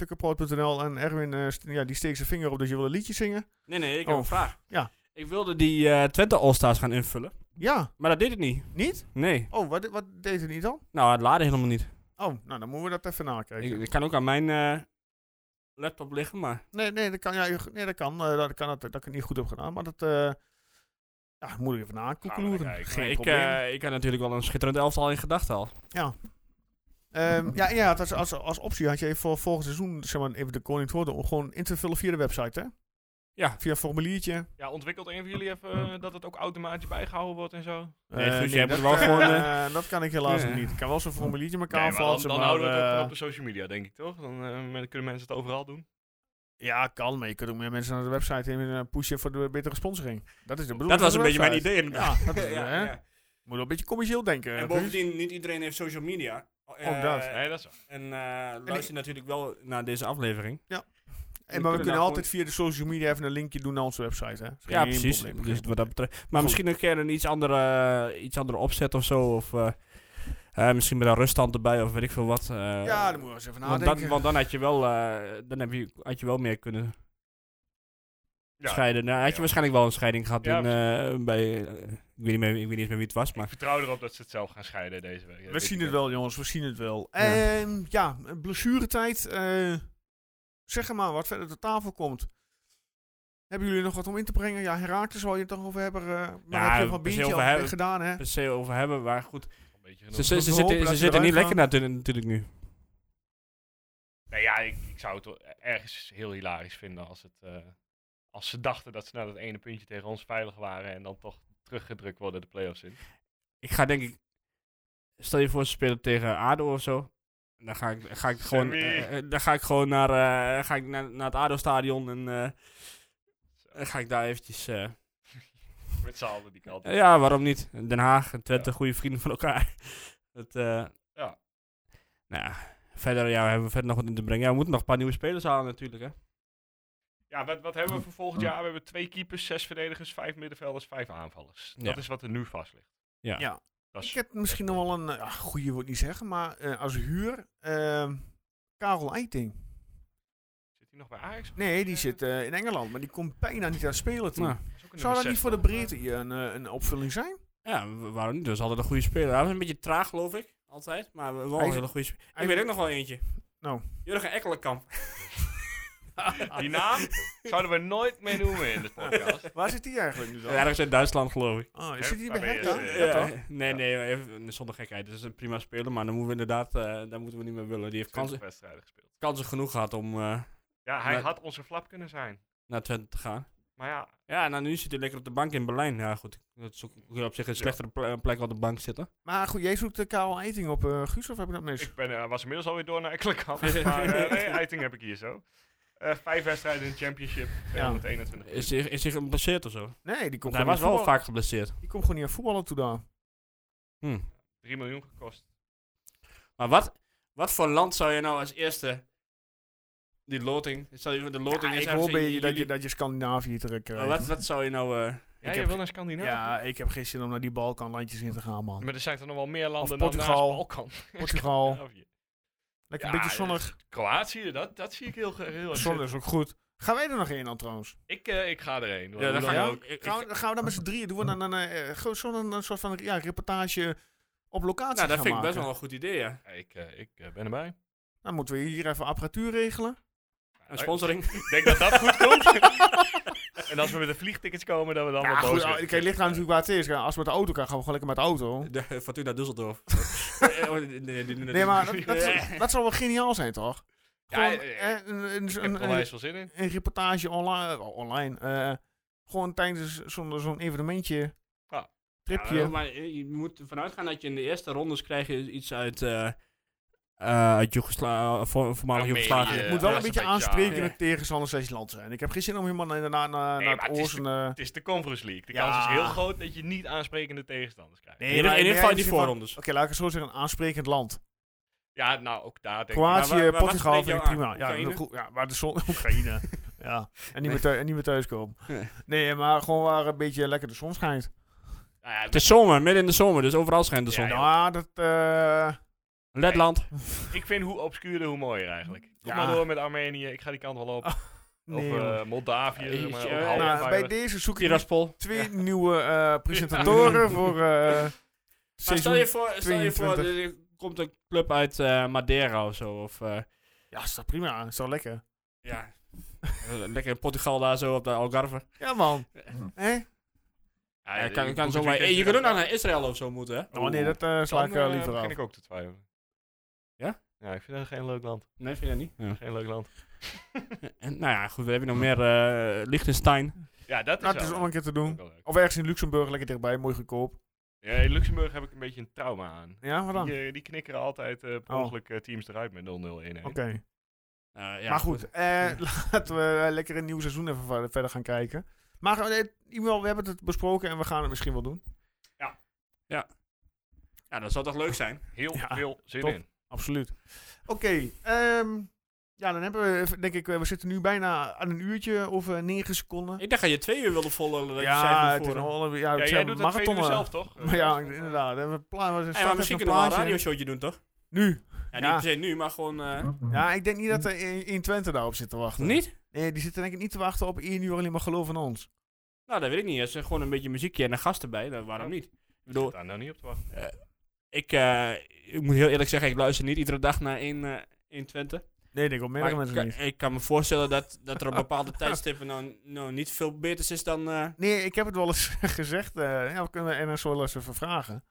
Speaker 1: info.tukkerpoort.nl. En Erwin eh, st- ja, die steekt zijn vinger op, dus je wil een liedje zingen.
Speaker 2: Nee, nee, ik
Speaker 1: Oh.
Speaker 2: heb een vraag.
Speaker 1: Ja.
Speaker 2: Ik wilde die eh, Twente All-Stars gaan invullen,
Speaker 1: Ja,
Speaker 2: maar dat deed het niet.
Speaker 1: niet?
Speaker 2: Nee.
Speaker 1: Oh, wat, wat deed het niet dan?
Speaker 2: Nou, het laadde helemaal niet.
Speaker 1: Oh, nou dan moeten we dat even nakijken.
Speaker 2: Ik, ik kan ook aan mijn eh, laptop liggen, maar...
Speaker 1: Nee, nee, dat kan. Ja, je- nee, dat kan. eh, dat kan dat, dat ik het niet goed heb gedaan. Maar dat. eh ja, moet ik even
Speaker 3: Gaan we
Speaker 1: nakoekeloeren.
Speaker 3: naar kijken.
Speaker 1: Geen
Speaker 2: ik,
Speaker 1: probleem.
Speaker 2: eh, ik had natuurlijk wel een schitterend elftal in gedachten al.
Speaker 1: Ehm, ja, en ja het was als, als optie had je even voor volgend seizoen zeg maar, even de koning te worden om gewoon in te vullen via de website, hè?
Speaker 2: Ja.
Speaker 1: Via een formuliertje.
Speaker 3: Ja, ontwikkelt een van jullie even eh, dat het ook automatisch bijgehouden wordt en zo?
Speaker 2: Nee,
Speaker 1: Eh,
Speaker 2: Guus, jij hebt
Speaker 1: dat,
Speaker 2: het wel gewoon,
Speaker 1: eh, <laughs> dat kan ik helaas
Speaker 2: ja.
Speaker 1: nog niet. Ik kan wel zo'n formuliertje met elkaar
Speaker 3: Nee, maar dan,
Speaker 1: valsen,
Speaker 3: dan
Speaker 1: maar,
Speaker 3: houden we het ook
Speaker 1: eh,
Speaker 3: gewoon op de social media, denk ik, toch? Dan eh, men- kunnen mensen het overal doen.
Speaker 1: Ja, kan, maar je kunt ook meer mensen naar de website heen eh, pushen voor de betere sponsoring. Dat is de bedoeling.
Speaker 2: Dat was
Speaker 1: van
Speaker 2: een
Speaker 1: de
Speaker 2: beetje mijn
Speaker 1: website.
Speaker 2: idee inderdaad.
Speaker 1: Ja,
Speaker 2: <laughs>
Speaker 1: dat is,
Speaker 2: Ja,
Speaker 1: hè?
Speaker 2: ja.
Speaker 1: Moet wel een beetje commercieel denken.
Speaker 2: En
Speaker 1: Guus.
Speaker 2: bovendien, niet iedereen heeft social media. Eh,
Speaker 1: Ook dat.
Speaker 3: Nee, dat is waar.
Speaker 2: En eh, luister natuurlijk wel naar deze aflevering.
Speaker 1: En, maar
Speaker 2: kunnen
Speaker 1: we kunnen
Speaker 2: nou
Speaker 1: altijd via de social media even een linkje doen naar onze website. Hè? Is
Speaker 2: Ja,
Speaker 1: geen
Speaker 2: precies.
Speaker 1: probleem.
Speaker 2: Dus wat dat betreft. Maar misschien een keer een iets andere, eh, iets andere opzet of zo. Of eh, eh, misschien met een ruststand erbij of weet ik veel wat. eh,
Speaker 1: ja, dan moeten we eens even
Speaker 2: want,
Speaker 1: nadenken.
Speaker 2: dan, want dan had je wel, eh, dan heb je, had je wel meer kunnen
Speaker 3: Ja,
Speaker 2: scheiden. Nou, had je
Speaker 3: Ja.
Speaker 2: waarschijnlijk wel een scheiding gehad
Speaker 3: Ja,
Speaker 2: in, eh, bij, eh, ik, weet niet meer, ik weet niet eens meer wie het was, maar
Speaker 3: Ik vertrouw erop dat ze het zelf gaan scheiden deze week.
Speaker 1: we zien het wel, jongens. We zien het wel.
Speaker 2: Ja.
Speaker 1: Ehm, Ja, blessuretijd. eh, zeg maar wat verder ter tafel komt. Hebben jullie nog wat om in te brengen? Ja, Herakles zal je het toch over hebben. eh, maar heb
Speaker 2: Ja,
Speaker 1: je van
Speaker 2: we zullen
Speaker 1: Bintje al
Speaker 2: over
Speaker 1: weg
Speaker 2: hebben.
Speaker 1: gedaan, hè?
Speaker 2: per se over hebben. Maar goed, ze, ze,
Speaker 3: wel.
Speaker 1: we
Speaker 2: ze
Speaker 1: hopen
Speaker 2: zitten,
Speaker 1: dat
Speaker 2: ze
Speaker 1: ze
Speaker 2: zitten niet
Speaker 1: eruit
Speaker 2: lekker natu- natuurlijk nu.
Speaker 3: Nou ja, ik, ik zou het wel ergens heel hilarisch vinden als, het, eh, als ze dachten dat ze na dat ene puntje tegen ons veilig waren en dan toch teruggedrukt worden de play-offs in.
Speaker 2: Ik ga denk ik, stel je voor ze spelen tegen ADO of zo. Dan ga ik, ga ik gewoon,
Speaker 3: Sammy.
Speaker 2: eh, eh, dan ga ik gewoon naar, eh, ga ik naar, naar het ADO-stadion en eh, dan ga ik daar eventjes... eh,
Speaker 3: Met z'n allen die kant. op.
Speaker 2: Ja, waarom niet? Den Haag en Twente,
Speaker 3: Ja.
Speaker 2: goede vrienden van elkaar. <laughs> Dat, eh,
Speaker 3: Ja.
Speaker 2: Nou ja, verder ja, we hebben we verder nog wat in te brengen. Ja, we moeten nog een paar nieuwe spelers halen natuurlijk, hè.
Speaker 3: Ja, wat, wat hebben we voor volgend jaar? We hebben twee keepers, zes verdedigers, vijf middenvelders, vijf aanvallers. Dat
Speaker 2: Ja.
Speaker 3: is wat er nu vast ligt.
Speaker 2: Ja.
Speaker 1: Ja.
Speaker 3: Dat is-
Speaker 1: Ik heb misschien nog wel een eh, ja, goede wil ik niet zeggen, maar eh, als huur ehm, Karel Eiting.
Speaker 3: Zit hij nog bij Ajax?
Speaker 1: Nee, die
Speaker 3: Eh,
Speaker 1: zit eh, in Engeland, maar die komt bijna niet aan het spelen toe.
Speaker 2: Nou,
Speaker 3: is ook een
Speaker 1: Zou
Speaker 3: nummer
Speaker 1: dat
Speaker 3: zes,
Speaker 1: niet voor de
Speaker 3: toch?
Speaker 1: breedte hier een, eh, een opvulling zijn?
Speaker 2: ja, wa- waarom niet? Dat is altijd een goede speler. Hij was een beetje traag, geloof ik, altijd. Maar wel
Speaker 1: Hij
Speaker 2: een
Speaker 1: is-
Speaker 2: hele goede speler.
Speaker 1: hij
Speaker 2: Ik
Speaker 1: is-
Speaker 2: weet ook nog wel eentje.
Speaker 1: Nou.
Speaker 2: Jurgen Ekkelenkamp.
Speaker 3: Die naam zouden we nooit meer noemen
Speaker 1: <laughs>
Speaker 3: in de podcast.
Speaker 1: Waar zit die eigenlijk nu dan?
Speaker 2: Ergens in Duitsland, geloof ik.
Speaker 1: Oh, zit die
Speaker 3: Waar
Speaker 1: bij
Speaker 3: ben je,
Speaker 1: Hertha?
Speaker 3: eh,
Speaker 1: Ja,
Speaker 3: ja.
Speaker 1: toch?
Speaker 2: nee, nee, maar even, zonder gekheid. Dat is een prima speler, maar dan moeten we inderdaad, eh, daar moeten we niet meer willen. Die heeft kansen,
Speaker 3: 20 wedstrijden gespeeld.
Speaker 2: kansen genoeg gehad om eh,
Speaker 3: Ja, hij
Speaker 2: Maar-
Speaker 3: had onze flap kunnen zijn.
Speaker 2: naar Twente te gaan.
Speaker 3: Maar ja,
Speaker 2: Ja, nou nu zit hij lekker op de bank in Berlijn. Ja, goed. Dat is ook op zich een slechtere ple- plek op de bank zitten.
Speaker 1: Maar goed, jij zoekt eh, Karel Eiting op eh Guus, of heb ik dat mis?
Speaker 3: ik ben, eh, was inmiddels alweer door naar
Speaker 1: <laughs>
Speaker 3: Ekkelenkamp. maar eh nee, Eiting heb ik hier zo. Eh, vijf wedstrijden in de championship, 221
Speaker 2: Is hij, is hij geblesseerd of zo? Want
Speaker 1: Nee, die komt,
Speaker 2: hij
Speaker 1: gewoon
Speaker 2: was
Speaker 1: niet
Speaker 2: wel
Speaker 1: voetballen.
Speaker 2: vaak geblesseerd.
Speaker 1: die komt gewoon niet aan voetballen toe daar.
Speaker 2: Hm.
Speaker 3: 3 miljoen gekost.
Speaker 2: Maar wat, wat voor land zou je nou als eerste die loting... Zou je, de loting
Speaker 1: Ja,
Speaker 2: is
Speaker 1: ik hoop bij
Speaker 2: ergens in
Speaker 1: je dat, je
Speaker 2: juli.
Speaker 1: dat je Scandinavië terug
Speaker 2: Maar
Speaker 1: krijgt.
Speaker 2: wat, wat zou je nou... eh,
Speaker 3: Ja,
Speaker 1: Ik
Speaker 3: je
Speaker 1: heb-
Speaker 3: wil naar Scandinavië?
Speaker 1: Oh, ja, ik heb geen zin om naar die Balkanlandjes in te gaan, man.
Speaker 3: Maar er zijn er nog wel meer landen
Speaker 1: Of
Speaker 3: dan naast
Speaker 1: Portugal.
Speaker 3: Balkan.
Speaker 1: Portugal,
Speaker 3: Scandinavië.
Speaker 1: lekker
Speaker 3: Ja,
Speaker 1: een beetje zonnig.
Speaker 3: dat is- Kroatië, dat, dat zie ik heel, ge- heel erg
Speaker 1: Zonne
Speaker 3: zitten.
Speaker 1: is ook goed. Gaan wij er nog één aan trouwens?
Speaker 3: Ik, eh, ik ga er een.
Speaker 2: ja, dan
Speaker 1: dan
Speaker 2: ga je
Speaker 1: ook.
Speaker 2: ook- Nou, ik-
Speaker 1: Gaan
Speaker 2: ik-
Speaker 1: we, gaan we dan met z'n drieën doen? we Dan, dan, zo'n een soort van ja, reportage op locatie
Speaker 2: nou, dat
Speaker 1: gaan
Speaker 2: vind ik best
Speaker 1: maken.
Speaker 2: wel een goed idee, ja.
Speaker 3: Ik, eh, ik eh, ben erbij.
Speaker 1: Dan moeten we hier even apparatuur regelen.
Speaker 2: Een <laughs> sponsoring.
Speaker 3: Ik denk dat dat goed komt.
Speaker 1: <laughs>
Speaker 3: en als we met de vliegtickets komen, dan we dan
Speaker 1: Ja,
Speaker 3: wel boos
Speaker 1: goed,
Speaker 3: zijn.
Speaker 1: ah, kijk, ligt aan natuurlijk waar het is. Ja, Als we met de auto gaan, gaan we gewoon lekker met de auto.
Speaker 2: De Fortuna <laughs> Düsseldorf. Eh, oh, nee, nee, nee,
Speaker 1: Nee, maar dat,
Speaker 2: nee.
Speaker 1: dat, dat zou wel geniaal zijn, toch?
Speaker 3: Ja,
Speaker 1: Gewoon,
Speaker 3: eh,
Speaker 1: eh, een,
Speaker 3: Ik
Speaker 1: een,
Speaker 3: heb
Speaker 1: een,
Speaker 3: er onwijs veel zin in.
Speaker 1: een reportage online. eh, online eh, gewoon tijdens zo'n zo'n evenementje.
Speaker 3: Ja.
Speaker 1: Tripje.
Speaker 2: Ja, maar je je moet ervan uitgaan dat je in de eerste rondes krijg je iets uit, eh eh uit Joegosla voor, voormalig
Speaker 3: Armenië.
Speaker 2: Joegoslavië.
Speaker 1: het
Speaker 3: eh,
Speaker 1: moet wel een
Speaker 3: Azerbeidzjan.
Speaker 1: beetje aansprekend
Speaker 2: Ja.
Speaker 1: tegen tegenstanders als land zijn. Ik heb geen zin om helemaal naar, naar, naar,
Speaker 3: Nee,
Speaker 1: naar
Speaker 3: maar
Speaker 1: het
Speaker 3: het is
Speaker 1: oorzen... eh,
Speaker 3: Het is de Conference League. De
Speaker 1: Ja.
Speaker 3: kans is heel groot dat je niet aansprekende tegenstanders krijgt.
Speaker 1: Nee,
Speaker 2: In ieder-
Speaker 1: maar
Speaker 2: in ieder
Speaker 1: meer
Speaker 2: geval
Speaker 1: in de
Speaker 2: die
Speaker 1: zin van-
Speaker 2: voorrondes.
Speaker 1: Oké, laat ik het zo zeggen. Een aansprekend land.
Speaker 3: Ja, nou, ook daar denk ik.
Speaker 1: Kroatië,
Speaker 2: Maar waar- waar-
Speaker 1: Portugal
Speaker 2: wat
Speaker 1: vind ik
Speaker 2: spreekt jou
Speaker 1: prima. Ja,
Speaker 2: aan? Oekraïne?
Speaker 1: heel goed. ja, maar de zon... <laughs> Oekraïne. ja. En niet, meer thuis, en niet meer thuiskomen.
Speaker 2: Nee.
Speaker 1: Nee. maar gewoon waar een beetje lekker de zon schijnt.
Speaker 3: Nou ja,
Speaker 2: Het is zomer, midden in de zomer, dus overal schijnt de
Speaker 3: Ja,
Speaker 2: zon.
Speaker 3: joh.
Speaker 1: Nou, dat... eh,
Speaker 2: Letland.
Speaker 3: Ik vind hoe obscuurder, hoe mooier eigenlijk. Kom
Speaker 1: Ja.
Speaker 3: maar door met Armenië. Ik ga die kant wel op.
Speaker 1: nee,
Speaker 3: of
Speaker 1: joh.
Speaker 3: eh, Moldavië.
Speaker 2: Ja,
Speaker 3: zeg maar,
Speaker 2: ja,
Speaker 3: ook
Speaker 2: ja.
Speaker 3: half
Speaker 1: nou, bij
Speaker 3: veilig.
Speaker 1: deze zoek ik
Speaker 2: Tiraspol.
Speaker 1: twee nieuwe eh, presentatoren voor... eh
Speaker 2: Maar stel
Speaker 1: seizoen...
Speaker 2: je voor, stel je voor
Speaker 1: 22.
Speaker 2: er er komt een club uit eh, Madeira of zo. Of, eh,
Speaker 1: Ja, is dat prima. Is dat lekker.
Speaker 2: ja. <laughs> Lekker in Portugal daar zo op de Algarve.
Speaker 1: Ja, man. Hè?
Speaker 3: Ja,
Speaker 2: Ja,
Speaker 3: ja,
Speaker 2: kan,
Speaker 3: ik
Speaker 2: kan
Speaker 3: moet
Speaker 2: zo maar,
Speaker 3: natuurlijk
Speaker 2: eh, je
Speaker 3: dat-
Speaker 2: kunt ook nog naar Israël of zo moeten, hè?
Speaker 1: Oh nee, dat eh, sla
Speaker 3: Dan,
Speaker 1: ik eh,
Speaker 3: eh,
Speaker 1: liever af.
Speaker 3: begin ik ook te twijfelen.
Speaker 2: Ja?
Speaker 3: Ja, ik vind dat geen leuk land.
Speaker 2: Nee, vind je dat niet?
Speaker 3: Geen leuk land.
Speaker 2: En, nou ja, goed, we hebben nog meer eh Liechtenstein.
Speaker 3: Ja, dat is,
Speaker 1: Nou, het is
Speaker 3: wel-
Speaker 1: om een keer te
Speaker 3: ook
Speaker 1: doen.
Speaker 3: wel leuk.
Speaker 1: Of ergens in Luxemburg, lekker dichtbij, mooi goedkoop.
Speaker 3: Ja, in Luxemburg heb ik een beetje een trauma aan.
Speaker 1: Ja, wat dan?
Speaker 3: Die, eh, die knikkeren altijd eh per
Speaker 1: Oh.
Speaker 3: ongeluk eh, teams eruit met 0-0-1-1.
Speaker 1: Oké.
Speaker 2: Eh, ja,
Speaker 1: maar goed, eh, <laughs> laten we eh, lekker een nieuw seizoen even ver- verder gaan kijken. Maar eh, in ieder geval, we hebben het besproken en we gaan het misschien wel doen.
Speaker 2: Ja, dat zou toch leuk zijn?
Speaker 3: Heel
Speaker 1: Ja,
Speaker 3: veel zin
Speaker 1: top.
Speaker 3: in.
Speaker 1: Absoluut. Oké, ehm, ja, dan hebben we, even- denk ik, eh, we zitten nu bijna aan een uurtje of eh, negen seconden.
Speaker 2: Ik dacht dat je twee uur wilde volgen.
Speaker 1: ja, het is
Speaker 2: voor.
Speaker 1: nogal een- ja,
Speaker 3: Ja,
Speaker 1: het
Speaker 3: jij
Speaker 1: zijn
Speaker 3: doet dat twee uur
Speaker 1: marathonnen.
Speaker 3: zelf, toch? Eh,
Speaker 1: Maar eh, <laughs> ja, inderdaad. En we pla- we starten
Speaker 2: Hey, maar
Speaker 1: even
Speaker 2: misschien
Speaker 1: een
Speaker 2: kunnen we wel een
Speaker 1: plaatje.
Speaker 2: radioshowtje doen, toch?
Speaker 1: Nu.
Speaker 2: Ja,
Speaker 1: Ja.
Speaker 2: niet per se nu, maar gewoon... eh,
Speaker 1: Ja, ik denk niet dat er in, in Twente daarop zit te wachten.
Speaker 2: Niet?
Speaker 1: Nee, die zitten denk ik niet te wachten op één uur alleen maar geloof in ons.
Speaker 2: Nou, dat weet ik niet. Als er gewoon een beetje muziekje en een gast erbij, dan waarom niet? Ik bedoel,
Speaker 3: Daar nou niet op te wachten.
Speaker 2: ik, eh, ik moet heel eerlijk zeggen, ik luister niet iedere dag naar in, eh in Twente.
Speaker 1: Nee, ik denk op
Speaker 2: Maar
Speaker 1: meerdere
Speaker 2: ik,
Speaker 1: mensen
Speaker 2: kan-
Speaker 1: niet.
Speaker 2: ik kan me voorstellen dat, dat er op
Speaker 1: <laughs>
Speaker 2: bepaalde tijdstippen nou, nou niet veel beters is dan... eh,
Speaker 1: Nee, ik heb het wel eens <laughs> gezegd. eh, ja, we kunnen NSO wel eens even vragen.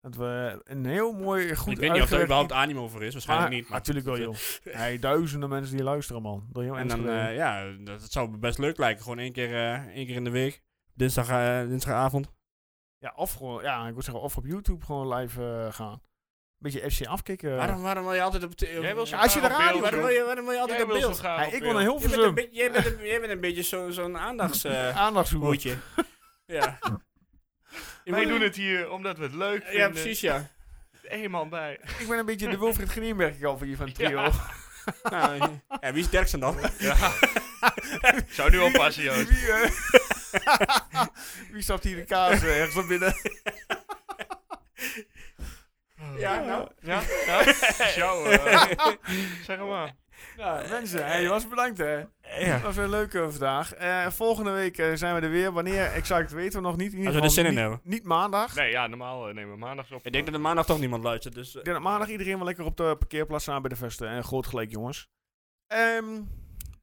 Speaker 1: Dat we een heel mooi, goed
Speaker 2: ik weet niet of er
Speaker 1: uitgewerkt- Ah,
Speaker 2: überhaupt animo voor is, waarschijnlijk niet. Maar,
Speaker 1: Natuurlijk wel, joh.
Speaker 2: <laughs>
Speaker 1: Hey, duizenden mensen die luisteren, man. Door heel
Speaker 2: en dan,
Speaker 1: Enschede.
Speaker 2: eh, ja, dat, dat zou me best leuk lijken. Gewoon één keer, eh, één keer in de week. Dinsdag, eh, dinsdagavond.
Speaker 1: ja, of gewoon, ja, ik wil zeggen, of op YouTube gewoon live eh, gaan. Beetje FC afkicken.
Speaker 2: Waarom, waarom wil je altijd op... de-
Speaker 3: Jij wil zo
Speaker 1: Ja, als je
Speaker 3: graag
Speaker 1: de
Speaker 3: op
Speaker 1: radio
Speaker 3: beeld,
Speaker 2: waarom, wil
Speaker 3: joh.
Speaker 2: je, waarom wil je altijd
Speaker 3: Jij
Speaker 2: op
Speaker 3: wil zo
Speaker 2: beeld?
Speaker 3: graag
Speaker 1: Hey,
Speaker 3: op eh,
Speaker 1: ik wil een
Speaker 3: beeld.
Speaker 1: heel
Speaker 2: Jij bent, een
Speaker 1: veel
Speaker 2: beetje- jij, bent een, jij bent een beetje zo- zo'n
Speaker 1: <laughs>
Speaker 2: aandachtshoedje.
Speaker 1: aandachtshoer.
Speaker 2: ja. Je
Speaker 3: Wij
Speaker 2: moet-
Speaker 3: doen het hier omdat we het leuk vinden.
Speaker 2: Ja, precies, ja.
Speaker 3: Eén man bij.
Speaker 1: Ik ben een beetje de Wilfried Greenberg al van
Speaker 2: <laughs>
Speaker 1: je van trio.
Speaker 3: Ja.
Speaker 2: nou, ja, wie is Derksen dan?
Speaker 3: <laughs> Zou nu oppassen,
Speaker 1: <laughs> Wie,
Speaker 3: Joost.
Speaker 1: eh, <laughs> Wie stapt hier de kaas eh, ergens op
Speaker 2: <laughs>
Speaker 1: binnen?
Speaker 2: ja, nou.
Speaker 3: Ja? ja? <laughs> Jou, eh, zeg maar.
Speaker 1: Nou, mensen, hey, jongens, bedankt hè.
Speaker 2: Ja.
Speaker 1: Dat was weer leuk eh, vandaag. Eh, volgende week eh, zijn we er weer. Wanneer exact weten we nog niet. In ieder
Speaker 2: Als we er
Speaker 1: geval
Speaker 2: zin in
Speaker 1: niet-
Speaker 2: hebben.
Speaker 1: Niet maandag.
Speaker 3: Nee, ja, normaal eh, nemen we maandags op.
Speaker 2: Ik denk dat er maandag toch niemand luistert, dus... eh,
Speaker 1: Ik denk dat maandag iedereen wel lekker op de parkeerplaats staan bij de vesten. En groot gelijk, jongens. Ehm,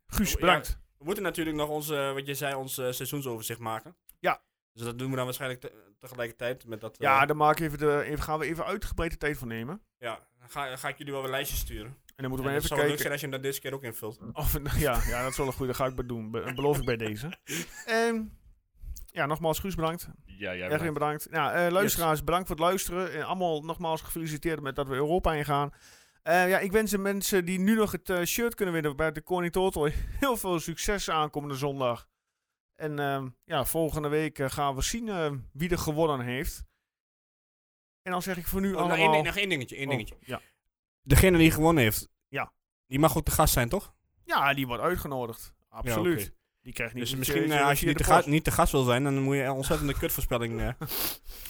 Speaker 1: Guus,
Speaker 2: Oh, Ja.
Speaker 1: bedankt.
Speaker 2: We moeten natuurlijk nog ons, eh, wat je zei, ons eh, seizoensoverzicht maken.
Speaker 1: Ja.
Speaker 2: Dus dat doen we dan waarschijnlijk te- tegelijkertijd met dat... eh,
Speaker 1: Ja, daar maken we even de, even, gaan we even uitgebreid de tijd van nemen.
Speaker 2: ja. Dan ga, dan ga ik jullie wel een lijstje sturen. En
Speaker 1: En dan moeten we
Speaker 2: het
Speaker 1: even
Speaker 2: zou leuk
Speaker 1: kijken.
Speaker 2: zijn als je hem dat deze keer ook invult. Oh,
Speaker 1: Of, <laughs> ja, ja, dat is wel een goede. Dat ga ik bij doen. Be- beloof ik bij
Speaker 2: <laughs>
Speaker 1: deze. Ehm, ja, nogmaals, Guus, bedankt.
Speaker 3: Ja, jij
Speaker 1: Erwin,
Speaker 3: bent.
Speaker 1: bedankt. Ja, eh, luisteraars, bedankt voor het luisteren. En allemaal nogmaals gefeliciteerd met dat we Europa ingaan. Eh, ja, ik wens de mensen die nu nog het eh, shirt kunnen winnen bij de Koning Total <laughs> heel veel succes aankomende zondag. En ehm, ja, volgende week eh, gaan we zien eh, wie er gewonnen heeft. En dan zeg ik voor nu
Speaker 2: Oh, nog,
Speaker 1: allemaal...
Speaker 2: één, ding- nog één dingetje, één dingetje.
Speaker 1: Oh, ja.
Speaker 2: Degene die gewonnen heeft,
Speaker 1: Ja.
Speaker 2: die mag ook de gast zijn, toch?
Speaker 1: ja, die wordt uitgenodigd. Absoluut.
Speaker 2: oké.
Speaker 1: Die krijgt niet
Speaker 2: Dus
Speaker 1: een
Speaker 2: misschien
Speaker 1: shirtje
Speaker 2: eh, als je
Speaker 1: via
Speaker 2: niet
Speaker 1: de
Speaker 2: te,
Speaker 1: post.
Speaker 2: ga- niet te gast wil zijn, dan moet je een
Speaker 1: <laughs>
Speaker 2: ontzettende kutvoorspelling... eh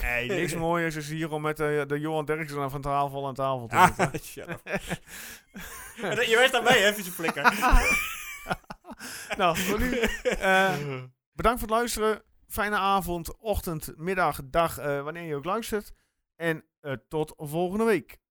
Speaker 1: Nee,
Speaker 2: <laughs>
Speaker 1: niks mooiers is hier om met eh, de Johan Derksen van tafel aan tafel te zitten.
Speaker 2: ah, shut
Speaker 1: <laughs>
Speaker 2: up. <laughs> je weet daarbij, hè, vieze flikker.
Speaker 1: nou, voor
Speaker 2: <laughs>
Speaker 1: nu. eh, bedankt voor het luisteren. Fijne avond, ochtend, middag, dag, eh, wanneer je ook luistert. En eh, tot volgende week.